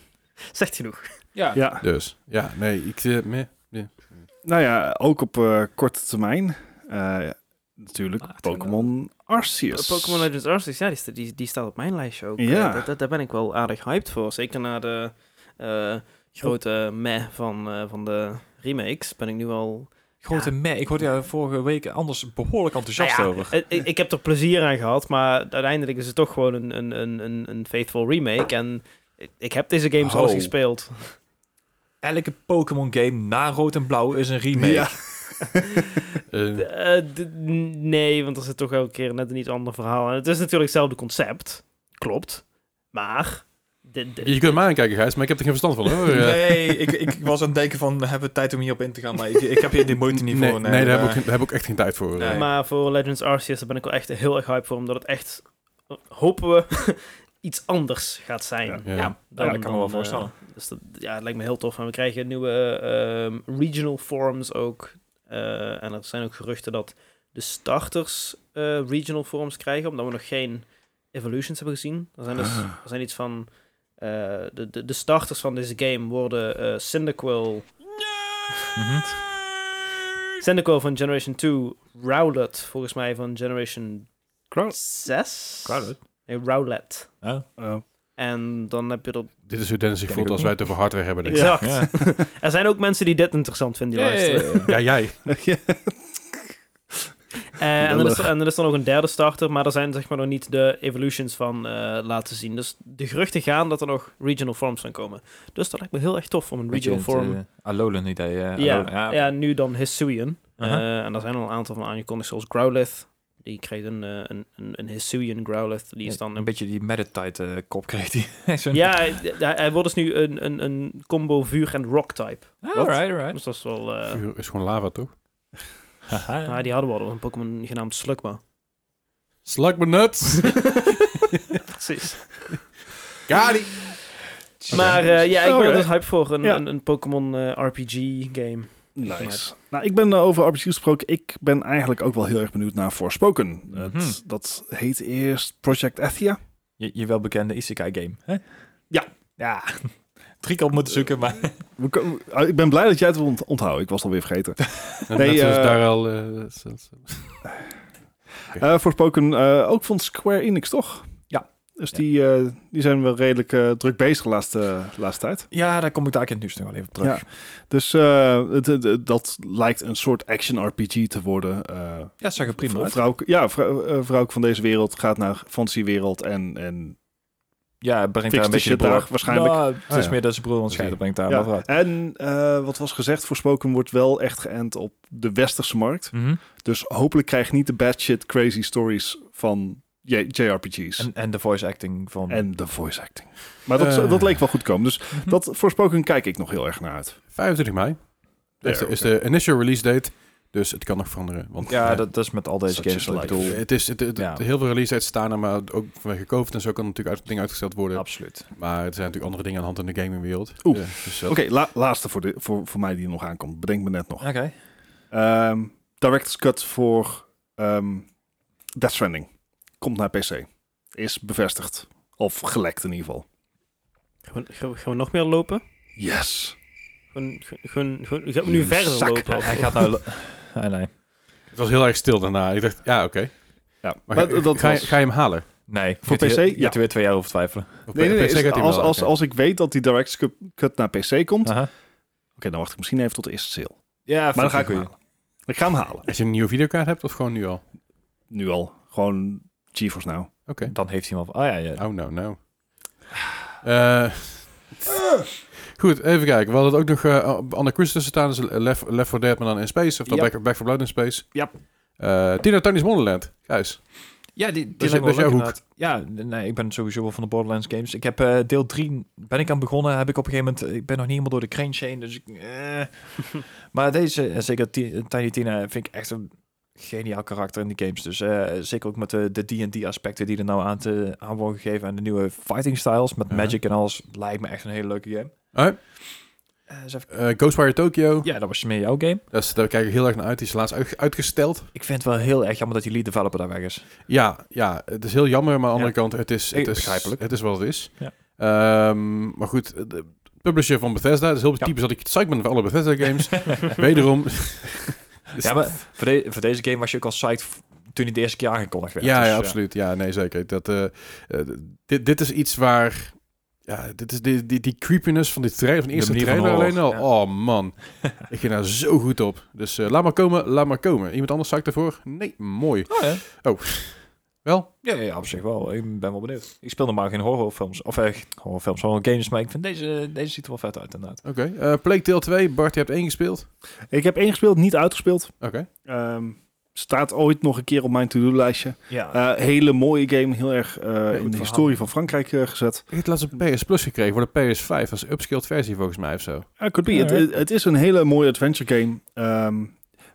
Zegt genoeg. Ja. Ja. wel. Dus, ja, nee, ik... eh, meh. Nou ja, ook op eh, korte termijn. eh, natuurlijk Maart, Pokémon Arceus. Pokémon Legends Arceus, ja, die, sta- die, die staat op mijn lijstje ook. Ja. Eh, dat- dat- daar ben ik wel aardig hyped voor. Zeker na de eh, grote meh van, eh, van de remakes ben ik nu al... Grote me. Ik hoorde jou vorige week anders behoorlijk enthousiast Nou ja, over. eh, ik, ik heb er plezier aan gehad, maar uiteindelijk is het toch gewoon een, een, een, een, een faithful remake. En ik- ik heb deze games al eens Oh. gespeeld. Elke Pokémon game na rood en blauw is een remake. Ja. Eh, Eh, d- nee, want er zit toch elke keer net een iets ander verhaal. En het is natuurlijk hetzelfde concept. Klopt. Maar... dit- dit- je kunt me aankijken, Gijs, maar ik heb er geen verstand van, hoor. Eh, (laughs) Nee, ik, ik was aan het denken van, hebben we tijd om hierop in te gaan? Maar ik, ik heb hier de moeite niet nee, voor. eh, nee, daar, heb ik, geen- daar heb ik ook echt geen tijd voor. Nee. eh. Maar voor Legends Arceus daar ben ik wel echt heel erg hype voor, omdat het echt, eh, hopen we, (laughs) iets anders gaat zijn. Ja. Ja. dat kan ik me wel eh, voorstellen. dus dat, ja, het lijkt me heel tof. En we krijgen nieuwe ehm, regional forms ook. Eh, en er zijn ook geruchten dat de starters eh, regional forms krijgen, omdat we nog geen evolutions hebben gezien. Er zijn dus er zijn iets van eh, de, de, de starters van deze game worden eh Cyndaquil, Mhm. Cyndaquil van Generation 2, Rowlet volgens mij van Generation Crow- 6. Crowded. Nee, Rowlet. Oh, Oh. En dan heb je er... Dit is hoe Dennis zich Ken voelt ik ook als wij het over hardware hebben. denk ik. (laughs) Exact. ja. Er zijn ook mensen die dit interessant vinden, die luisteren. Ja, jij. Ja. Eh, en, dan is er, en dan is er nog een derde starter, maar er zijn zeg maar nog niet de evolutions van eh, laten zien. Dus de geruchten gaan dat er nog regional forms gaan komen. Dus dat lijkt me heel erg tof om een regional form... Alolan idee. eh, ja, Alolan, ja. nu dan Hisuian. Aha. Eh, en daar zijn al een aantal van aangekondigd, zoals Growlithe. Die kreeg een, eh, een, een, een Hisuian Growlithe. Die is dan een beetje die Meditite eh, kop kreeg die. (laughs) Zo'n- Ja, hij, hij- hij wordt dus nu een, een, een combo vuur- en rock-type. Ah, alright, alright. Dus dat is wel... eh, Vuur is gewoon lava, toch? Haha. nou, die hadden we al, een Pokémon genaamd Slugma. Slug me nuts. Precies. Kali. Maar eh, ja, ik ben Alright. er dus hype voor een, Ja. een, een Pokémon eh, RPG-game. Nice. Nou, ik ben eh, over RPG's gesproken. Ik ben eigenlijk ook wel heel erg benieuwd naar Forspoken. Mhm. Het, dat heet eerst Project Athia. Je, je welbekende Isekai game, hè? Ja. Ja. (laughs) Drie keer op moeten zoeken, maar... We ko- ah, ik ben blij dat jij het ont- onthoudt. Ik was het alweer (laughs) vergeten. Nee, eh, daar al... eh, dat is- dat is- Eh Forspoken, eh, ook van Square Enix, toch? Ja. Dus Ja. Die, eh, die zijn wel redelijk eh, druk bezig de laatste, de laatste tijd. Ja, daar kom ik daar in het nieuws nog wel even op terug. Ja, Dus eh, het- het- dat lijkt een soort action RPG te worden. eh, dat zag er prima Vrouw- uit. Vrouw, ja, vrouw, eh, vrouw van deze wereld gaat naar fantasiewereld en, en, Ja, het brengt Fix daar de een beetje shit de broer. daar, waarschijnlijk. Nou, het Ah, is ja. meer dat zijn broer ontscheiden, brengt daar Ja. wel wat uit. en eh, wat was gezegd, Voorspoken wordt wel echt geënt op de westerse markt. Mhm. Dus hopelijk krijg je niet de bad shit crazy stories van J- JRPG's. En, En, en de voice acting van... de voice acting. Maar dat, Eh. Mhm. dat leek wel goed komen. Dus dat Voorspoken kijk ik nog heel erg naar uit. 25 mei. Dat is de- is de initial release date. Dus het kan nog veranderen. Want, ja, eh, dat, dat is met al deze Such games. is Ik life. bedoel, Het is het, het- Ja. heel veel release dates staan er, maar ook vanwege COVID en zo kan natuurlijk uit, dingen uitgesteld worden. absoluut. Maar er zijn natuurlijk andere dingen aan de hand in de gamingwereld. Oeh. Eh, dus dat- Oké, la- laatste voor, de, voor, voor mij die er nog aankomt. Bedenk me net nog. Oké. Ehm, director's cut voor ehm Death Stranding. Komt naar PC. Is bevestigd. Of gelekt in ieder geval. Gewoon, gewoon, gewoon nog meer lopen? Yes. Gewoon, gewoon, gewoon, gaan we nu Je verder zak. lopen? of- Hij (laughs) gaat nou... lo- nee, nee. Het was heel erg stil daarna. Ik dacht, ja, oké. Ja, Maar maar ga, dat ga, je- was... ga je hem halen? Nee. Voor Je hebt PC? hier- Je Ja. hebt er weer twee jaar over twijfelen. Op Nee, nee, nee, PC gaat hij hem als, wel, als, oké. als ik weet dat die director's cut- cut naar PC komt... Oké, Aha. dan wacht ik misschien even tot de eerste sale. Ja, Maar dan ga ik hem halen. Ik ga hem halen. Als je een nieuwe videokaart hebt of gewoon nu al? Nu al. Gewoon nou. GeForce Now. Oké. Dan heeft hij hem al... Oh ja, ja. Oh, no, no. Eh, goed, even kijken. We hadden ook nog eh Anna Cruz tussen staan. Dus Left, Left 4 Dead, maar dan in Space. Of dan Ja. Back, Back 4 Blood in Space. Ja. Eh, Tina Tony's Wonderland. Guys. Ja, die, die Dat is- lijkt dat me is wel jouw leuk, inderdaad. Ja, nee, ik ben sowieso wel van de Borderlands games. Ik heb eh, deel 3 ben ik aan begonnen. Heb ik op een gegeven moment, eh, ik ben nog niet helemaal door de crane chain, dus ik, eh. (laughs) maar deze, eh, zeker Ti- Tiny Tina, vind ik echt een geniaal karakter in die games. Dus eh, zeker ook met de de D&D aspecten die er nou aan, te, aan worden gegeven en de nieuwe fighting styles met Ja. magic en alles, lijkt me echt een hele leuke game. Alright. Eh, eens even- Eh, Ghostwire Tokyo. ja, dat was meer jouw game. Dat is, daar kijk ik heel erg naar uit. Die is laatst uit- uitgesteld. Ik vind het wel heel erg jammer dat die lead developer daar weg is. (laughs) Ja, ja, het is heel jammer, maar aan de andere kant, het is, het Eh, is, begrijpelijk. het is wat het is. Ja. Ehm, maar goed, de publisher van Bethesda, het is heel Ja. typisch dat ik psyched ben voor alle Bethesda (laughs) games. Wederom, ja, maar voor, de- voor deze game was je ook al psyched f- toen hij de eerste keer aangekondigd werd. ja, Dus, ja, eh, absoluut. Ja, nee, zeker. Dat, eh, eh, dit, dit is iets waar, ja, dit is die, die, die creepiness van die trailer, van de De eerste manier van trailer alleen al. horror, Oh (laughs) man, ik ging daar zo goed op. Dus eh, laat maar komen, laat maar komen. Iemand anders zakt ervoor? Nee, mooi. Oh ja. Oh, wel? Ja, ja, op zich wel. Ik ben wel benieuwd. Ik speel normaal geen horrorfilms. Of echt horrorfilms, horrorgames. Maar ik vind deze, deze ziet er wel vet uit inderdaad. Oké. Eh Plague Tale 2, Bart, je hebt één gespeeld. Ik heb één gespeeld, niet uitgespeeld. Oké. Ehm, staat ooit nog een keer op mijn to-do-lijstje. Ja. Eh, hele mooie game. Heel erg eh, in de verhaal. historie van Frankrijk eh, gezet. Ik heb laatst een PS Plus gekregen voor de PS5. Dat is een upscaled versie volgens mij of zo. Uh, could be. Ja, Het- hè? Het het is een hele mooie adventure game. Ehm,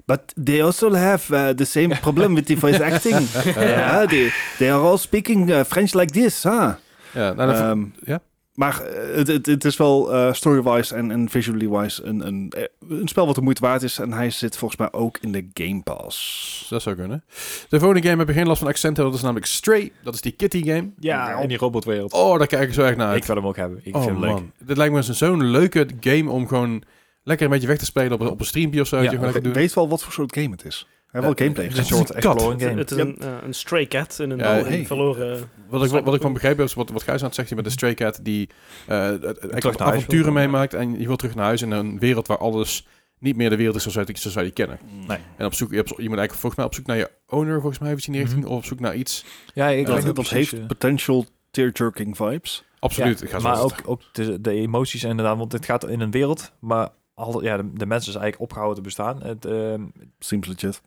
but they also have eh, the same problem with the voice acting. Eh, Eh, they, they are all speaking eh, French like this. Huh? ja, nou, dan- Ehm, ja? maar eh, het, het, het is wel eh, story-wise en, en visually-wise een, een, eh, een spel wat de moeite waard is. En hij zit volgens mij ook in de Game Pass. dus Dat zou kunnen. De volgende game heb ik geen last van accenten. Dat is namelijk Stray. Dat is die kitty game. Ja, in die robotwereld. Oh, daar kijk ik zo erg naar uit. Ik wil hem ook hebben. Ik oh, vind hem leuk. man. Dit lijkt me eens een- zo'n leuke game om gewoon lekker een beetje weg te spelen op, een- op een streampje of zo. weet Ja, Eh, je, gewoon Ik lekker doen. weet wel wat voor soort game het is. Hij heeft wel gameplay Het is een gezien. soort een kat. exploring Het, game. (laughs) het is Ja. een, eh, een stray cat in een, Ja, in een hey. verloren... Wat ik, wat, wat ik van begrepen heb, is wat, wat Gijs aan het zegt hier met de Stray Cat, die eh, het- het- echt naar huis wil. avonturen meemaakt en je wil terug naar huis in een wereld waar alles niet meer de wereld is zoals wij zoals wij die kennen. Mm. Nee. En op zoek, je, hebt- je moet eigenlijk volgens mij op zoek naar je owner, volgens mij, heeft in die richting, Mhm. of op zoek naar iets. Ja, ik Dat, weet niet dat precies, heeft eh, potential tear-jerking vibes. Absoluut, Ja, ik ga zo maar vast- ook, ook de, de emoties inderdaad, want het gaat in een wereld, maar al, ja, de, de mensen zijn eigenlijk opgehouden te bestaan. Het, ehm, Seems legit.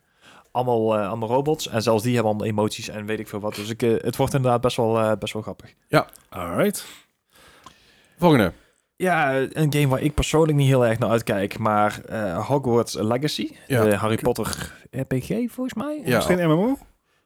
allemaal, eh, allemaal robots en zelfs die hebben allemaal emoties en weet ik veel wat. Dus ik, eh, het wordt inderdaad best wel, eh, best wel grappig. Alright. Volgende. Ja, een game waar ik persoonlijk niet heel erg naar uitkijk, maar eh, Hogwarts Legacy, Ja. de Harry Potter RPG volgens mij. Ja. Misschien MMO?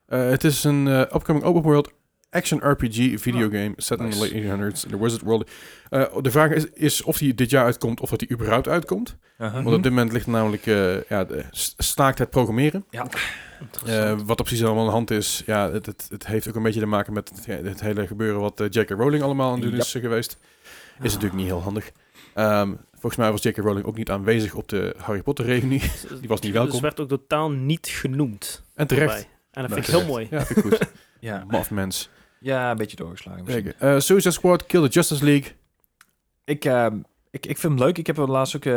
Eh, het is een eh, upcoming open world action RPG videogame set in Nice. the late 1800s in the Wizard World. Eh, de vraag is, is of die dit jaar uitkomt of dat die überhaupt uitkomt. Uh-huh. Want op dit moment ligt er namelijk eh, ja, de s- staakt het programmeren. Ja. Eh, wat er precies allemaal aan de hand is, ja, het, het, het heeft ook een beetje te maken met het, ja, het hele gebeuren wat eh, J.K. Rowling allemaal aan het doen Ja. is eh, geweest. Is natuurlijk niet heel handig. Ehm, volgens mij was J.K. Rowling ook niet aanwezig op de Harry Potter reunie. (laughs) Die was niet welkom. Dus werd ook totaal niet genoemd. En terecht. daarbij. En dat Nee, vind terecht. ik heel mooi. Ja, vind ik goed. Ja. Maf mens. ja, een beetje doorgeslagen misschien. Zeker. Eh, Suicide Squad, Kill the Justice League. Ik, ehm, ik, ik vind hem leuk. Ik heb er laatst ook eh,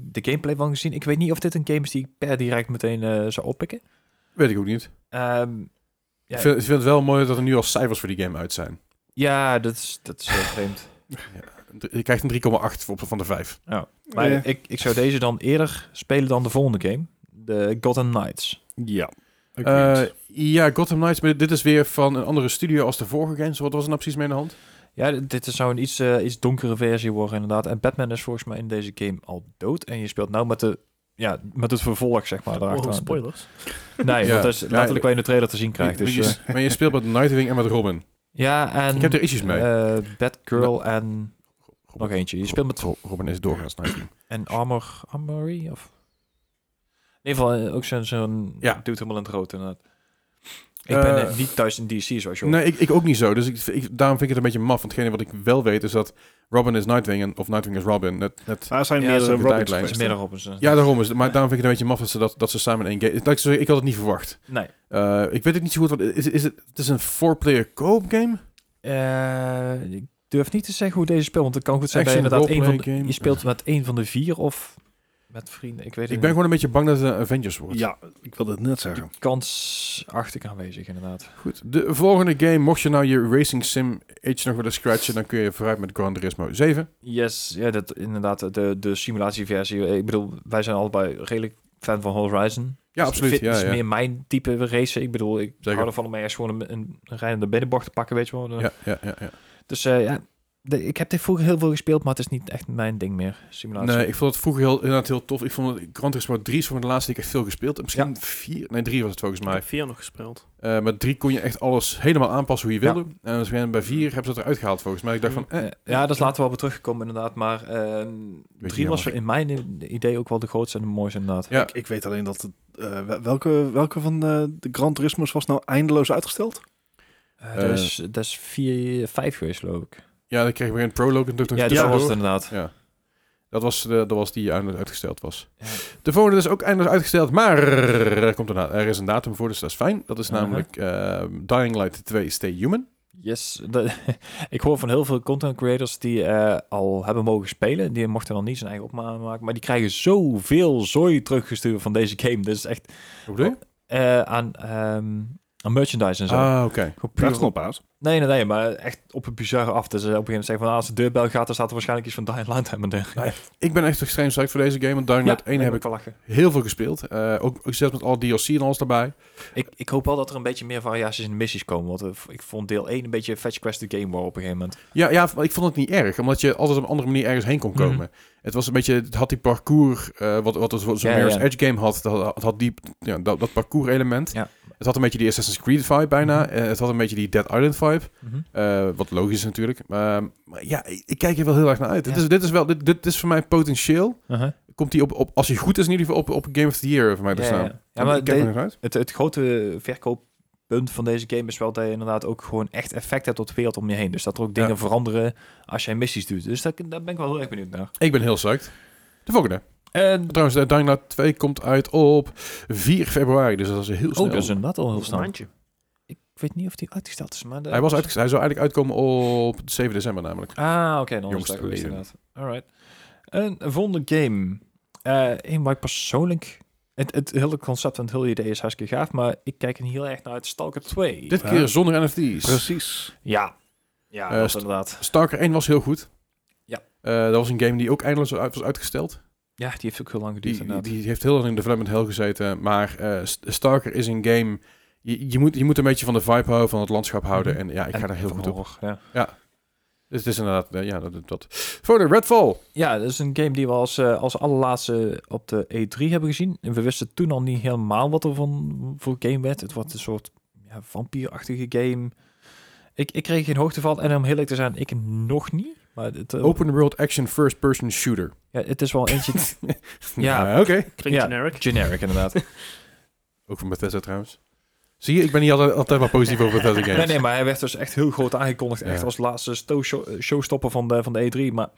de gameplay van gezien. Ik weet niet of dit een game is die ik per direct meteen eh, zou oppikken. Weet ik ook niet. Ehm, ja, Ik, vind, ik vind het wel mooi dat er nu al cijfers voor die game uit zijn. ja, dat is, dat is heel (laughs) vreemd. Je krijgt een 3,8 op- van de 5. Maar Eh, ik, ik zou deze dan eerder spelen dan de volgende game. De Gotham Knights. Ja. Eh, ja, Gotham Knights. Maar dit is weer van een andere studio als de vorige games. Wat was er nou precies mee aan de hand? Ja, d- dit zou een iets, eh, iets donkere versie worden inderdaad. En Batman is volgens mij in deze game al dood. En je speelt nou met, de, ja, met het vervolg, zeg maar. Oh, daarachteraan. spoilers. Nee, Ja. want dat is Ja, letterlijk wat je in de trailer te zien krijgt. Maar Dus, je, eh, maar je speelt met Nightwing en met Robin. ja, en... Ik heb er issues mee. eh, Batgirl en... Nog eentje. Je speelt met Ro- Robin is doorgaans Nightwing. En Armor, Armory? Of... In ieder geval eh, ook zo'n... zo'n Ja. Doet helemaal in het rood inderdaad. Ik Eh, ben eh, niet thuis in DC zoals je (clears throat) hoort. Nee, ik, ik ook niet zo. Dus ik, ik- daarom vind ik het een beetje maf. Want hetgene wat ik wel weet is dat Robin is Nightwing en, of Nightwing is Robin. Net, net, Daar zijn Ja, dat meerdere zijn de Robins tijdlijns. geweest. Meer daarop is, eh, ja, daarom is het. Maar daarom vind ik het een beetje maf dat ze, dat, dat ze samen in één game... Dat ik, zo- ik had het niet verwacht. Nee. Eh, ik weet het niet zo goed. Want is, is het, het is een four-player co-op game? Eh, ik durf niet te zeggen hoe deze speelt. Want het kan goed zijn dat je Action inderdaad één van roleplay de, game. Je speelt met één van de vier of... Met vrienden, ik weet het Ik ben niet. gewoon een beetje bang dat het een Avengers wordt. Ja, ik wilde het net zeggen. Kansachtig aanwezig inderdaad. Goed. De volgende game, mocht je nou je Racing Sim Age nog willen scratchen, dan kun je vooruit met Gran Turismo 7. Yes, ja, dat inderdaad. De, de simulatieversie. Ik bedoel, wij zijn allebei redelijk fan van Horizon. Ja, Dus absoluut. fit Ja, is ja. meer mijn type racen. Ik bedoel, ik Zeker. hou ervan om ergens gewoon een, een, een rijdende binnenbocht te pakken, weet je wel. Ja, ja, ja, ja. Dus eh, ja, de- ik heb dit vroeger heel veel gespeeld, maar het is niet echt mijn ding meer, simulatie. Nee, ik vond het vroeger heel, inderdaad heel tof. Ik vond het- Gran Turismo 3 is voor de laatste die ik echt veel gespeeld heb. Misschien 4, nee 3 was het volgens Maar mij. heb vier nog gespeeld. Eh maar 3 kon je echt alles helemaal aanpassen hoe je Ja. wilde. En dus bij 4 hebben ze het eruit gehaald volgens mij. Ik dacht van, eh, Eh, ja, daar laten we wel op teruggekomen inderdaad, maar eh, drie niet was in mijn i- idee ook wel de grootste en de mooiste inderdaad. Ja. Ik, ik weet alleen dat... Het, eh, wel- welke, welke van eh, de, de Gran Turismo's was nou eindeloos uitgesteld? Eh, dat, is, dat is vier, vijf geweest geloof ik. ja, dan kreeg je weer een prologue en toen Ja, toen- dat was tussendoor. het inderdaad. Ja. Dat was, de, dat was die eindelijk uitgesteld was. Ja. De volgende is ook eindelijk uitgesteld, maar er, komt een, da- er is een datum voor, dus dat is fijn. Dat is Uh-huh. namelijk eh, Dying Light 2 Stay Human. Yes, dat- (laughs) ik hoor van heel veel content creators die eh, al hebben mogen spelen. Die mochten dan niet zijn eigen opname maken. Maar die krijgen zoveel zooi teruggestuurd van deze game. Dus echt Hoe bedoel je? eh, aan, ehm, aan merchandise en zo. Ah, oké. Gewoon puur- Daar stond op uit. Nee, nee, nee, maar echt op een bizarre af. Dus eh, op een gegeven moment zeggen van ah, als de deurbel gaat, dan staat er waarschijnlijk iets van Dying Light aan mijn deur. Ik ben echt extreem psyched voor deze game, want Dying Light 1 heb ik wel lachen. heel veel gespeeld. Eh, ook, ook zelfs met al DLC en alles daarbij. Ik, ik hoop wel dat er een beetje meer variaties in de missies komen. Want eh, ik vond deel 1 een beetje Fetch Quest the Game War op een gegeven moment. Ja, ja, maar ik vond het niet erg, omdat je altijd op een andere manier ergens heen kon komen. Het was een beetje, het had die parcours, eh, wat, wat het zo'n Mhm. Ja, Mirror's ja. Edge game had, dat, had- had die, ja, dat, dat parcours element. Ja. Het had een beetje die Assassin's Creed vibe bijna. Mhm. Eh, het had een beetje die Dead Island vibe. hype. Eh, wat logisch is natuurlijk. Ehm, maar ja, ik ik kijk er wel heel erg naar uit. Dit, Ja. is, dit is wel, dit, dit is voor mij potentieel. Uh-huh. Komt die op, op, als hij goed is in ieder geval op, op Game of the Year voor mij te Ja, staan. ja. Ja, maar ik kijk er de- nog uit. Het, het grote verkooppunt van deze game is wel dat je inderdaad ook gewoon echt effect hebt op de wereld om je heen. Dus dat er ook dingen Ja. veranderen als jij missies doet. Dus daar, daar ben ik wel heel erg benieuwd naar. Ik ben heel psyched. De volgende. En, Trouwens, eh, Dying Light 2 komt uit op 4 februari. Dus dat is heel snel. oh, dat is inderdaad al heel Een snel. maandje. Ik weet niet of die uitgesteld is, maar... dat hij, was uitges- hij zou eigenlijk uitkomen op 7 december namelijk. Ah, oké, dan is Jongste dat geweest leden. inderdaad. Alright. Een volgende game. Eh een waar ik persoonlijk... Het, het hele concept en het hele idee is hartstikke gaaf, maar ik kijk er niet heel erg naar uit. Stalker 2. Dit Ja. keer zonder NFT's. Precies. Ja. Ja, Eh, dat st- inderdaad. Stalker 1 was heel goed. Ja. Eh, dat was een game die ook eindeloos was uitgesteld. Ja, die heeft ook heel lang geduurd Die, inderdaad. die heeft heel lang in development hell gezeten. Maar eh, St- Stalker is een game... Je, je, moet, je moet een beetje van de vibe houden, van het landschap houden. En ja, ik ga Mhm. En daar heel van goed op. horror, Ja. Dus het is inderdaad... eh, ja, dat, dat. Voor de Redfall. ja, dat is een game die we als, eh, als allerlaatste op de E3 hebben gezien. En we wisten toen al niet helemaal wat er van voor game werd. Het wordt een soort ja, vampierachtige game. Ik, ik kreeg geen hoogteval en om heel eerlijk te zijn, ik nog niet. Maar het, eh, Open world action first person shooter. ja, het is wel eentje (laughs) (laughs) Ja. Ah, Oké. Klinkt Ja. generic. generic inderdaad. Ook van Bethesda trouwens. Zie je, ik ben niet altijd, altijd maar positief over Bethesda (laughs) games. (laughs) nee, nee, maar hij werd dus echt heel groot aangekondigd. Echt Ja. als laatste sto- show- showstopper van de, van de E3. Maar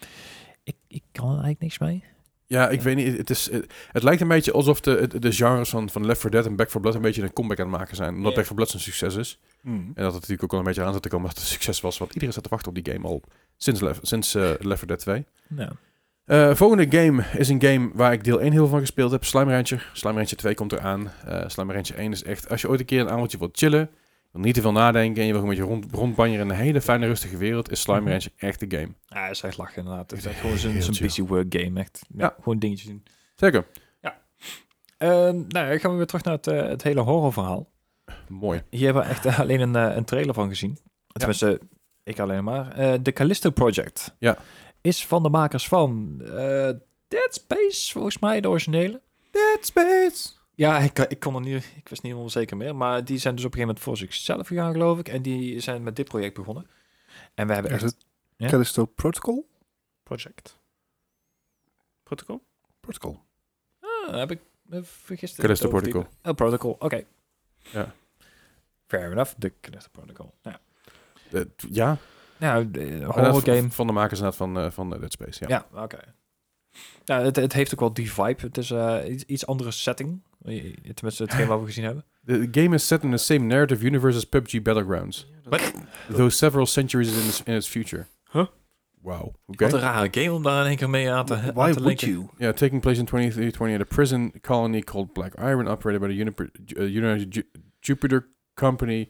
ik, ik kan er eigenlijk niks mee. Ja, ik weet niet. Het, is, het, het lijkt een beetje alsof de, het- de genres van, van Left 4 Dead en Back 4 Blood een beetje een comeback aan het maken zijn. Omdat Ja. Back 4 Blood een succes is. Hmm. En dat het natuurlijk ook al een beetje aan zat te komen dat het een succes was. Want iedereen zat te wachten op die game al sinds, Lef- sinds eh, Left 4 Dead 2. Ja. Eh, volgende game is een game waar ik deel 1 heel veel van gespeeld heb. Slime Rancher. Slime Rancher 2 komt eraan. Eh Slime Rancher 1 is echt... Als je ooit een keer een avondje wilt chillen... je wil niet te veel nadenken en je wil gewoon een beetje rond, rondbanjeren... in een hele fijne, rustige wereld... is Slime Mhm. Rancher echt de game. Ja, hij is echt lachen inderdaad. Het is echt Heel gewoon zo'n zo'n chill. busy work game. Echt, ja, Ja. Gewoon dingetjes doen. Zeker. Ehm, nou, ja, gaan we weer terug naar het, eh, het hele horrorverhaal. Mooi. Hier hebben we echt (laughs) eh, alleen een, eh, een trailer van gezien. Tenminste, ik alleen maar. Eh, De Callisto Project. Ja. Is van de makers van eh, Dead Space, volgens mij de originele. Dead Space. Ja, ik, eh, ik kon er niet, ik wist niet helemaal zeker meer. Maar die zijn dus op een gegeven moment voor zichzelf gegaan, geloof ik. En die zijn met dit project begonnen. En we hebben Echt echt... het Ja. Callisto Protocol? Project. Protocol? Protocol. Ah, heb ik me vergist. Callisto Over die- Protocol. Oh, Protocol, oké. Ja. Fair enough, de Callisto Protocol. Ja, Eh, t- ja. nou, de Inderdaad, horror van- game. Van de makers inderdaad van, eh, van eh, Dead Space. Ja. Ja, oké. Nou, het, het heeft ook wel die vibe. Het is eh, iets, iets andere setting. Tenminste, hetgeen wat we gezien hebben. The game is set in the same narrative universe as PUBG Battlegrounds. Though several centuries in its, in its future. Huh? Wow. Oké. Wat een rare game om daar in één keer mee aan te, aan Why would te linken. you? Yeah, taking place in 2320 at a prison colony called Black Iron, operated by the Unip- Ju- uh, United Ju- Jupiter Company,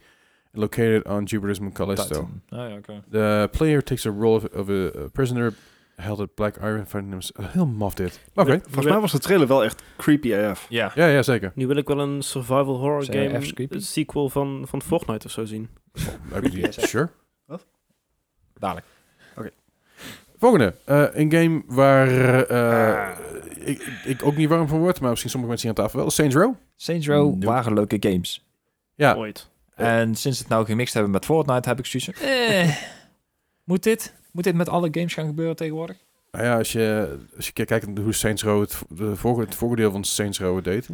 located on Jupiter's Moon Callisto. Titan. Ah, ja, oké. The player takes a role of, of a, a prisoner held at Black Iron, finding himself... (laughs) Heel maf dit. Oké. Volgens mij was de trailer wel echt creepy AF. Ja. Ja, ja, zeker. Nu wil ik wel een survival horror Zijn we game even creepy? een sequel van, van Fortnite of zo zien. I believe- sure. Dadelijk. Volgende. eh, een game waar eh, ik, ik ook niet warm van word, maar misschien sommige mensen hier aan tafel wel. Saints Row. Saints Row Nope. waren leuke games. Ja, Ooit. En sinds het nou gemixt hebben met Fortnite, heb ik zoiets van... Eh, moet, dit, moet dit met alle games gaan gebeuren tegenwoordig? nou ja als, je, als je kijkt naar hoe Saints Row het, de vorige, het voordeel van Saints Row het deed.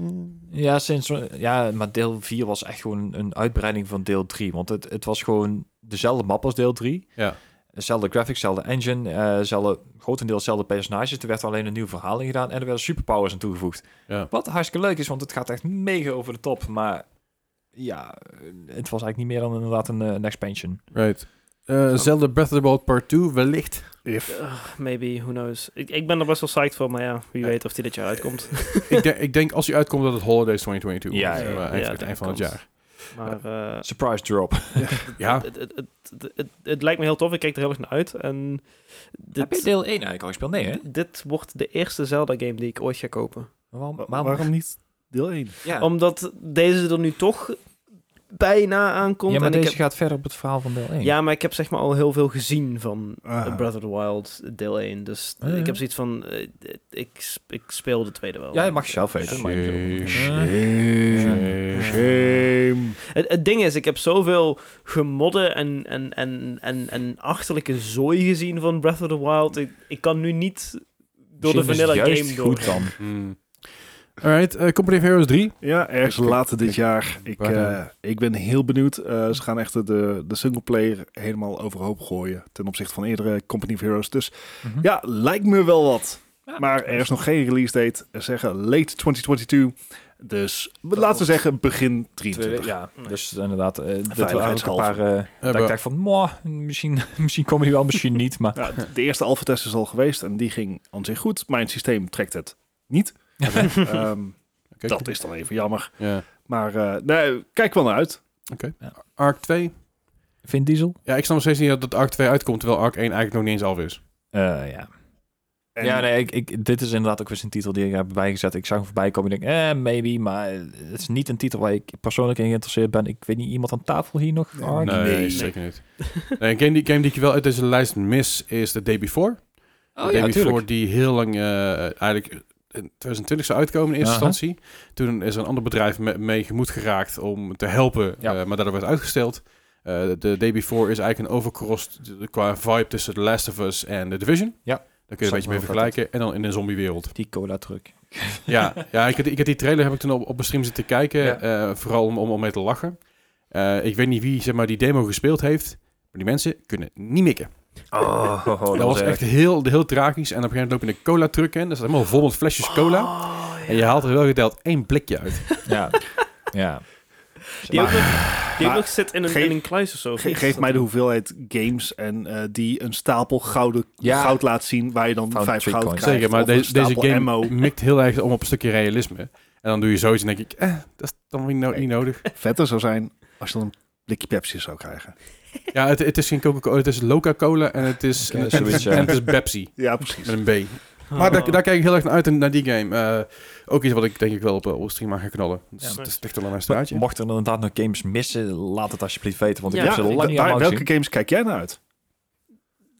Ja, sinds, ja, maar deel 4 was echt gewoon een uitbreiding van deel 3. Want het, het was gewoon dezelfde map als deel 3. Ja. Dezelfde graphics, dezelfde engine, eh, zelfde, grotendeels dezelfde personages. Er werd alleen een nieuw verhaal in gedaan en er werden superpowers aan toegevoegd. Ja. Wat hartstikke leuk is, want het gaat echt mega over de top. Maar ja, het was eigenlijk niet meer dan inderdaad een, eh, een expansion. Right. Eh, Zelda Breath of the Wild Part 2, wellicht. If. Ugh, maybe, who knows. Ik, ik ben er best wel psyched voor, maar ja, wie weet of die dit jaar uitkomt. (laughs) ik, denk- ik denk als hij uitkomt dat het Holidays 2022 Ja, is. ja, eh, ja. eind, Ja, het dat eind van het komt. jaar. Maar eh, Surprise drop. Ja, het, het, het, het, het, het lijkt me heel tof, ik kijk er heel erg naar uit. En Heb je dit, deel 1 eigenlijk al gespeeld? Nee, hè? dit wordt de eerste Zelda-game die ik ooit ga kopen. Waarom? Maar waarom niet deel 1? Ja, Omdat deze er nu toch bijna aankomt. ja maar en ik deze heb- gaat verder op het verhaal van deel 1. Ja, maar ik heb zeg maar al heel veel gezien van eh, Ah. Breath of the Wild deel 1. Dus Ah, ja. ik heb zoiets van... eh, eh, ik, sp- ik speel de tweede wel. Ja, je mag het zelf weten. maar ik bedoel- Shame. Shame. Het, het ding is, ik heb zoveel gemodden en, en, en, en, en achterlijke zooi gezien van Breath of the Wild. Ik, ik kan nu niet door Jim de is vanilla juist game door. goed dan. Hmm. Alright, eh, Company of Heroes 3. Ja, ergens Ik- later dit ik- jaar. Ik, eh, Waarde. ik ben heel benieuwd. Eh, ze gaan echt de- de, de singleplayer helemaal overhoop gooien ten opzichte van eerdere Company of Heroes. Dus Mhm. ja, lijkt me wel wat. Ja. Maar er is nog geen release date. Ze zeggen late 2022. Dus laten we wordt- zeggen begin Tweede- 23. ja, Nee. dus inderdaad, eh dat we eigenlijk een Veiligheidshalve. paar... eh, dat ik maar- dacht van, moh, misschien, (laughs) misschien kom je wel, misschien niet, maar... Ja, de eerste alpha test is al geweest en die ging aan zich goed. Mijn systeem trekt het (laughs) niet. Ehm, Kijk, dat is dan even jammer. Ja. Maar eh, nee, kijk wel naar uit. Ark 2. Vin Diesel? Ja, ik snap nog steeds niet dat- dat Ark 2 uitkomt, terwijl Ark 1 eigenlijk nog niet eens af is. Eh, ja. En- Ja, nee, ik, ik, dit is inderdaad ook weer een titel die ik heb bijgezet. Ik zag hem voorbij komen en ik denk, eh, maybe, maar het is niet een titel waar ik persoonlijk in geïnteresseerd ben. Ik weet niet, iemand aan tafel hier nog? Nee, Ark? Nee, Nee. zeker niet. (laughs) Nee, een game die, game die ik wel uit deze lijst mis is The Day Before. The Oh ja, Day Before tuurlijk. die heel lang eh, eigenlijk in 2020 zou uitkomen in eerste Aha. instantie. Toen is er een ander bedrijf me- mee gemoed geraakt om te helpen, Ja. eh, maar daardoor werd uitgesteld. Eh, de Day Before is eigenlijk een overcrossed eh, qua vibe tussen The Last of Us en The Division. Ja. Daar kun je Snap een beetje wel mee wat dat vergelijken. En dan in een zombiewereld. Die cola-truc. (laughs) Ja, ja ik, had, ik had die trailer heb ik toen op, op een stream zitten kijken. Ja. eh, vooral om, om, om mee te lachen. Eh, ik weet niet wie zeg maar, die demo gespeeld heeft. Maar die mensen kunnen niet mikken. Oh, dat, was echt heel, heel tragisch. En op een gegeven moment loop je een cola truck in. Dat staat helemaal vol met flesjes cola. Oh, En je haalt er wel geteld één blikje uit. Ja, ja. Die, ook nog, die ook Maar- nog zit in een, Geef- in een kluis of zo. Ge- geef mij de hoeveelheid games en eh, die een stapel gouden Ja. goud laat zien waar je dan Found vijf three goud coins. krijgt. Zeker, maar of een deze deze stapel game (laughs) ammo. mikt heel erg om op een stukje realisme. En dan doe je zoiets en denk ik, eh, dat is dan weer no- Nee. niet nodig. Vetter zou zijn als je dan een blikje Pepsi zou krijgen. Ja, het, het is geen Coca-Cola, het is Loca-Cola en het is, Oké, en, en- zoiets, ja. en het is Pepsi Ja, precies. met een B. Ah. Maar daar, daar kijk ik heel erg naar uit, naar die game. Eh, ook iets wat ik denk ik wel op, eh, op stream aan ga knallen. Dus Ja. het is echt wel aan mijn straatje. Mocht er inderdaad nog games missen, laat het alsjeblieft weten, want ik Ja. heb ze lang niet waar- allemaal welke gezien. games kijk jij naar uit?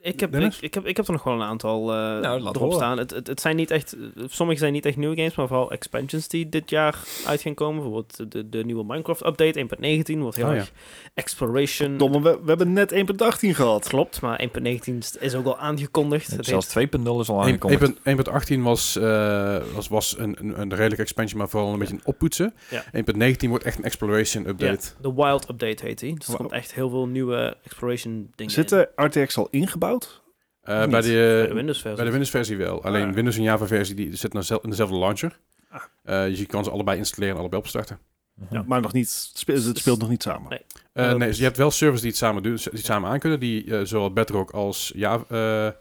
Ik heb, ik, Dennis? Nou, ik heb, ik heb er nog wel een aantal eh, laat erop horen. staan. Het, het, het zijn niet echt, sommige zijn niet echt nieuwe games, maar vooral expansions die dit jaar uit gaan komen. Bijvoorbeeld de, de nieuwe Minecraft update 1.19 wordt heel Oh, ja. erg Hm. exploration. Domme, we, we hebben net 1.18 gehad. Klopt, maar 1.19 is- is ook al aangekondigd. Het Zelfs heet- 2.0 is al Een- aangekondigd. 1.- 1.18 was, eh, was, was een, een, een redelijke expansion, maar vooral een beetje een oppoetsen. Ja. 1.19 wordt echt een exploration update. Ja, de Wild Update heet die. Dus er Wow. komt echt heel veel nieuwe exploration dingen in. Zitten RTX al ingebouwd? Eh, Niet. bij, de, Bij de Windows versie. bij de Windows-versie wel. Alleen ja. Windows en Java-versie die zit naar zel- in dezelfde launcher. Ah. Eh, dus je kan ze allebei installeren en allebei opstarten. Ja. Maar nog niet, spe- het speelt nog niet samen. Nee. Eh, Ja, dat nee, is- dus je hebt wel servers die het samen doen, die het samen aankunnen, die eh, zowel Bedrock als Java, eh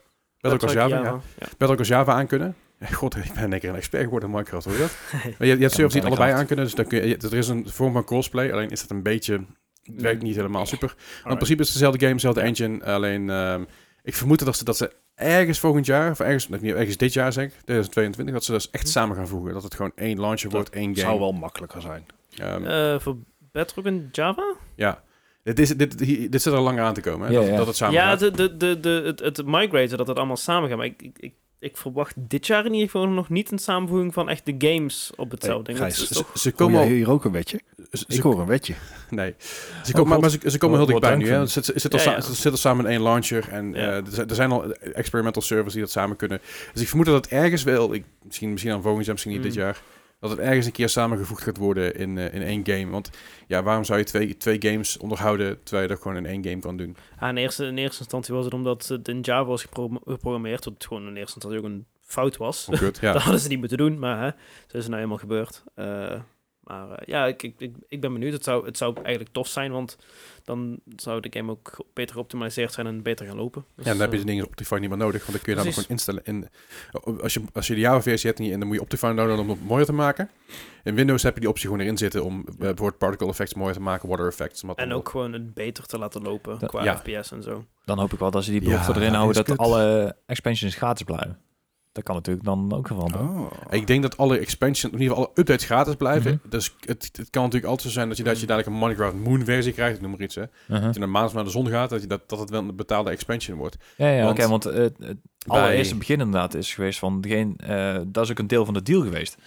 Bedrock als Java, ja. Ja. Bedrock als Java aankunnen. (laughs) God, ik ben lekker een expert geworden in Minecraft, hoor je dat? Maar je, je hebt servers die het allebei aankunnen, dus dan kun je, je- er is een vorm van crossplay, alleen is dat een beetje, het werkt niet helemaal super. Maar in principe is het dezelfde game, dezelfde engine, alleen ehm, ik vermoed dat ze, dat ze ergens volgend jaar, of ergens, nee, niet ergens dit jaar zeg, ik, 2022, dat ze dat echt samen gaan voegen. Dat het gewoon één launcher wordt, één game. zou wel makkelijker zijn. Ehm, Eh, voor Bedrock en Java? ja. Dit, is, dit, hier- dit zit er lang aan te komen, hè, Ja, dat, ja. dat het samen ja, gaat. de, de, de, de, het, het migraten, dat het allemaal samen gaat. Maar ik, ik, ik, ik verwacht dit jaar in ieder geval nog niet een samenvoeging van echt de games op hetzelfde. Gijs, dat is de- Ze, toch... ze Kom komen al, hier ook een wetje? ze- Ik ze- hoor een wetje. Nee. Ze komen, maar, God. maar ze, ze komen heel Wat- wat dichtbij nu. Hè? dank Ze, ze, zitten al Ja, sa- ja. ze zitten samen in één launcher. En Ja. eh, er, zijn, er zijn al experimental servers die dat samen kunnen. Dus ik vermoed dat het ergens wel... Ik, misschien, misschien aan volgend jaar, misschien niet Mm. dit jaar. Dat het ergens een keer samengevoegd gaat worden in, eh, in één game. Want ja, waarom zou je twee, twee games onderhouden... terwijl je dat gewoon in één game kan doen? Ah, in, eerste, in eerste instantie was het omdat het in Java was gepro- geprogrammeerd. Wat gewoon in eerste instantie ook een fout was. (laughs) Oh, kut. Dat Ja. hadden ze niet moeten doen, maar hè, zo is het nou helemaal gebeurd. Eh, maar eh, ja, ik, ik, ik, ik ben benieuwd. Het zou, het zou eigenlijk tof zijn, want dan zou de game ook beter geoptimaliseerd zijn en beter gaan lopen. Dus, Ja, dan heb je eh, de dingen op Optifine niet meer nodig, want dan kun je namelijk gewoon Precies. instellen. En eh, als je, als je de Java-versie hebt en je- en dan moet je Optifine downloaden om het mooier te maken. In Windows heb je die optie gewoon erin zitten om eh, bijvoorbeeld particle effects mooier te maken, water effects. wat En dan ook gewoon het beter te laten lopen Dat- qua ja. FPS en zo. Dan hoop ik wel dat ze die Ja, belofte erin dat houden is dat kut. alle expansions gratis blijven. Dat kan natuurlijk dan ook veranderen. Oh. Ik denk dat alle expansions, in ieder geval alle updates gratis blijven. Dus het, het kan natuurlijk altijd zo zijn dat je, Mhm. dat je dadelijk een Minecraft Moon versie krijgt, ik noem maar iets. Hè. Dat Uh-huh. je een maand naar de zon gaat, dat, je dat, dat het wel een betaalde expansion wordt. Ja, ja Want oké, want eh, het allereerste begin inderdaad is geweest van degene, eh, dat is ook een deel van de deal geweest.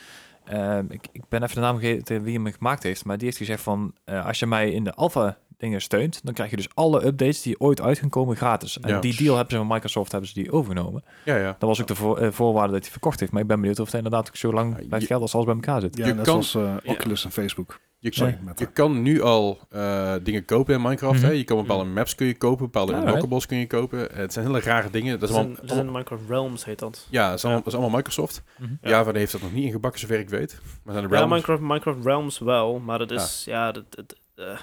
Eh, ik, ik ben even de naam vergeten wie hem gemaakt heeft, maar die heeft gezegd van, eh, als je mij in de alpha dingen steunt, dan krijg je dus alle updates die ooit uit gaan komen gratis. En Ja. die deal hebben ze van Microsoft hebben ze die overgenomen. Ja, ja. Dat was ook de voor, eh, voorwaarde dat hij verkocht heeft, maar ik ben benieuwd of het inderdaad ook zo lang Ja, blijft je- gelden als alles bij elkaar zit. Ja, Je net kan- zoals eh, Oculus en (laughs) Facebook. Je kan, Sorry, Meta. je kan nu al eh, dingen kopen in Minecraft. Mhm. hè? Je kan bepaalde maps kun je kopen, bepaalde Alright. blockables kun je kopen. Het zijn hele rare dingen. Dat Dat is zijn, allemaal, dat zijn Minecraft Realms, heet dat. ja, dat is allemaal, dat is allemaal Microsoft. Mhm. Ja. Java heeft dat nog niet ingebakken, zover ik weet. Maar zijn de Ja, Realms- Minecraft, Minecraft Realms wel, maar dat is, ja, dat, het, eh,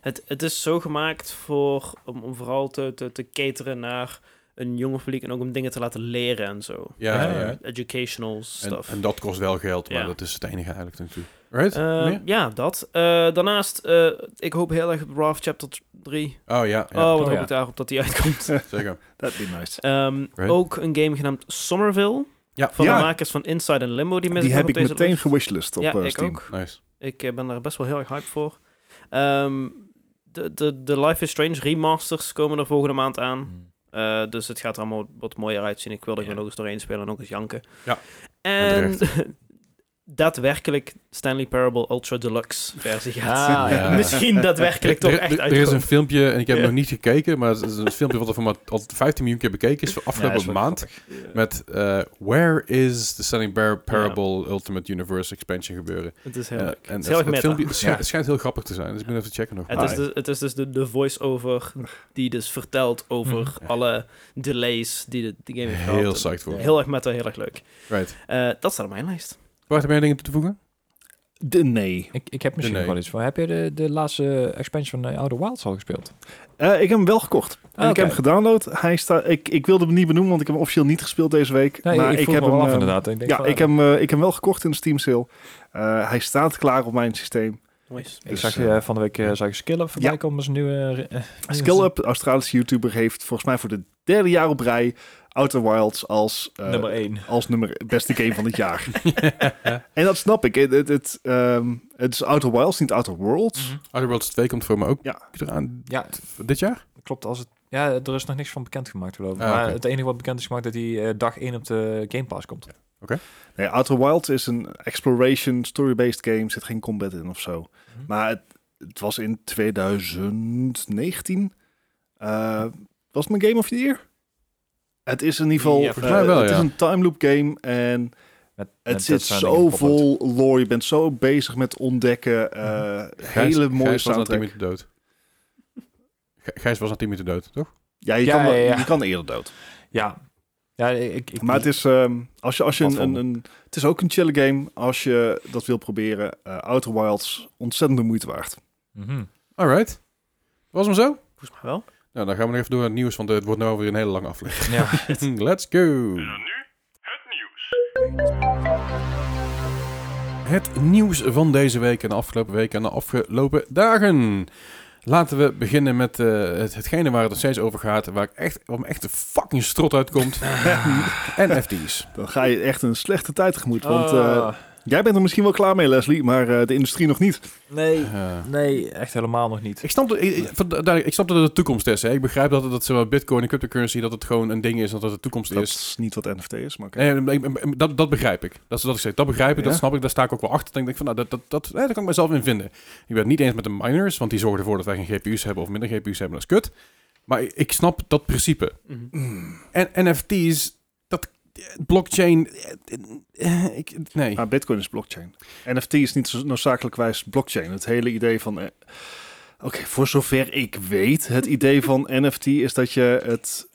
het, het is zo gemaakt voor, om, om vooral te, te, te cateren naar een jonger publiek en ook om dingen te laten leren en zo. Ja, ja, ja. Educational En, stuff. en dat kost wel geld, maar Ja. dat is het enige eigenlijk natuurlijk. Right? Eh, Meer? ja, dat. Eh, daarnaast, eh, ik hoop heel erg op Raft Chapter 3. Oh ja, ja oh, wat Oh, hoop ja. ik daarop dat die (laughs) uitkomt. zeker. That'd be nice. Ehm, Right. Ook een game genaamd Somerville. Ja. Van Ja. de makers van Inside and Limbo. Die, met Die heb op ik deze meteen lijst. gewishlist op Ja, eh, ik Steam. ook. Nice. Ik eh, ben daar best wel heel erg hype voor. Ehm, de, de, de Life is Strange remasters komen er volgende maand aan. Eh, dus het gaat er allemaal wat mooier uitzien. Ik wil er Ja. gewoon nog eens doorheen spelen en ook eens janken. Ja. En (laughs) daadwerkelijk Stanley Parable Ultra Deluxe versie gaat. Ah, ja. (laughs) Misschien daadwerkelijk toch (laughs) Er- echt er, er is een uitkomen. filmpje, en ik heb Ja. nog niet gekeken, maar het is een filmpje wat er voor maar al 15 miljoen keer bekeken is, voor afgelopen is wel maand. Met eh, Where is the Sunny Bear Parable Ultimate Universe Expansion gebeuren? Het is heel En, leuk. en het het, is heel erg het meta. (laughs) filmpje schijnt, Ja. het schijnt heel grappig te zijn, dus ik ben even checken nog. Het maar. is, dus, het is dus de, de voice-over die dus vertelt over Hm. alle delays die de, die game heeft gehad. heel psyched voor. Heel erg meta, heel erg leuk. Right. Eh, dat staat op mijn lijst. Bart, heb jij dingen toe te voegen? De, nee. Ik, ik heb misschien Nee. nog wel iets voor. Heb je de, de laatste expansion van eh, Outer Wilds al gespeeld? Eh, ik heb hem wel gekocht. En Ah, Ik heb hem oké. gedownload. Hij staat. ik, ik wilde hem niet benoemen, want ik heb hem officieel niet gespeeld deze week. Nee, maar ik, ik, vroeg heb me hem wel af ehm, inderdaad. Ik denk Ja, van, ik heb, hem, eh, ik heb hem wel gekocht in de Steam sale. Eh, hij staat klaar op mijn systeem. Ah, Nice. Ik Dus, zag eh, eh, van de week eh, zag ik Skillup voorbij Ja. komen als nieuwe... eh, SkillUp, Australische YouTuber, heeft volgens mij voor de derde jaar op rij Outer Wilds als, eh, nummer 1. als nummer beste game van het jaar. (laughs) en dat snap ik. Het, het, het, ehm, het is Outer Wilds, niet Outer Worlds. Mhm. Outer Worlds 2 komt voor me ook Ja. eraan Ja, dit jaar? klopt. Als het, ja, er is nog niks van bekend gemaakt geloof ik. Ah, maar oké. het enige wat bekend is gemaakt dat die eh, dag 1 op de Game Pass komt. Nee, Outer Wilds is een exploration, story-based game. Zit geen combat in of zo. Mhm. Maar het, het was in 2019. Eh, was het mijn Game of the Year? Het is in ieder geval... Ja, volgens mij eh, wel, Het ja. is een time loop game en Met, het met zit dat soort dingen zo gepop-out. vol lore. Je bent zo bezig met ontdekken. eh, Mhm. Gijs- hele mooie Gijs was na 10 soundtrack. minuten dood. Gij- Gijs was na 10 minuten dood, toch? Ja, je, Ja, kan, wel- ja, ja. je kan eerder dood. Ja. ja ik, ik, Maar het is, ehm, als je, als je Wat een, voor een, een- Het is ook een chille game. Als je dat wil proberen, eh, Outer Wilds, ontzettend de moeite waard. Mhm. Alright. Was hem zo? Volgens mij wel. Nou, dan gaan we nog even door naar het nieuws, want het wordt nou weer een hele lange aflevering. Ja. Let's go! Het nieuws van deze week en de afgelopen week en de afgelopen dagen. Laten we beginnen met eh, het, hetgene waar het nog steeds over gaat, waar, ik echt, waar me echt de fucking strot uitkomt. (laughs) NFT's. Dan ga je echt een slechte tijd tegemoet. (laughs) Want eh, Ah, Jij bent er misschien wel klaar mee, Leslie, maar eh, de industrie nog niet. nee, Eh, nee, echt helemaal nog niet. ik snap, dat, ik, ik, voor de duidelijk- ik snap dat het de toekomst is. Hè. Ik begrijp dat, dat zowel Bitcoin en cryptocurrency dat het gewoon een ding is, en dat het de toekomst Dat is. is niet wat NFT is, maar oké. Nee, nee, nee, nee, dat, dat begrijp ik. Dat is wat ik zeg. Dat begrijp ik, dat Ja? snap ik. Daar sta ik ook wel achter. Dan denk ik van, nou, dat, dat, dat, eh, daar kan ik mezelf in vinden. Ik ben het niet eens met de miners, want die zorgen ervoor dat wij geen GPU's hebben of minder GPU's hebben. Dat is kut. Maar ik, ik snap dat principe. Mhm. En NFT's, dat eh, blockchain, eh, eh, ik, nee. Maar Bitcoin is blockchain. NFT is niet zo noodzakelijkwijs blockchain. Het hele idee van... eh, Oké, voor zover ik weet, het idee van NFT is dat je het...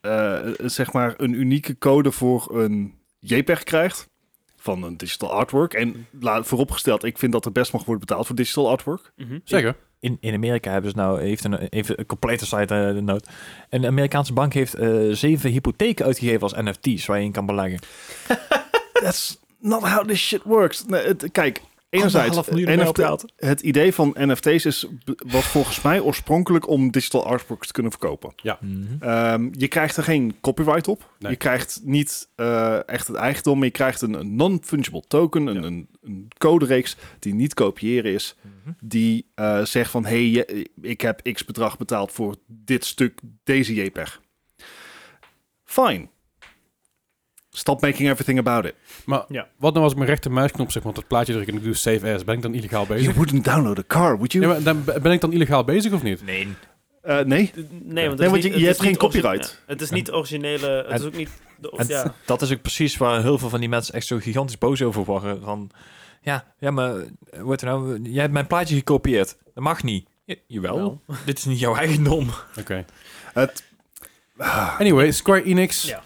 eh, zeg maar een unieke code voor een JPEG krijgt. Van een digital artwork. En la- vooropgesteld, ik vind dat er best mag worden betaald voor digital artwork. Mhm. Zeker. in, in Amerika hebben ze nou, heeft een, even een complete site eh, de nood. Een Amerikaanse bank heeft eh, zeven hypotheken uitgegeven als NFT's waar je in kan beleggen. That's not how this shit works. Nee, het- kijk, enerzijds, Anderhalf miljoen euro NFT het idee van NFT's is, b- was volgens mij oorspronkelijk om digital artworks te kunnen verkopen. Ehm, je krijgt er geen copyright op. Nee. Je krijgt niet eh, echt het eigendom. maar Je krijgt een, een non-fungible token, een, Ja. een, een codereeks die niet kopiëren is. Die eh, zegt van, hé, hey, ik heb x bedrag betaald voor dit stuk, deze JPEG. Fine. Stop making everything about it. Maar Ja. wat nou als ik mijn rechtermuisknop zeg, want dat plaatje druk en ik doe save as, ben ik dan illegaal bezig? You wouldn't download a car, would you? Ja, maar dan ben ik dan illegaal bezig of niet? Nee. Eh, nee. Nee, want, het Nee, is want niet- je- je het is hebt geen niet origi- copyright. ja, Het is niet originele. Het, Het- is ook niet. De, of, het- ja. Dat is ook precies waar heel veel van die mensen echt zo gigantisch boos over worden. Van, ja, ja maar eh, wat er nou, jij hebt mijn plaatje gekopieerd. Dat mag niet. Ja, jawel, Wel. dit is niet jouw eigendom. Oké. Het, Anyway, Square Enix Ja.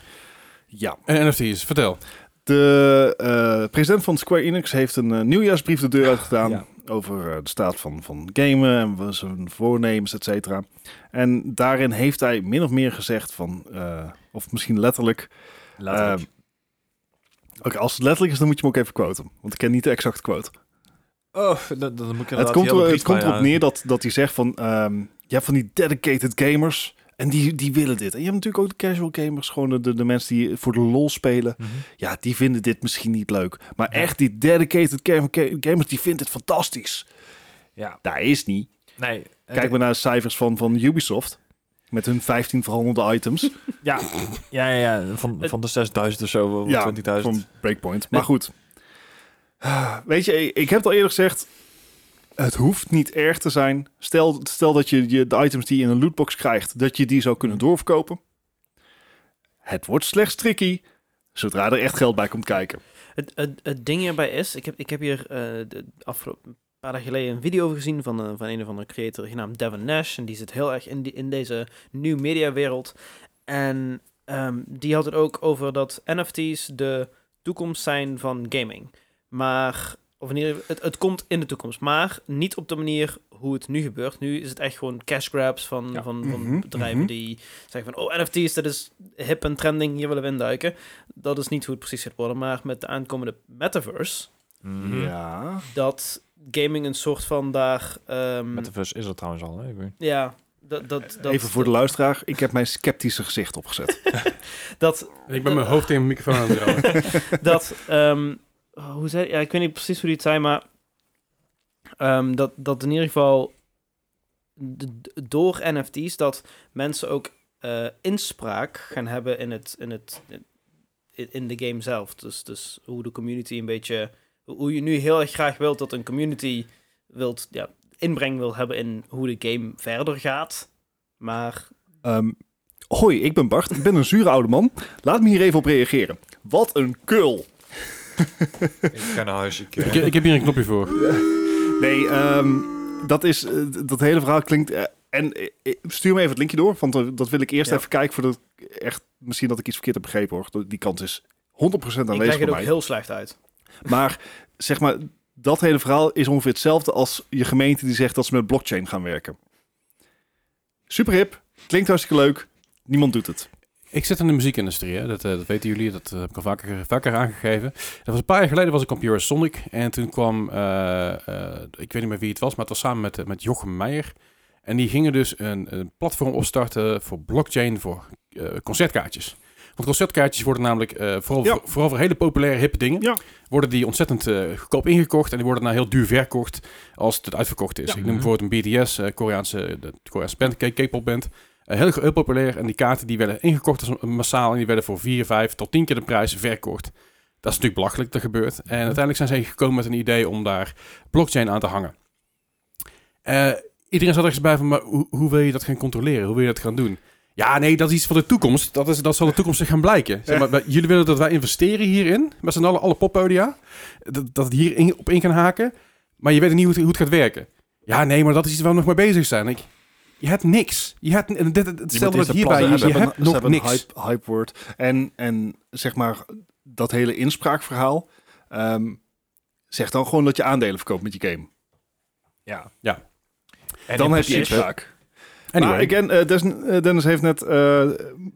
ja. en NFT's, vertel. De eh, president van Square Enix heeft een eh, nieuwjaarsbrief de deur uitgedaan Ja. over eh, de staat van, van gamen en wat zijn voornemens, et cetera. En daarin heeft hij min of meer gezegd van, eh, of misschien letterlijk, Laat Ehm, oké, als het letterlijk is, dan moet je hem ook even quoten, want ik ken niet de exacte quote. oh, dan, dan moet ik inderdaad het komt, die hele er, het brief komt bij erop houden. neer dat, dat hij zegt van, ehm, je hebt van die dedicated gamers en die, die willen dit. En je hebt natuurlijk ook de casual gamers, gewoon de- de, de mensen die voor de lol spelen. Mhm. ja, die vinden dit misschien niet leuk. Maar echt, die dedicated cam- ca- gamers, die vindt het fantastisch. Ja, Dat is niet. nee. eh, Kijk maar naar de cijfers van, van Ubisoft. Met hun 15 verhandelde items. Ja, ja, ja, ja, van, van de 6000 of zo, Ja, ja, 20.000. Van Breakpoint. Maar goed. Weet je, ik heb het al eerder gezegd. Het hoeft niet erg te zijn. Stel, stel dat je, je de items die je in een lootbox krijgt, dat je die zou kunnen doorverkopen. Het wordt slechts tricky zodra er echt geld bij komt kijken. Het, het, het ding hierbij is, ik heb, ik heb hier eh, de afgelopen een paar dagen geleden een video over gezien van, eh, van een of andere creator genaamd Devin Nash. En die zit heel erg in, die, in deze nieuwe mediawereld. En ehm, die had het ook over dat NFT's de toekomst zijn van gaming. Maar, of in ieder geval, het, het komt in de toekomst. Maar niet op de manier hoe het nu gebeurt. Nu is het echt gewoon cash grabs van, Ja. van, van Mhm, bedrijven mhm. die zeggen van... Oh, NFT's, dat is hip en trending, hier willen we induiken. Dat is niet hoe het precies gaat worden. Maar met de aankomende metaverse, Mhm. Ja. dat gaming een soort van daar... ehm, Metaverse is er trouwens al. Hè? Ik weet- ja, dat, dat, dat, Even voor de luisteraar, ik heb mijn sceptische gezicht opgezet. (laughs) dat, Ik ben mijn hoofd tegen mijn microfoon aan het houden. (laughs) dat, ehm, hoe zei, ja, ik weet niet precies hoe die het zei, maar ehm, dat, dat in ieder geval d- d- door NFT's dat mensen ook eh, inspraak gaan hebben in het, in het, in- in de game zelf. Dus, dus hoe de community een beetje, hoe je nu heel erg graag wilt dat een community wilt, ja, inbreng wil hebben in hoe de game verder gaat. Maar Ehm, hoi, ik ben Bart. Ik ben een zure oude man. Laat me hier even op reageren. Wat een kul. Ik ga naar huis. Ik, eh, ik, ik heb hier een knopje voor. Nee, ehm, dat, is, eh, dat hele verhaal klinkt... eh, en eh, eh, stuur me even het linkje door, want eh, dat wil ik eerst Ja. even kijken... voordat ik echt, misschien dat ik iets verkeerd heb begrepen hoor. Dat- Die kans is 100% ik aanwezig leg bij het ook mij. heel slecht uit. Maar zeg maar, dat hele verhaal is ongeveer hetzelfde als je gemeente die zegt dat ze met blockchain gaan werken. Super hip, klinkt hartstikke leuk, niemand doet het. Ik zit in de muziekindustrie, hè? Dat, eh, dat weten jullie, dat eh, heb ik al vaker, vaker aangegeven. Dat was een paar jaar geleden was ik op Eurosonic en toen kwam, eh, eh, ik weet niet meer wie het was, maar het was samen met, eh, met Jochem Meijer. En die gingen dus een, een platform opstarten voor blockchain, voor eh, concertkaartjes. Want concertkaartjes worden namelijk, eh, vooral, Ja. voor, vooral voor hele populaire, hippe dingen, Ja. worden die ontzettend eh, goedkoop ingekocht en die worden daarna heel duur verkocht als het uitverkocht is. Ja. Ik noem bijvoorbeeld een BTS, eh, Koreaanse, de Koreaanse band, K- K-pop band. Eh, heel, heel populair. En die kaarten die werden ingekocht als massaal. En die werden voor 4, 5 tot 10 keer de prijs verkocht. Dat is natuurlijk belachelijk, dat gebeurt. Mhm. En uiteindelijk zijn zij gekomen met een idee om daar blockchain aan te hangen. Eh, iedereen zat ergens bij van, maar hoe, hoe wil je dat gaan controleren? Hoe wil je dat gaan doen? Ja, nee, dat is iets van de toekomst. Dat, is, dat zal de toekomst zich gaan blijken. Zeg maar, wij- Jullie willen dat wij investeren hierin, met z'n allen, alle poppodia. Dat, dat het hier in- op in kan haken. Maar je weet niet hoe het, hoe het gaat werken. Ja, nee, maar dat is iets waar we nog mee bezig zijn. Ik, je hebt niks. Je hebt, en dit, het stelde Iemand dat hierbij. is de Je, plannen- je ze hebt hebben- ze nog hebben een niks. Hype, hype word. En, en zeg maar, dat hele inspraakverhaal. ehm, zeg dan gewoon dat je aandelen verkoopt met je game. ja. Ja. En dan in heb je principe- inspraak. Anyway. Maar again, eh, Des- eh, Dennis heeft net eh,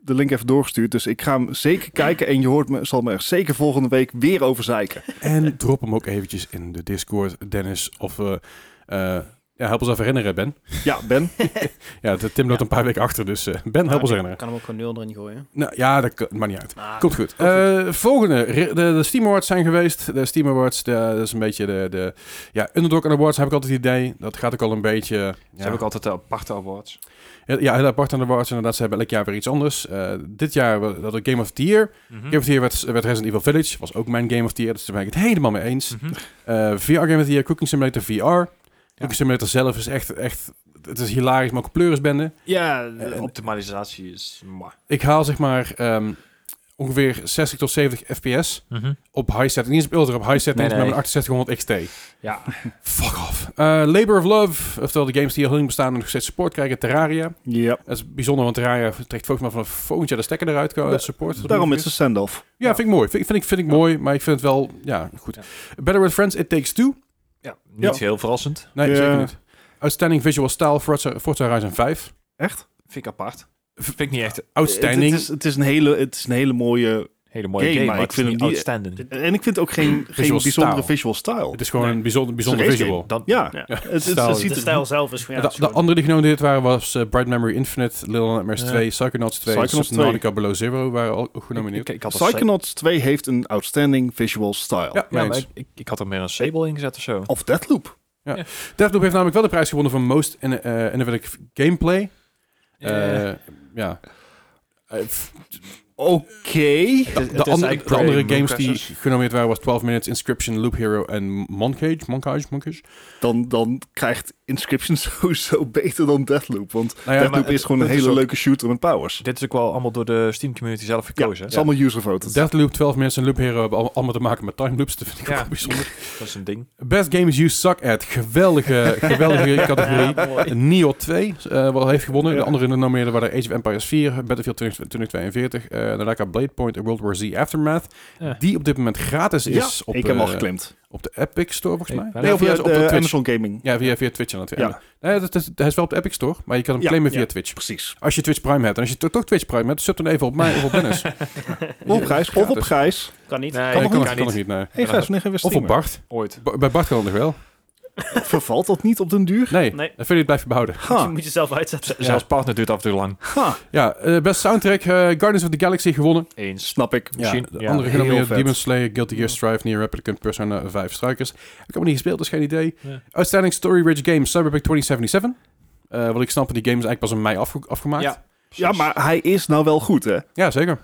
de link even doorgestuurd. Dus ik ga hem zeker kijken. En je hoort me, zal me er zeker volgende week weer over zeiken. En drop hem ook eventjes in de Discord, Dennis. Of eh, eh, ja, help ons even herinneren, Ben. Ja, Ben. Ja, de- Tim loopt een paar weken achter, dus eh, Ben, help ons Ik herinneren. kan hem ook gewoon nul erin gooien. Ah, Nou ja, dat kan- maakt niet uit. Ah, Maar Komt goed. Eh, volgende. Re- De, de Steam Awards zijn geweest. De Steam Awards, de- dat is een beetje de, de... Ja, Underdog Awards heb ik altijd het idee. Dat gaat ook al een beetje... Ze Ja, hebben ook altijd de aparte awards. ja heel apart aan de awards. Inderdaad, ze hebben elk jaar weer iets anders. Eh, dit jaar wa- dat ik Game of the Hm. Year. Mhm. Game of the Year werd, werd Resident Evil Village. Was ook mijn Game of the Year. Dus daar ben ik het helemaal mee eens. Mhm. Eh, VR Game of the Year, Cooking Simulator VR. Cooking Simulator zelf is echt... echt het is hilarisch, maar ook een pleurisbende. (laughs) Ja, de Eh, En- optimalisatie is... maar. Ik haal zeg maar ehm, ongeveer 60 tot 70 fps Mhm. op high setting. Niet eens op ultra, op high setting, Nee, nee. maar met 6800 XT. Ja. Fuck off. Eh, Labor of Love, oftewel de games die al heel lang bestaan en nog steeds support krijgen. Terraria. Ja. Dat is bijzonder, want Terraria trekt volgens mij vanaf volgend jaar de stekker eruit qua Da- support. Daarom is het send-off. Ja, vind ik mooi. Vind, vind ik, vind ik mooi, maar ik vind het wel, ja, goed. Ja. Better With Friends, It Takes Two. ja, niet Ja. heel verrassend. Nee, Ja. zeker niet. Outstanding Visual Style, Forza, Forza Horizon 5. Echt? Vind ik apart. Vind ik niet echt een Outstanding. Eh, Het, het is, het, is een hele, het is een hele mooie... hele mooie Game, game, maar maar ik vind ik vind het hem niet niet- outstanding. En ik vind het ook geen, geen Visual bijzondere style. visual style. het is gewoon Nee. een bijzonder, bijzonder Het is een visual. Dan, ja, Ja. het, het, Style. het De ziet de er- stijl zelf is gewoon... Ja, de, de andere die genomineerd waren was eh, Bright Memory Infinite, Little Nightmares Ja. 2, Psychonauts 2, Psychonauts Subnautica Below Zero waren al ook genomineerd. ik, ik had al Sa- Psychonauts 2 heeft een outstanding visual style. ja, ja, ja, maar ik, ik, ik had er meer een Sable in gezet of zo. Of Deathloop. Deathloop heeft namelijk wel de prijs gewonnen voor Most in, eh, Innovative Gameplay. Eh, Eh, ja. Eh, f- Oké. de- het de, is andere- eigenlijk de andere Prey, games die Mooncrisis. genomineerd waren was 12 Minutes, Inscription, Loop Hero en Monkage. Monkage, Monkage. Dan, dan krijgt Inscription (laughs) sowieso beter dan Deathloop. Want Nou ja, maar Deathloop is gewoon een het is hele ook- leuke shooter met powers. Dit is ook wel allemaal door de Steam community zelf Ja, gekozen. het is hè? allemaal user-voted. Deathloop, 12 Minutes en Loop Hero hebben al- allemaal te maken met time loops. Dat vind ik Ja. ook wel bijzonder. Dat is een ding. Best Games You Suck At. Geweldige, (laughs) (laughs) geweldige categorie. (laughs) Ja, mooi. Nio 2 eh, wel heeft gewonnen. Ja. De andere genomineerden waren Age of Empires 4, Battlefield 20- 2042, eh daarna kwam Blade Point en World War Z Aftermath. Ja. Die op dit moment gratis is op, ik heb hem al eh, geklemd. op de Epic Store volgens Ik- mij. Nee, of via juist op de de Twitch. Amazon Gaming. Ja, via, via Twitch aan het Ja. Nee, dat, dat- hij is wel op de Epic Store, maar je kan hem Ja, claimen via ja. Twitch. Precies. Als je Twitch Prime hebt en als je to- toch Twitch Prime hebt, sub dan even op mij of op (laughs) Dennis. Nee, Of op Gijs. Of op Gratis. Gijs. Kan niet. Nee, dat dat kan, kan nog- kan nog niet. niet. nee. hey, Gijs, wanneer gaan we Of op streamen? Bart. Ooit. Ba- bij Bart kan het nog wel. Vervalt dat niet op den duur? Nee, Nee. dat vind ik het blijven behouden. Dus je Ha. moet jezelf uitzetten. Zelfs partner duurt af en toe lang. Ha. Ja, eh, best soundtrack, eh, Guardians of the Galaxy gewonnen. Eens. Snap ik. Ja, Misschien- de ja, andere heel genomineerden vet. Demon Slayer, Guilty Gear Strive, Nier Replicant, Persona 5 Strikers. Ik heb hem niet gespeeld, dus geen idee. Ja. Outstanding Story Rich Games, Cyberpunk 2077. Eh wat ik snap, die game is eigenlijk pas in mei afge- afgemaakt. Ja, Ja. Ja, maar hij is nou wel goed, hè? zeker.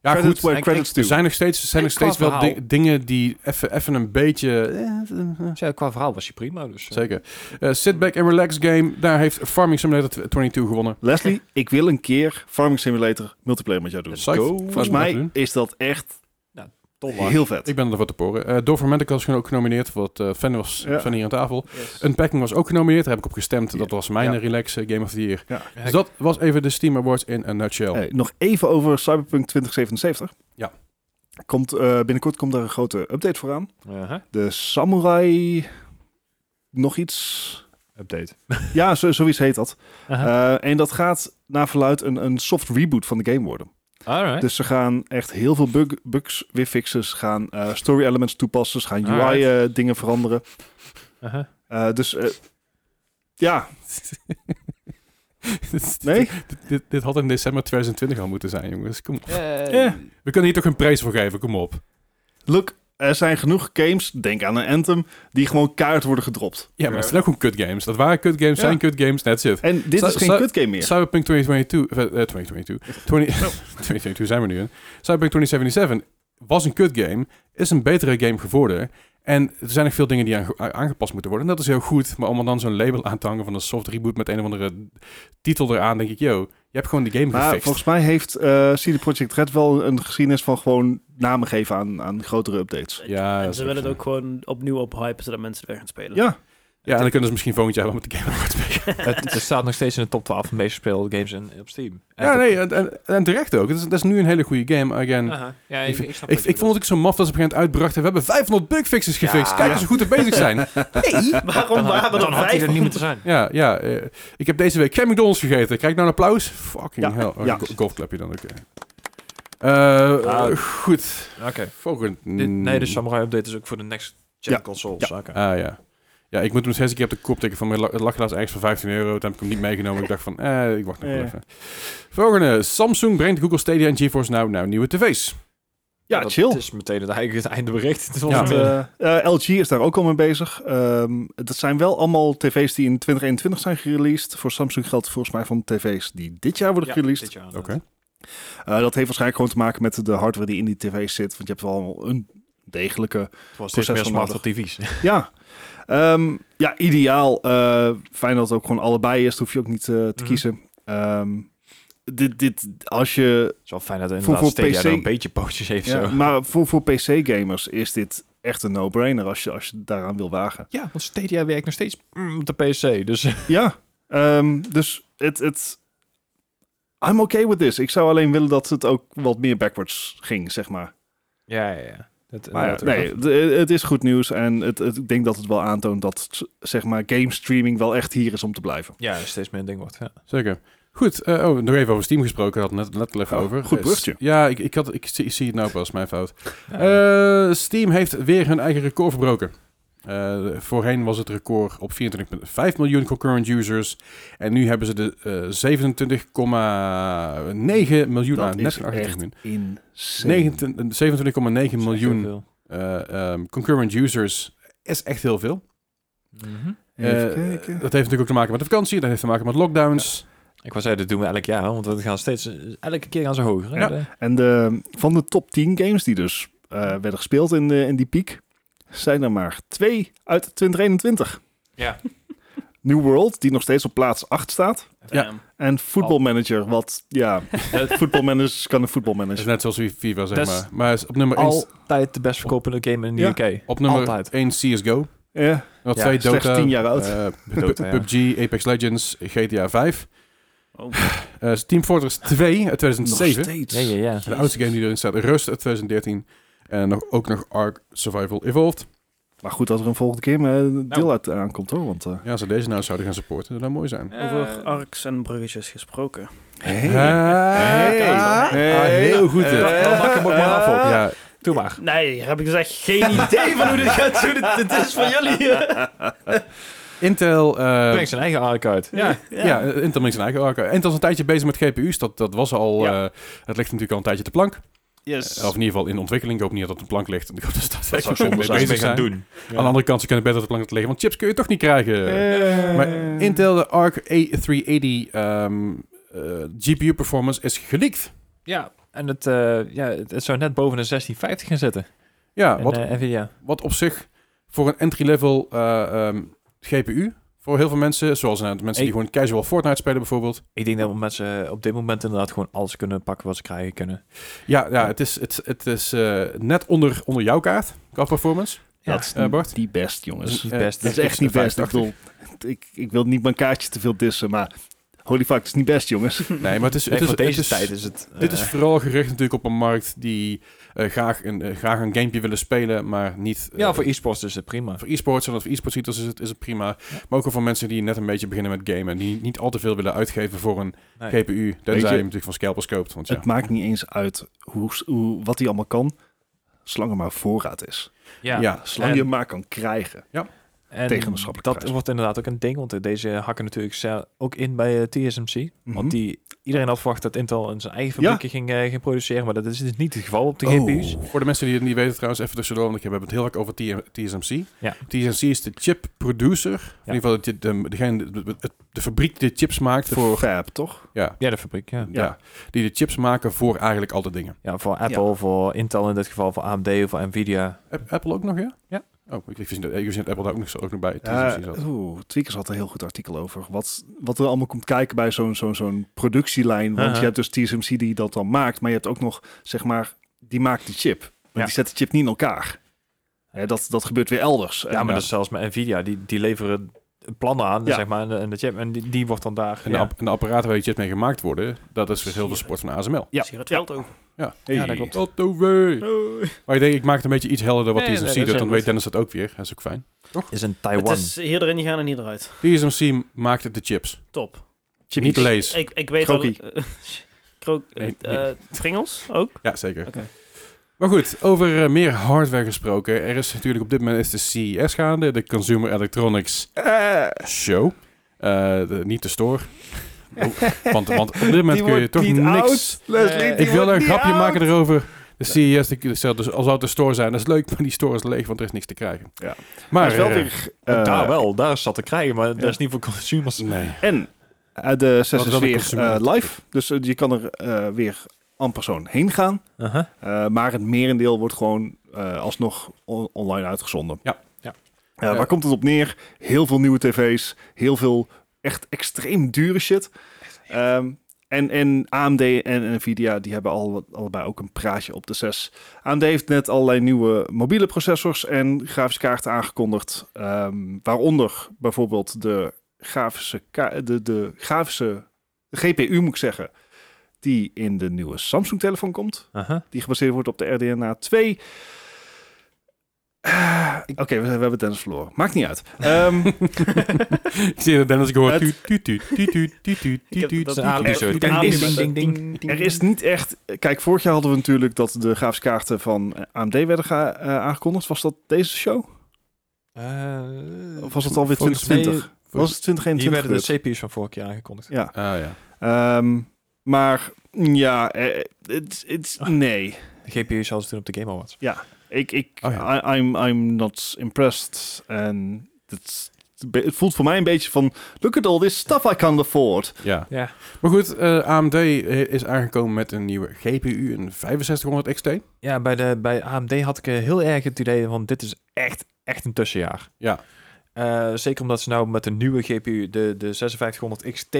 Ja, credits Ah, goed. where ik- credits Er due. zijn nog steeds, er zijn En nog steeds qua wel di- verhaal. dingen die even even een beetje... eh, eh, eh, Ja, qua verhaal was je prima. Dus, eh. zeker. Eh, sit Back and Relax Game, daar heeft Farming Simulator 22 gewonnen. Leslie, ik wil een keer Farming Simulator multiplayer met jou doen. Let's Psych. go. Laten Volgens we dat mij doen. is dat echt Tot lang. heel vet. Ik ben ervoor te poren. Eh Dorfromantic was ook genomineerd, wat eh fan was Ja. van hier aan tafel. Yes. Unpacking was ook genomineerd, daar heb ik op gestemd. Dat was mijn Ja. relax eh, Game of the Year. Ja. Dus dat was even de Steam Awards in een nutshell. Hey, nog even over Cyberpunk 2077. Ja. Komt, eh, binnenkort komt daar een grote update voor aan. Aha. De Samurai... Nog iets... Update. Ja, zo, zoiets heet dat. Aha. Eh, en dat gaat naar verluid een, een soft reboot van de game worden. Alright. Dus ze gaan echt heel veel bug, bugs weer fixen. Ze gaan eh, story elements toepassen. Ze gaan UI eh, dingen veranderen. Aha. Eh, dus eh, ja, nee? (laughs) dit, dit, dit had in december 2020 al moeten zijn, jongens. Kom op. Eh. Ja. We kunnen hier toch een prijs voor geven, kom op. Look, er zijn genoeg games, denk aan een Anthem, die gewoon kaart worden gedropt. Ja, maar het zijn ook gewoon kut games. Dat waren kut games, Ja. zijn kut games, that's it. En dit Zo- is geen zo- kutgame meer. Cyberpunk 2022, eh, eh, 2022, (laughs) 20, 2022 zijn we nu in. Cyberpunk 2077 was een kut game, is een betere game geworden. En er zijn nog veel dingen die aange- a- aangepast moeten worden. En dat is heel goed, maar om er dan zo'n label aan te hangen van een soft reboot met een of andere titel eraan, denk ik, yo, je hebt gewoon de game Maar gefixt. volgens mij heeft eh CD Projekt Red wel een geschiedenis van gewoon namen geven aan, aan grotere updates. Ja, en dat ze is willen ook het ook gewoon opnieuw ophypen, zodat mensen het weer gaan spelen. Ja, Ja, en dan kunnen ze misschien volgend jaar wel met de Game Awards mee. het, het staat nog steeds in de top 12 van de meest gespeelde games in, op Steam. Ja, nee, en, en, en terecht ook. Dat is, dat is nu een hele goede game. Again, Aha. Uh-huh. Ja, ik, ik, ik, snap ik wat je vond het ook zo maf dat ze op een gegeven moment uitbrachten. We hebben 500 bugfixes gefixt. Ja. Kijk eens hoe goed er bezig zijn. Nee, (laughs) waarom waren bedoelt. er dan Dan had hij vijf? er niet moeten zijn. Ja, ja. eh, ik heb deze week geen McDonald's gegeten. Krijg ik nou een applaus? Fucking Ja, hell. Oh, ja. go- Golfklapje dan, oké. Eh, Ah. goed. Oké. Volgend. Dit- Nee, dus- de Samurai Update is ook voor de next-gen Ja. consoles. Oké. Ah, ja. Ja, ik moet hem steeds een keer op de kop tikken van mijn la- het lag helaas ergens voor 15 euro. Toen heb ik hem niet meegenomen. Ik dacht van, eh, ik wacht nog wel Ja. even. Volgende. Samsung brengt Google Stadia en GeForce Now naar nieuwe tv's. Ja, dat chill. is meteen het, eigenlijk het eindbericht. Het was Ja. het, eh, Eh, eh, LG is daar ook al mee bezig. Ehm, dat zijn wel allemaal tv's die in 2021 zijn gereleased. Voor Samsung geldt volgens mij van tv's die dit jaar worden ja, gereleased. dit jaar Oké. inderdaad. Eh, dat heeft waarschijnlijk gewoon te maken met de hardware die in die tv's zit. Want je hebt wel een degelijke... Het was steeds meer Proces van smart op tv's. Ja, Ehm, ja ideaal. Eh, fijn dat het ook gewoon allebei is. Dat hoef je ook niet eh, te Mhm. kiezen. Ehm, dit, dit, als je Het is wel fijn dat het Voor- inderdaad voor Stadia PC er een beetje pootjes heeft. Ja, zo. maar voor, voor PC-gamers is dit echt een no-brainer als je, als je daaraan wil wagen. Ja, want Stadia werkt nog steeds mm, op de PC. Dus Ja, ehm, dus het... het I'm okay with this. Ik zou alleen willen dat het ook wat meer backwards ging, zeg maar. ja, ja, ja. Dat, Maar dat- nee, de- het is goed nieuws en het, het, ik denk dat het wel aantoont dat zeg maar, game streaming wel echt hier is om te blijven. Ja, steeds meer een ding wordt. Ja. Zeker. Goed, eh, oh, nog even over Steam gesproken. Had net, net al even Oh, over. goed Eh, bruggetje. ja, ik, ik, had, ik, zie, ik zie het nou pas, mijn fout. Ja. Eh, Steam heeft weer hun eigen record verbroken. Eh, voorheen was het record op 24,5 miljoen concurrent users. En nu hebben ze de eh 27,9 miljoen Dat aan. is Net geen 28 echt miljoen. In 19 27,9 miljoen Zoveel. eh, ehm, concurrent users is echt heel veel. Mhm. Eh, dat heeft natuurlijk ook te maken met de vakantie. Dat heeft te maken met lockdowns. Ik was zeggen, dat doen we elk jaar, want we gaan steeds, elke keer gaan ze hoger. hè? Ja. De- En de, van de top 10 games die dus eh, werden gespeeld in, de, in die piek, zijn er maar twee uit 2021. Ja. (laughs) New World, die nog steeds op plaats 8 staat. Ja. Damn. En Oh. Football Manager, wat (laughs) ja, Het- Football Manager kan een Football Dat is (laughs) Manager. net zoals FIFA, zeg Dat is maar. Maar is op nummer 1 Altijd de best verkopende game in de Ja. UK. op nummer Altijd. 1 CSGO. Ja, Wat Ja, twee Eh, slechts Dota, 10 jaar oud. eh, Dota, ja. PUBG, Apex Legends, GTA 5. Oh. Eh, Team Fortress 2 uit nog 2007. steeds. Ja, ja, ja. De oudste game die erin staat. Rust uit 2013. En nog, ook nog Ark Survival Evolved. Maar goed dat er een volgende keer eh, een Nou. deel uit aankomt hoor. Want, eh, Ja, als ze deze nou zouden gaan supporten, dat zou mooi zijn. Over arcs en bruggetjes gesproken. Hey. Hey. Ah, heel goed. hè. Eh, dan maak ik hem ook maar af op. Ja, Doe maar. Nee, daar heb ik dus echt geen (laughs) idee van hoe dit gaat. Hoe dit, dit is van jullie. eh. Intel... eh, Breng zijn eigen arc uit. Ja. ja. eh, Intel maakt zijn eigen Ark. Intel is een tijdje bezig met GPU's. Dat, dat was al... Ja. eh, het ligt natuurlijk al een tijdje te plank. Yes. Eh, Of in ieder geval in ontwikkeling. Ik hoop niet dat het op de plank ligt. Ik hoop dat ze daar Dat zou echt zonde mee (laughs) zijn. bezig Mee gaan zijn. doen. Aan de andere kant, ze kunnen beter op de plank liggen, want chips kun je toch niet krijgen. Eh. Maar Intel, de Arc A380 ehm, eh, GPU performance is geleakt. Ja. En het, eh, ja, het, het zou net boven de 1650 gaan zitten. Ja, Ah, wat, En, eh, Nvidia. wat op zich voor een entry-level eh, ehm, GPU, voor heel veel mensen, zoals nou, de mensen die Ik- gewoon casual Fortnite spelen bijvoorbeeld. Ik denk dat mensen op dit moment inderdaad gewoon alles kunnen pakken wat ze krijgen kunnen. Ja, ja het is, het, het is eh, net onder, onder jouw kaart qua performance. Ja. dat is eh, Bart? niet best Dat is jongens. niet eh, best. Dat is echt niet best. Ik, bedoel, ik, ik wil niet mijn kaartje te veel dissen, maar holy fuck, het is niet best jongens. Nee, maar het is... Nee, Het is, voor het deze is- tijd is het... Dit is eh, vooral gericht natuurlijk op een markt die eh, graag, een, eh, graag een gamepje willen spelen, maar niet... eh, ja, voor e-sports is het prima. Voor e-sports en als voor e-sports ziet, is het, is het prima. Maar ook al voor mensen die net een beetje beginnen met gamen. Die niet al te veel willen uitgeven voor een Nee. GPU. Tenzij je je- hem natuurlijk van scalpers koopt. Want ja. Het maakt niet eens uit hoe, hoe, wat hij allemaal kan, zolang er maar voorraad is. Ja. Zolang En- je hem maar kan krijgen. En Tegen een maatschappelijke Dat prijs. wordt inderdaad ook een ding, want eh, deze hakken natuurlijk ze- ook in bij eh, TSMC. Mhm. Want die, iedereen had verwacht dat Intel in zijn eigen Ja. fabriekje ging, eh, ging produceren, maar dat is dus niet het geval op de Oh. GPU's. Voor de mensen die het niet weten trouwens, even tussendoor. Want ik heb we hebben het heel vaak over TM TSMC. Ja. TSMC is de chip producer. In ieder geval de, de, degene, de, de- de fabriek die de chips maakt De voor... fab, toch? Ja, Ja, de fabriek, ja. ja. Die de chips maken voor eigenlijk al de dingen. Ja, voor Apple, voor Intel in dit geval, voor AMD, of voor Nvidia. App- Apple ook nog, ja? Ja. Oh, ik, ik wist niet dat ik wist niet dat Apple daar ook nog, zo- ook nog bij Ja, TSMC zat. Oeh, Tweakers had een heel goed artikel over. Wat, wat er allemaal komt kijken bij zo'n zo'n zo'n productielijn. Want Aha. je hebt dus TSMC die dat dan maakt. Maar je hebt ook nog, zeg maar, die maakt die chip. Maar Ja. die zet de chip niet in elkaar. Hè, dat, dat gebeurt weer elders. Ja, maar dat is zelfs met Nvidia. Die, die leveren plannen aan, Ja. zeg maar, en de, en de chip. En die, die wordt dan daar... En, ja. de, app- en de apparaten waar je chips mee gemaakt worden, dat is weer heel veel sport van ASML. Ja. Zie je het geld over. Ja, Hey. ja dat klopt. Wat over. Maar ik denk, ik maak het een beetje iets helderder wat Nee, TSMC nee, dat is doet. Dan heel weet goed. Dennis dat ook weer. Dat is ook fijn. is een Het Taiwan. is hier erin gaan en hier eruit. TSMC maakt de chips. Top. Chip niet de lees. Ik, ik weet Krokie. (laughs) al... Krook... Nee, eh, eh, Pringles ook? (laughs) Ja, zeker. Oké. Maar goed, over eh, meer hardware gesproken. Er is natuurlijk op dit moment is de CES gaande. De Consumer Electronics Show. Eh, de- niet de (laughs) store. Oh, want, want op dit moment kun je toch niks... Leslie, Ik wil een grapje maken erover. De CES, de, dus al zou het een store zijn, dat is leuk, maar die store is leeg, want er is niks te krijgen. Ja. Maar, wel eh, weer, Ook eh, daar wel, daar is dat te krijgen, maar dat is niet voor consumers. nee. En eh, de wel sessie de is weer consumer. eh, live. Dus eh, je kan er eh, weer aan persoon heen gaan. Uh-huh. Eh, maar het merendeel wordt gewoon eh, alsnog on- online uitgezonden. Ja, ja. Eh, Ja. Waar komt het op neer? Heel veel nieuwe tv's, heel veel echt extreem dure shit. Ehm, en, en AMD en Nvidia die hebben al, allebei ook een praatje op de 6. AMD heeft net allerlei nieuwe mobiele processors en grafische kaarten aangekondigd. Ehm, waaronder bijvoorbeeld de grafische, ka- de, de grafische GPU moet ik zeggen, die in de nieuwe Samsung telefoon komt Uh-huh. die gebaseerd wordt op de RDNA 2. Eh, Oké, we, we hebben Dennis verloren. Maakt niet uit. Ehm, (laughs) Ik zie dat Dennis, ik hoor... Het- tuut, tuut, tuut, tuut, tuut, tuut, tuut, Ik heb tuut. dat een aap die zo- niet ding, aangelegd. Ah, ding, ding, ding, er is niet echt... Kijk, vorig jaar hadden we natuurlijk dat de grafische kaarten van eh, AMD werden ga- eh, aangekondigd. Was dat deze show? Eh, Of was het alweer Volgens 2020? Was het Hier 2021? werden de CPU's van vorig jaar aangekondigd. Ja. Ah ja. Ehm, maar ja, eh, het het- nee. De GPU's hadden ze toen op de Game Awards. Ik, ik, Oh ja. I- I'm, I'm not impressed. En het, het voelt voor mij een beetje van... Look at all this stuff I can afford. ja. Ja. Maar goed, eh, AMD is aangekomen met een nieuwe GPU, een 6500 XT. Ja, bij, de, bij AMD had ik eh, heel erg het idee van dit is echt, echt een tussenjaar. Ja. Eh, zeker omdat ze nou met de nieuwe GPU, de, de 5600 XT,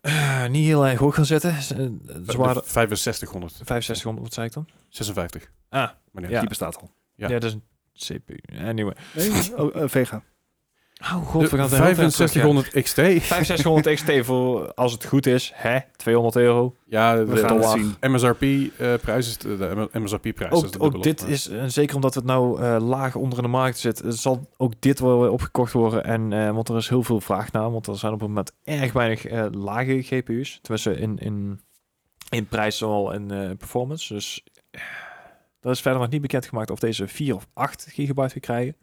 eh, niet heel erg hoog gaan zetten. Ze, eh, ze waren De 6500. 6500, wat zei ik dan? 56. Ah, Maar Ja. Die bestaat al. Ja. ja, dat is een CPU. Anyway. Oh, eh, Vega. Oh De god, we gaan het heel ver terug, ja. 6500 XT. 5600 XT voor, als het goed is, hè, 200 euro. Ja, de, We gaan het dollar. zien. MSRP-prijs eh, is de, MSRP-prijs. Ook, ook dit is, eh, zeker omdat het nou eh, laag onder in de markt zit, eh, zal ook dit wel weer opgekocht worden. En, eh, want er is heel veel vraag naar, want er zijn op het moment erg weinig eh, lage GPU's. Tenminste, in, in, in prijs zowel en eh, performance. Dus eh, dat is verder nog niet bekendgemaakt of deze 4 of 8 gigabyte we krijgen.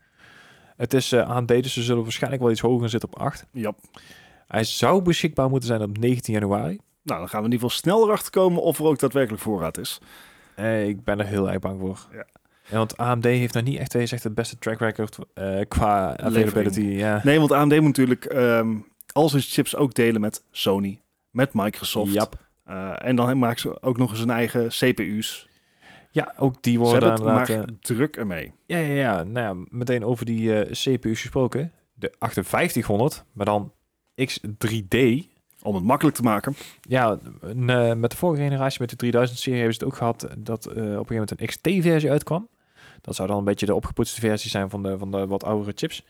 Het is eh AMD, dus ze zullen waarschijnlijk wel iets hoger zitten op 8. Ja. Hij zou beschikbaar moeten zijn op 19 januari. Nou, dan gaan we in ieder geval snel erachter komen of er ook daadwerkelijk voorraad is. Eh, ik ben er heel erg bang voor. Ja. Ja, want AMD heeft nog niet echt, hij zegt, het beste track record eh, qua availability. Ja. Nee, want AMD moet natuurlijk ehm al zijn chips ook delen met Sony, met Microsoft. Jap. Eh, en dan maken ze ook nog eens hun eigen CPU's. Ja, ook die Ze worden hebben het inderdaad... maar eh, druk ermee. ja, ja, ja. Nou ja, meteen over die eh, CPU's gesproken. De 5800, maar dan X3D. Om het makkelijk te maken. Ja, een, eh, met de vorige generatie, met de 3000-serie, hebben ze het ook gehad dat eh, op een gegeven moment een XT-versie uitkwam. Dat zou dan een beetje de opgepoetste versie zijn van de, van de wat oudere chips.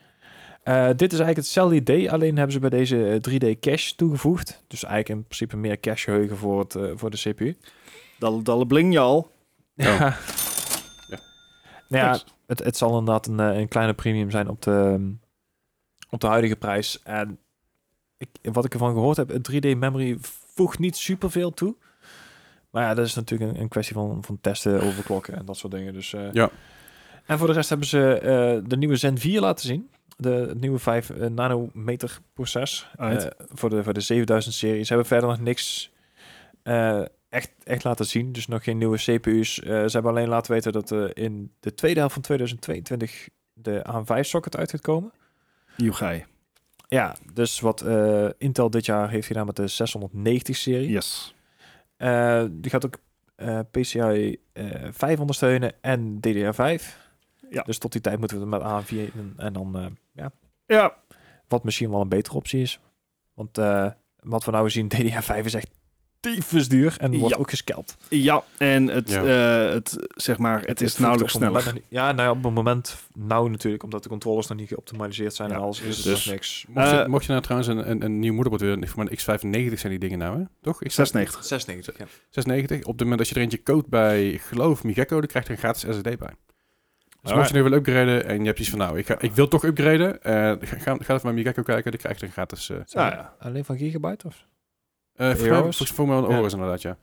Eh, dit is eigenlijk hetzelfde idee, alleen hebben ze bij deze eh, 3D cache toegevoegd. Dus eigenlijk in principe meer cache-geheugen voor, het, eh, voor de CPU. Dalle, dalle bling je al. (laughs) Ja. Ja. Nou ja, Thanks. het, het zal inderdaad een, eh, een kleine premium zijn op de, ehm, op de huidige prijs. En ik, wat ik ervan gehoord heb, het 3D-memory voegt niet superveel toe. Maar ja, dat is natuurlijk een, een kwestie van, van testen, overklokken en dat soort dingen. Dus, eh, Ja. En voor de rest hebben ze eh, de nieuwe Zen 4 laten zien. De, het nieuwe 5 eh, nanometer proces Uit. eh, voor, de, voor de 7000 serie. Ze hebben verder nog niks eh, echt, echt laten zien. Dus nog geen nieuwe CPU's. Eh, ze hebben alleen laten weten dat eh, in de tweede helft van 2022 de AM5 socket uit gaat komen. Yugai. Ja, dus wat eh, Intel dit jaar heeft gedaan met de 690 serie. Yes. Eh, die gaat ook eh, PCI eh 5 ondersteunen en DDR5. Ja. Dus tot die tijd moeten we het met AM4 en, en dan eh, ja, Ja. (laughs) wat misschien wel een betere optie is. Want eh, wat we nou zien, DDR5 is echt tyfus duur en wordt Ja. ook gescalpt. Ja, en het, Ja. eh, het, zeg maar, het is voelt nauwelijks op het sneller. moment nog niet- Ja, nou ja, op het moment nou natuurlijk, omdat de controllers nog niet geoptimaliseerd zijn en Ja, alles. Dus, dus- dus niks. Mocht, je, Eh, mocht je nou trouwens een, een, een nieuw moederbord willen, voor mijn X95 zijn die dingen nou, hè? Toch? X 96. 96, ja. 96. Op het moment dat je er eentje koopt bij, ik geloof Migecko, dan krijg je een gratis SSD bij. Dus Ah. mocht Alright. je nu willen upgraden en je hebt iets van, nou, ik, ga, ik wil toch upgraden, eh, ga, ga, ga even bij Migecko kijken, dan krijg je een gratis... eh eh Ja, ja. Alleen van gigabyte of? volgens mij- Euro's? volgens- volgens mij wel een Ja. euro's inderdaad, ja.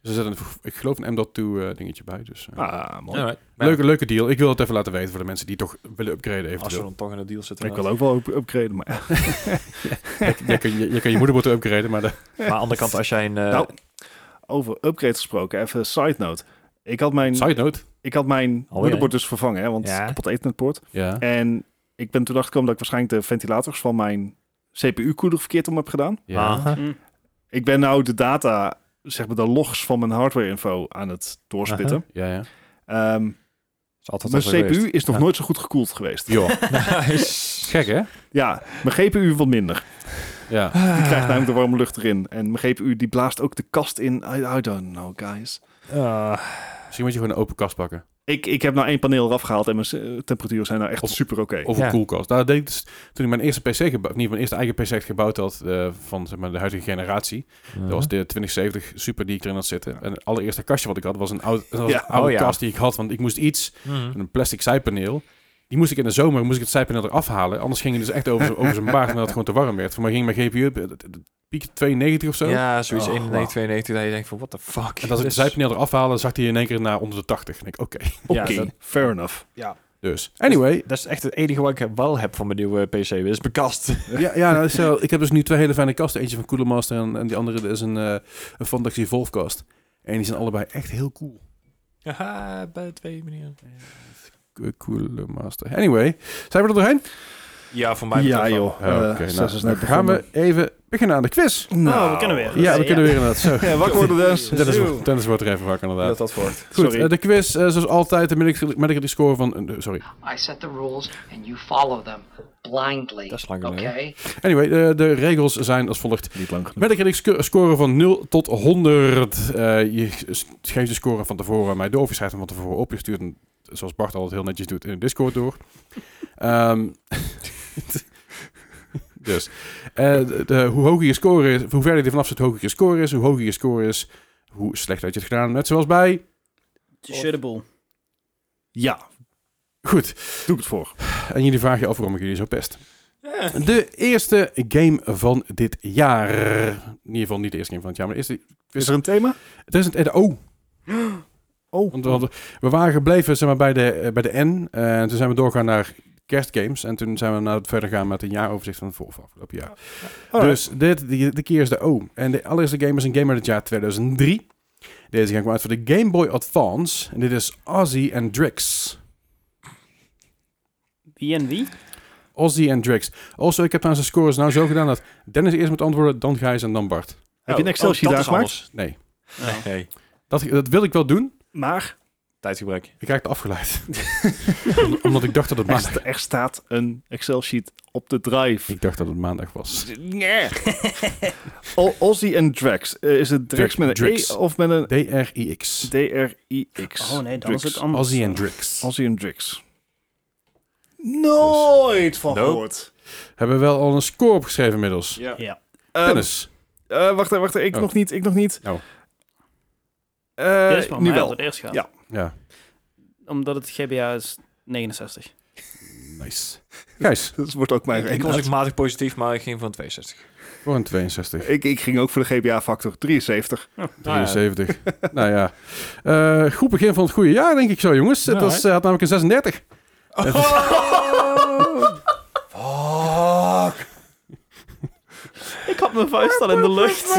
Dus er zit een, ik geloof een M.2 eh, dingetje bij, dus... eh, Ah, mooi. Nou, leuke, leuke deal. Ik wil het even laten weten voor de mensen die toch willen upgraden Als we eventueel. dan toch in de deal zitten. Ik wil ook wel up- upgraden, maar je, kun je, je kan je moederbord upgraden, maar... De, (laughs) Maar aan de andere kant, als jij een... eh, Nou, over upgrades gesproken, even een side note. Ik had mijn, side note. ik had mijn Alweer. moederbord dus vervangen, hè, want Oh, Ja. het kapot ethernet Ja. En ik ben toen achtergekomen dat ik waarschijnlijk de ventilators van mijn CPU-koeler verkeerd om heb gedaan. ja. aha. Mm. Ik ben nou de data, zeg maar de logs van mijn hardware-info aan het doorspitten. Ja, ja. Ehm, Is altijd mijn al CPU zo geweest. is nog Ja. nooit zo goed gekoeld (laughs) geweest. Joh. Nice. Gek, hè? Ja, mijn GPU wat minder. Ja. Die Ah. krijgt namelijk de warme lucht erin. En mijn GPU die blaast ook de kast in. I, I don't know, guys. Ah, Misschien moet je gewoon een open kast pakken. Ik, ik heb nou één paneel eraf gehaald en mijn eh, temperaturen zijn nou echt Of- super oké. Of Ja. een koelkast. Nou, dat deed ik dus toen ik mijn eerste PC gebouwd, of niet mijn eerste eigen PC echt gebouwd had eh, van zeg maar, de huidige generatie. Dat was de 2070 Super die ik erin had zitten. En het allereerste kastje wat ik had was een oud, dat was Ja. een oude Oh, ja. kast die ik had, want ik moest iets, Mhm. een plastic zijpaneel. Die moest ik in de zomer, moest ik het zijpaneel eraf halen. Anders ging het dus echt over, over (laughs) zijn baard en dat het gewoon te warm werd. Voor mij ging mijn GPU op, eh, d- d- piek 92 of zo. Ja, zoiets Oh, 91, wauw. 92, dat je denkt van, what the fuck. En als ik het Dit is- zijpaneel eraf haalde, zag hij in één keer naar onder de 80. En ik, oké. Oké, Ja, dat- fair enough. Dus, anyway, Dat is echt het enige wat ik wel heb van mijn nieuwe PC. Dat is mijn kast. Ja, ja nou, zo, ik heb dus nu twee hele fijne kasten. Eentje van Cooler Master en, en die andere is een, eh een Fantax Evolve kast. En die zijn allebei echt heel cool. (laughs) Haha, bij twee manieren. Co- Cooler Master. Anyway, zijn we er doorheen? Ja, voor mij ja betreft wel. joh, Oké, Eh, nou, zes is net dan gaan we begonnen. even beginnen aan de quiz. Nou, we kunnen weer. Ja, we kunnen weer inderdaad. (laughs) Zo. (laughs) Ja, wakker worden dus. Dennis, wordt- Dennis wordt er even wakker inderdaad. Dat dat wordt. Goed, Sorry. eh, de quiz, eh, zoals altijd, de medical, medical score van... eh, sorry. I set the rules and you follow them blindly. That's not gonna okay. Anyway, eh, de, de regels zijn als volgt. Niet lang genoeg. Met een kritiek sco- score van 0 tot 100. Eh, je s- geeft de score van tevoren aan mij door. Of je schrijft hem van tevoren op. Je stuurt hem, zoals Bart altijd heel netjes doet, in de Discord door. Ehm, (laughs) dus. eh, de, de- hoe hoger je score is, hoe verder je er vanaf zit, hoe hoger je score is. Hoe hoger je score is, hoe slecht dat je het gedaan. hebt. Net zoals bij... Shutable. Ja, Goed. doe ik het voor. En jullie vragen je af waarom ik jullie zo pest. De eerste game van dit jaar. In ieder geval niet de eerste game van het jaar, maar de eerste Is er een thema? Het is het. Oh. Oh. Want we, hadden- we waren gebleven zeg maar, bij, de, eh, bij de N. eh, en toen zijn we doorgegaan naar kerstgames. En toen zijn we nou verder gaan met een jaaroverzicht van het voor- van afgelopen jaar. Alright. Dus dit, die, de keer is de O. En de allereerste game is een game uit het jaar 2003. Deze ging uit voor de Game Boy Advance. En dit is Ozzy en Drix. Wie en wie? Ozzy en Drix. Also, ik heb trouwens de scores nou zo gedaan dat Dennis eerst moet antwoorden, dan Gijs en dan Bart. Heb je een Excel-sheet daar gemaakt? Nee. Nee. nee. Dat, dat wil ik wel doen. Maar Tijdgebrek. Ik raakte afgeleid. Om- Omdat ik dacht dat het er, maandag... sta- er staat een Excel-sheet op de drive. Ik dacht dat het maandag was. (laughs) O- Ozzy en Drax. Eh, is het Drax Drax- met een Drax. E of met een D-R-I-X. D-R-I-X? Oh nee, dan Drax. is het anders. Ozzy en Drix. Ozzy en Drax. Nooit van Nope. gehoord. Hebben we wel al een score opgeschreven inmiddels. Ja. Ehm, Dennis. eh, wacht, even, wacht, even, ik Oh. nog niet, ik nog niet. Oh. Eh, Dit is van nu mij wel. dat het eerst gaat. Ja. Ja, Omdat het GBA is 69. nice. Gijs, Dat wordt ook mijn Ik, ik was ook matig positief, maar ik ging van 62. voor een 62. Ik, ik ging ook voor de GBA-factor 73. 73. nou ja. Eh, goed begin van het goede jaar, denk ik zo, jongens. Het Ja, was, eh, had namelijk een 36. Oh! (laughs) Ik had mijn vuist al in de lucht.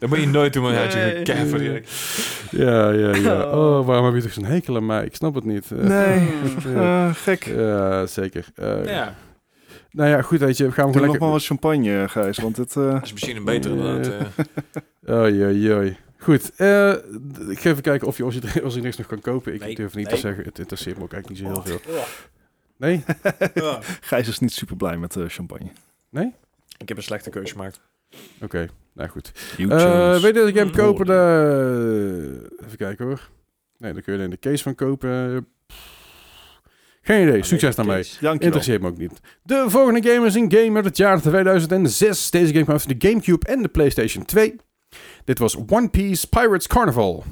Dat moet je nooit doen, want dan had je Nee. een kever direct. Ja, ja, ja. Oh. (laughs) Oh, waarom heb je toch zo'n hekel aan mij? Ik snap het niet. Eh, Nee, eh, eh, gek. (laughs) ja, zeker. Eh, Ja. Nou ja, goed, weet je. We gaan Doe gewoon nog maar lekker... wat champagne, Gijs, want het... eh, Dat is misschien een betere inderdaad. eh. Oei, oei, oei. Goed, eh, d- ik ga even kijken of je als je, (laughs) als je niks nog kan kopen. Ik Nee, durf niet nee. te zeggen. Het interesseert me ook eigenlijk niet zo heel veel. Nee? Gijs is niet super blij met eh, champagne. Ik heb een slechte keuze gemaakt. Oké, Nou goed. You Eh chose. weet je dat ik hem kopen? Oordeel. eh, even kijken hoor. Nee, daar kun je er in de case van kopen. Geen idee. Succes daarmee. Dankjewel. Interesseert me ook niet. De volgende game is een game uit het jaar 2006. Deze game kwam voor de Gamecube en de PlayStation 2. Dit was One Piece Pirates Carnival.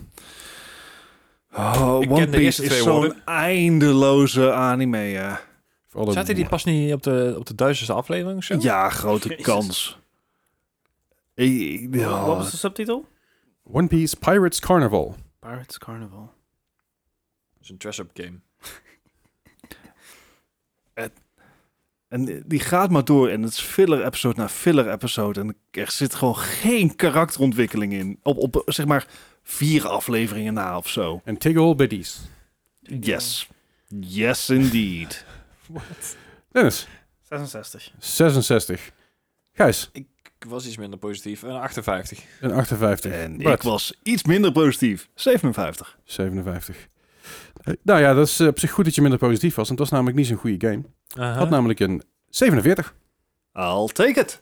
Oh, Ik One ken de eerste Piece is twee zo'n woorden. eindeloze anime. eh. ja. Voor alle- Zaten die pas niet op de, op de duizendste aflevering? of Zo? Ja, grote kans. Ik- ik- oh. ja. Wat was de subtitel? One Piece Pirates Carnival. Pirates Carnival. Dat is een dress-up game. En die gaat maar door en het is filler episode na filler episode. En er zit gewoon geen karakterontwikkeling in. Op, op zeg maar vier afleveringen na of zo. En Tiggle Biddies. Yes. Yes, (laughs) indeed. Dennis, 66. 66. Gijs, Ik was iets minder positief. Een 58. een 58. En Bart. ik was iets minder positief. 57. 57. Eh, Nou ja, dat is eh, op zich goed dat je minder positief was. Want dat was namelijk niet zo'n goede game. Had nou namelijk een 47. I'll take it.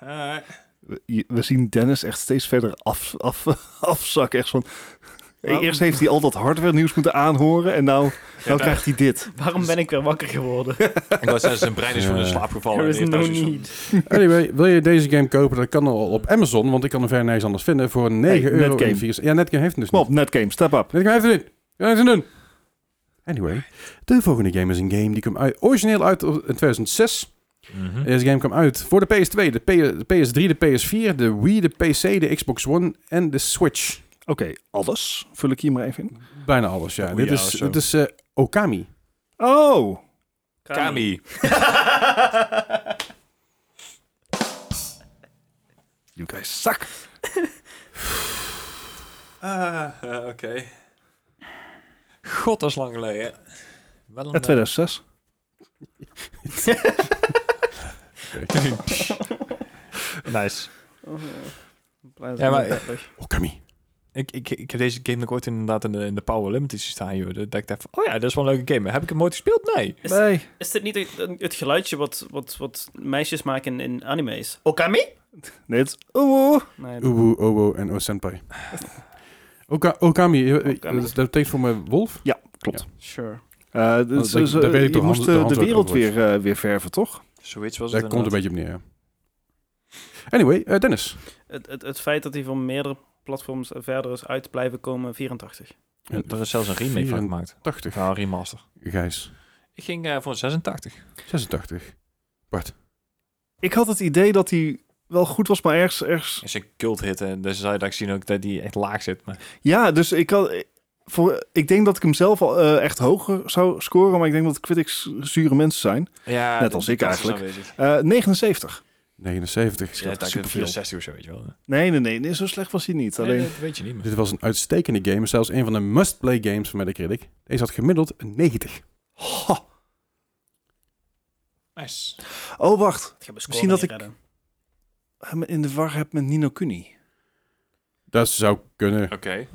Eh, We, je- we zien Dennis echt steeds verder af, af, (laughs) afzakken. Echt van... Eerst heeft hij al dat hardware nieuws moeten aanhoren. En nou, nou daar- krijgt hij (laughs) dit. Waarom ben ik weer wakker geworden? ik was zijn brein is gewoon in Eh. slaap gevallen. There is en die no heeft thuis iets need. (laughs) Anyway, wil je deze game kopen? Dat kan al op Amazon, want ik kan er verder nergens anders vinden. Voor 9 Hey, euro. Netgame. en vier- Ja, Netgame heeft hem dus Kom niet. op, netgame, step up. Netgame heeft hem niet. Ja, hij is een dun. Anyway, de volgende game is een game die kwam uit, origineel uit in 2006. Mhm. Deze game kwam uit voor de PS2, de, P- de PS3, de PS4, de Wii, de PC, de Xbox One en de Switch. Oké, alles vul ik hier maar even in. Bijna alles, ja. Oeh, dit Oh, ja, is, zo. dit is eh, Okami. Oh, Kami. you guys suck. Ah, eh, oké. God, dat is lang geleden. Wel een, Ja, 2006. eh, (laughs) nice. ja, Ja, maar- maar... Okami. Ik, ik, ik heb deze game nog ooit inderdaad in de, in de Power Limited staan, joh. Dat ik dacht van, oh ja, dat is wel een leuke game. Heb ik hem nooit gespeeld? Nee. Is- Nee. Is dit niet het, het geluidje wat, wat, wat meisjes maken in anime's? Okami? Nee, het Oh, is... Oeh. Nee, Uwu, Owo en O-senpai. Oka- Okami, eh, eh, Okami. dat betekent voor mij wolf. Ja, klopt. sure. Eh, dus- Nou, dat denk ik- dus, eh, daar weet ik je toch moest hand- de eh, de, handwerk wereld over. weer, eh, weer verven, toch? Zoiets was Daar het komt een beetje op neer, ja. Anyway, eh, Dennis. Het, het, het feit dat hij van meerdere platforms verder is uit blijven komen, 84. Er is zelfs een remake van gemaakt. 80. Ja, een remaster. Gijs. Ik ging eh, voor een 86. 86. Ik had het idee dat hij wel goed was, maar ergens... ergens... Dat is een cult hit en dus zou je dat ik zien ook dat die echt laag zit. Maar Ja, dus ik had... Voor, ik denk dat ik hem zelf al eh, echt hoger zou scoren, maar ik denk dat critics zure mensen zijn. ja, Net als de ik kans is eigenlijk. aanwezig. Eh, 79. 79. Ja, dat ik superveel. 64 of zo, weet je wel. Nee, nee, nee, nee, zo slecht was hij niet. Alleen, Nee, dat weet je niet meer. Dit was een uitstekende game. Zelfs een van de must-play games van Metacritic. Deze had gemiddeld een 90. Ha. Nice. oh wacht, Het gaat mijn Misschien score dat ik- niet redden. hem in de war heb met Nino Kuni. Dat zou kunnen. Oké.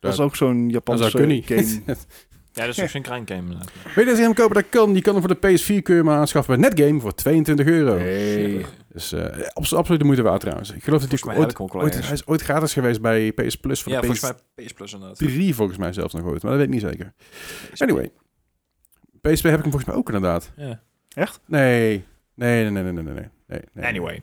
Dat is Dat- ook zo'n Dat Japanse zou kunnen. game. (laughs) Ja, dat is ook zo'n grind game. inderdaad. Weet je dat je hem kopen? Dat kan. Die kan hem voor de PS4 kun je maar aanschaffen bij Netgame voor 22 euro. Hey. Dus eh, abso- absoluut de moeite waard trouwens. Ik geloof dat Volgens die mij heb ooit, ik hem ook al ooit, ergens. hij is ooit gratis geweest bij PS Plus voor Ja, de volgens PS3 mij PS Plus inderdaad. volgens mij zelfs nog ooit. Maar dat weet ik niet zeker. Anyway. PSP heb ik hem volgens mij ook inderdaad. Ja. Nee. Nee, nee, nee, nee, nee, nee. nee, nee, nee. Anyway.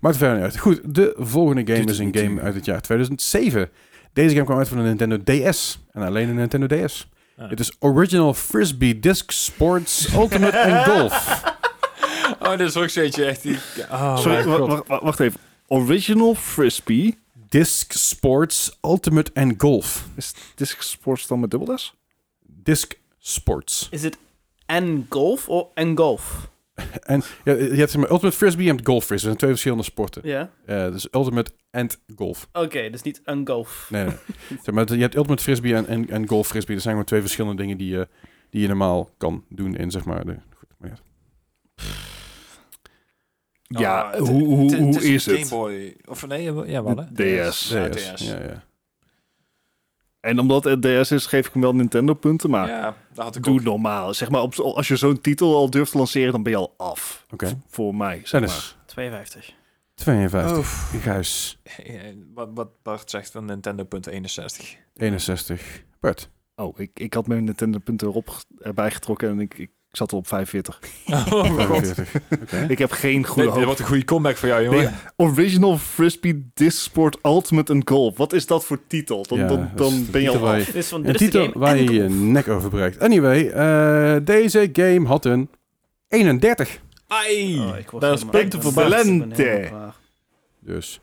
Maakt er verder niet uit. Goed, de volgende game Doet is het een niet game uit het jaar 2007. Deze game kwam uit voor de Nintendo DS. En alleen een Nintendo DS. Ah. Het is Original Frisbee Disc Sports Ultimate en (laughs) Golf. Oh, dit is ook zoietje echt die... Oh, Sorry, mijn wa- god. wa- wa- wacht even. Original Frisbee. Disc Sports Ultimate en Golf. Is Disc Sports dan met dubbel S? Disc Sports. Is het en golf of en golf? En ja, je hebt zeg maar, Ultimate Frisbee en Golf Frisbee. Dat zijn twee verschillende sporten. Ja. Eh, dus Ultimate en Golf. Oké, dus niet een golf. Nee, (laughs) nee. zeg maar, je hebt Ultimate Frisbee en, en, en Golf Frisbee. Dat zijn gewoon twee verschillende dingen die je, die je normaal kan doen in zeg maar, de, Ja, Ah, het- hoe, hoe, het- hoe een is Game het? Boy. Of nee, ja, wel hè? DS. Ja, DS. DS. Ja, ja. En omdat het DS is, geef ik hem wel Nintendo punten, maar Ja, daar had ik doe ook. normaal. Zeg maar, op, als je zo'n titel al durft te lanceren, dan ben je al af. Oké. V- Voor mij, zeg Dennis. maar. 52. 52. Gijs. Eh, Wat, wat Bart zegt van Nintendo.61. 61. (laughs) Bert. Oh, ik, ik had mijn Nintendo punten erop ge- erbij getrokken en ik, ik zat er op 45. Oh, god. 45. Ik heb geen Dit goede hoop. wordt een goede comeback voor jou, jongen. Original Frisbee Disc Sport Ultimate and Golf. Wat is dat voor titel? Dan, Ja, dan, dat is dan de ben je titel al waar af. je- Dit is van Een dit is de titel game waar en je de je golf. nek over breekt. Anyway, eh, deze game had een 31. Ai! Oh, ik word dat is helemaal- punten ik voor ben Bart. helemaal Valente. klaar. Dus,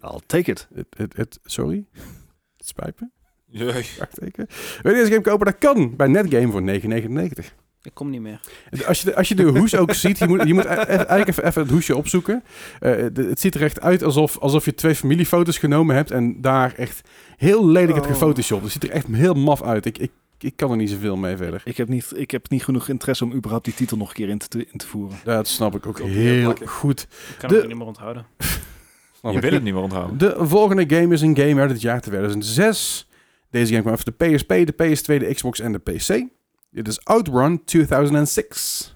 I'll take it. het, het, het, sorry. (laughs) Het spijt me. Jee. Vraagteken. Wil je deze game kopen? Dat kan. Bij Netgame voor 9,99. Ik kom niet meer. Als je, als je de hoes ook ziet, je moet, je moet e- e- eigenlijk even, even het hoesje opzoeken. Eh, de- het ziet er echt uit alsof, alsof je twee familiefoto's genomen hebt en daar echt heel lelijk hebt Oh. gefotoshopt. Het ziet er echt heel maf uit. Ik, ik, ik kan er niet zoveel mee verder. Ik heb, niet, ik heb niet genoeg interesse om überhaupt die titel nog een keer in te, in te voeren. Dat snap ik ook Klopt, heel heel makkelijk. goed. Ik kan De- het niet meer onthouden. Snap Je ik. wil het niet meer (laughs) onthouden. De volgende game is een game uit het jaar 2006. Deze game kwam voor de PSP, de PS2, de Xbox en de PC. Dit is Outrun 2006.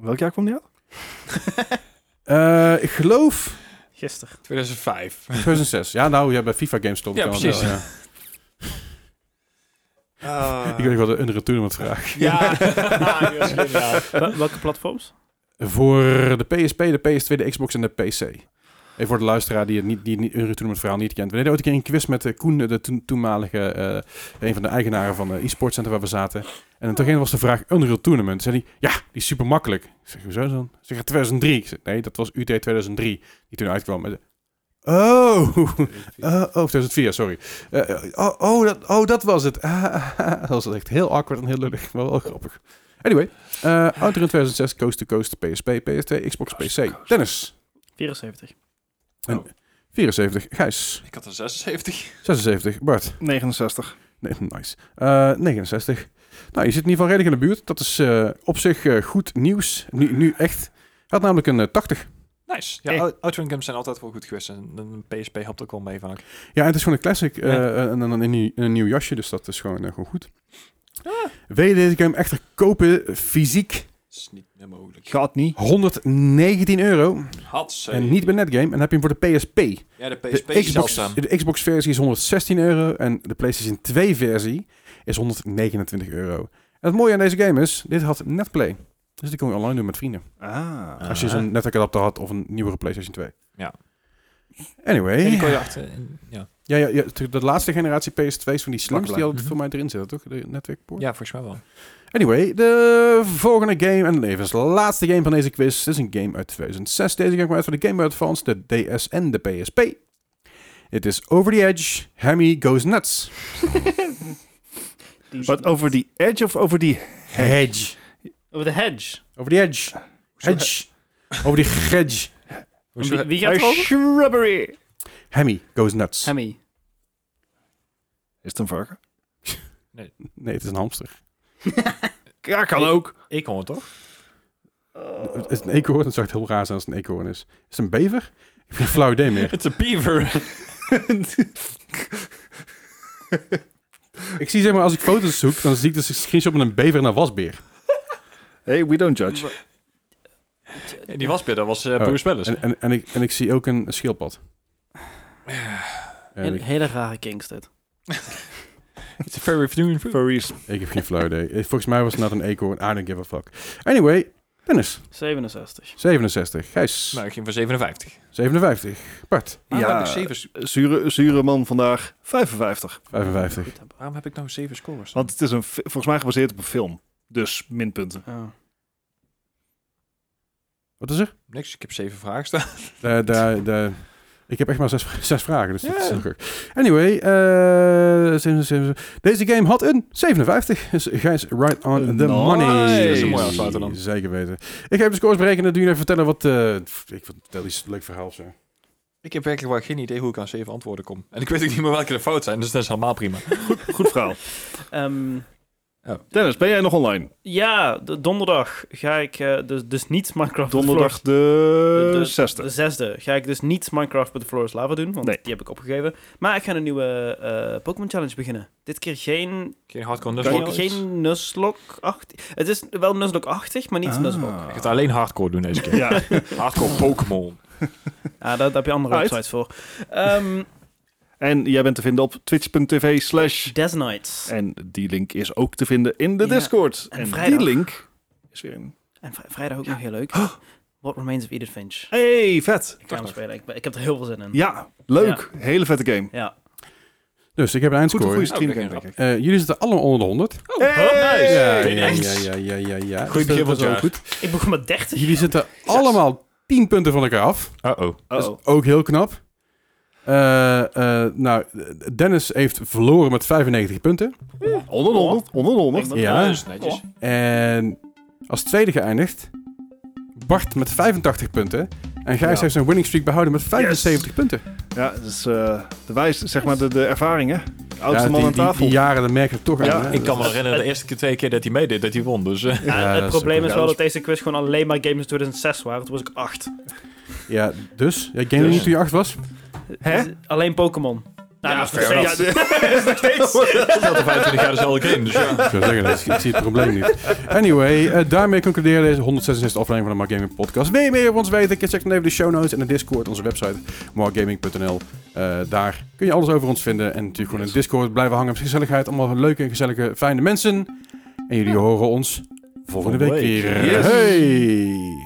Welk jaar kwam die uit? Eh, ik (laughs) geloof Gisteren. 2005. 2006. Ja, nou, ja, bij FIFA games stond Ja, ik al. precies. Ja. Ik weet niet wat een retournement vraag. Ja, Ah, die was geniaal. Wel- Welke platforms? Voor de PSP, de PS2, de Xbox en de PC. Even voor de luisteraar die het niet, die niet, een retournement verhaal niet kent. We deden ooit een keer een quiz met eh, Koen, de toen- toenmalige, eh, een van de eigenaren van de e-sport center waar we zaten. En toen ging- was de vraag Unreal Tournament. Zei hij, ja, die is super makkelijk. Ik zeg, hoezo dan? Ik zeg, 2003. Ik zeg, nee, dat was UT 2003, die toen uitkwam. Met de- oh, (laughs) eh, oh, 2004, sorry. Eh, eh, oh, oh, dat, oh, dat was het. Ah, (laughs) dat was echt heel awkward en heel lullig, maar wel grappig. Anyway, eh Outrun 2006, Coast to Coast, PSP, PS2, Xbox, PC. Dennis, 74. En- Oh. 74. Gijs, Ik had een 76. 76. Bart, 69. nee, nice. Eh, 69. Nou, je zit in ieder geval redelijk in de buurt. Dat is eh, op zich eh, goed nieuws. Nu, nu echt. Had namelijk een eh, 80. Nice. Ja, Eh. Out- Outrun games zijn altijd wel goed geweest. En een PSP helpt ook wel mee vaak. Ja, en het is gewoon een classic. eh, Ja. en dan een, nieuw- een nieuw jasje, dus dat is gewoon, eh, gewoon goed. Wil je deze game echter kopen, fysiek, is niet meer mogelijk. Gaat niet. 119 euro. Had En niet bij Netgame. En dan heb je hem voor de PSP. Ja, de PSP De is Xbox, zeldzaam. de Xbox versie is 116 euro en de PlayStation 2 versie is 129 euro. En het mooie aan deze game is, dit had netplay. Dus die kon je online doen met vrienden. Ah. Als je zo'n netwerkadapter had of een nieuwere PlayStation 2. Ja. En die kon Anyway. je achter. en- Ja. Ja, ja, ja, de de laatste generatie PS2's van die slims, die altijd Mhm. voor mij erin zitten, toch? De netwerkpoort. ja, volgens mij wel. Anyway, de volgende game en levens laatste game van deze quiz Dit is een game uit 2006. Deze game kwam uit voor de Game Boy Advance, de DS en de PSP. Het is Over the Edge, Hammy Goes Nuts. Die- Wat over die edge of over die... Hedge. Over de hedge. Over the Edge. Hedge. Over die hedge. Wie, wie gaat A het over? shrubbery. Hammy Goes Nuts. Hemmy. Is het een varken? Nee, het is een hamster. (laughs) Ja, kan ook. Ik hoor het toch? Het is een eekhoorn. Het zou echt heel raar zijn als het een eekhoorn is. Is het een bever? Ik heb (laughs) geen flauw idee meer. Het is een beaver. Ik zie zeg maar, als ik foto's zoek, dan zie ik dus een screenshot met een bever en een wasbeer. Hey, we don't judge. En die wasbeer, dat was eh Oh. Bruce Dus- Willis. En, en, en, ik, en ik zie ook een schildpad. En Een ik, hele rare kings dit. It's a very few food. Furries. ik heb geen flauw idee. Eh, Volgens mij was het net een eekhoorn. I don't give a fuck. Anyway, Dennis. 67. 67. Gijs. Nou, ik ging voor 57. 57. Bart. Waarom Ja. heb ik zeven, Eh, Zure, zure man vandaag. 55. 55. Goed hebben. waarom heb ik nou zeven scores? Want het is een, fi- volgens mij gebaseerd op een film. Dus minpunten. Oh. Wat is er? Niks, ik heb zeven vragen staan. (laughs) De, de, de, ik heb echt maar zes, zes vragen, dus dat Ja. is heel gek. Anyway, eh, zeven- zeven- deze game had een 57. Dus Gijs, right on the Nice. money. Dat is een mooie afsluiter dan. Zeker weten. Ik ga even scores berekenen en dan doe je even vertellen wat... eh, ik vertel iets leuk verhaal of zo. Ik heb werkelijk wel geen idee hoe ik aan zeven antwoorden kom. En ik weet ook niet meer welke de fout zijn, dus dat is helemaal prima. Goed verhaal. Ehm, Dennis, ben jij nog online? Ja, de- donderdag ga ik eh, dus, dus niet Minecraft with Donderdag Floors- de de, zesde. zesde. Ga ik dus niet Minecraft with the Floor is Lava doen, want Nee. die heb ik opgegeven. Maar ik ga een nieuwe eh, Pokémon Challenge beginnen. Dit keer geen, Geen hardcore geen, nuzlocke. geen Nuzlocke-achtig. Het is wel Nuzlocke-achtig, maar niet Ah. Nuzlocke. Ik ga het alleen hardcore doen deze keer. Ja. Hardcore (laughs) Pokémon. Ah, daar, daar heb je andere Uit. websites voor. Ehm (laughs) En jij bent te vinden op twitch.tv slash. Death Knights. En die link is ook te vinden in de Ja, Discord. en En, die vrijdag. link is weer in. En vri- vrijdag ook nog heel leuk. (gasps) What Remains of Edith Finch. Hey, vet. Ik ga hem spelen. Ik, ben- ik heb er heel veel zin in. Ja, leuk. Hele vette game. Ja. Dus ik heb een Goed, een goede eindscore. stream Oh, game, kijk, denk ik. Eh, jullie zitten allemaal onder de 100. Hey! Ja, ja, nice. ja, ja, ja, ja, ja. Dus begin dat- dat van het is wel jaar. goed. Ik begon met 30. Jullie zitten allemaal 10 punten van elkaar af. Uh-oh. Dat is Uh-oh. ook heel knap. Eh, eh, nou, Dennis heeft verloren met 95 punten. Onder de 100. Onder de 100. Dat Oh. Ja. is netjes. En als tweede geëindigd, Bart met 85 punten. En Gijs Ja. heeft zijn winning streak behouden met 75 punten. Ja, dus eh, de wijs, zeg maar de, de ervaring, hè? De oudste Ja, man die, aan die- tafel. die jaren, dan merk je het toch Ja, aan. hè. Ik kan me herinneren de eerste keer, twee keer dat hij meedeed, dat hij won. Dus eh, (laughs) Ja, Ja, het dat is probleem ook- is wel dat deze quiz gewoon alleen maar games in 2006 waren. Toen was ik 8. Ja, dus? Ja, ik denk niet toen je acht was? Hè? Alleen Pokémon. Nou, Ja, dat is nog fair steeds. Dat is nog steeds. dat 25 jaar dezelfde game. Dus ja. Ik zou zeggen, dat is- ik zie het probleem niet. Anyway, eh, daarmee concluderen deze 166 aflevering van de Mark Gaming Podcast. Wil je meer over ons weten? Check dan even de show notes en de Discord, onze website markgaming.nl. Eh, daar kun je alles over ons vinden. En natuurlijk gewoon in Discord blijven hangen met gezelligheid. Allemaal leuke en gezellige, fijne mensen. En jullie horen ons volgende Volgende week week. weer. Yes. Hey!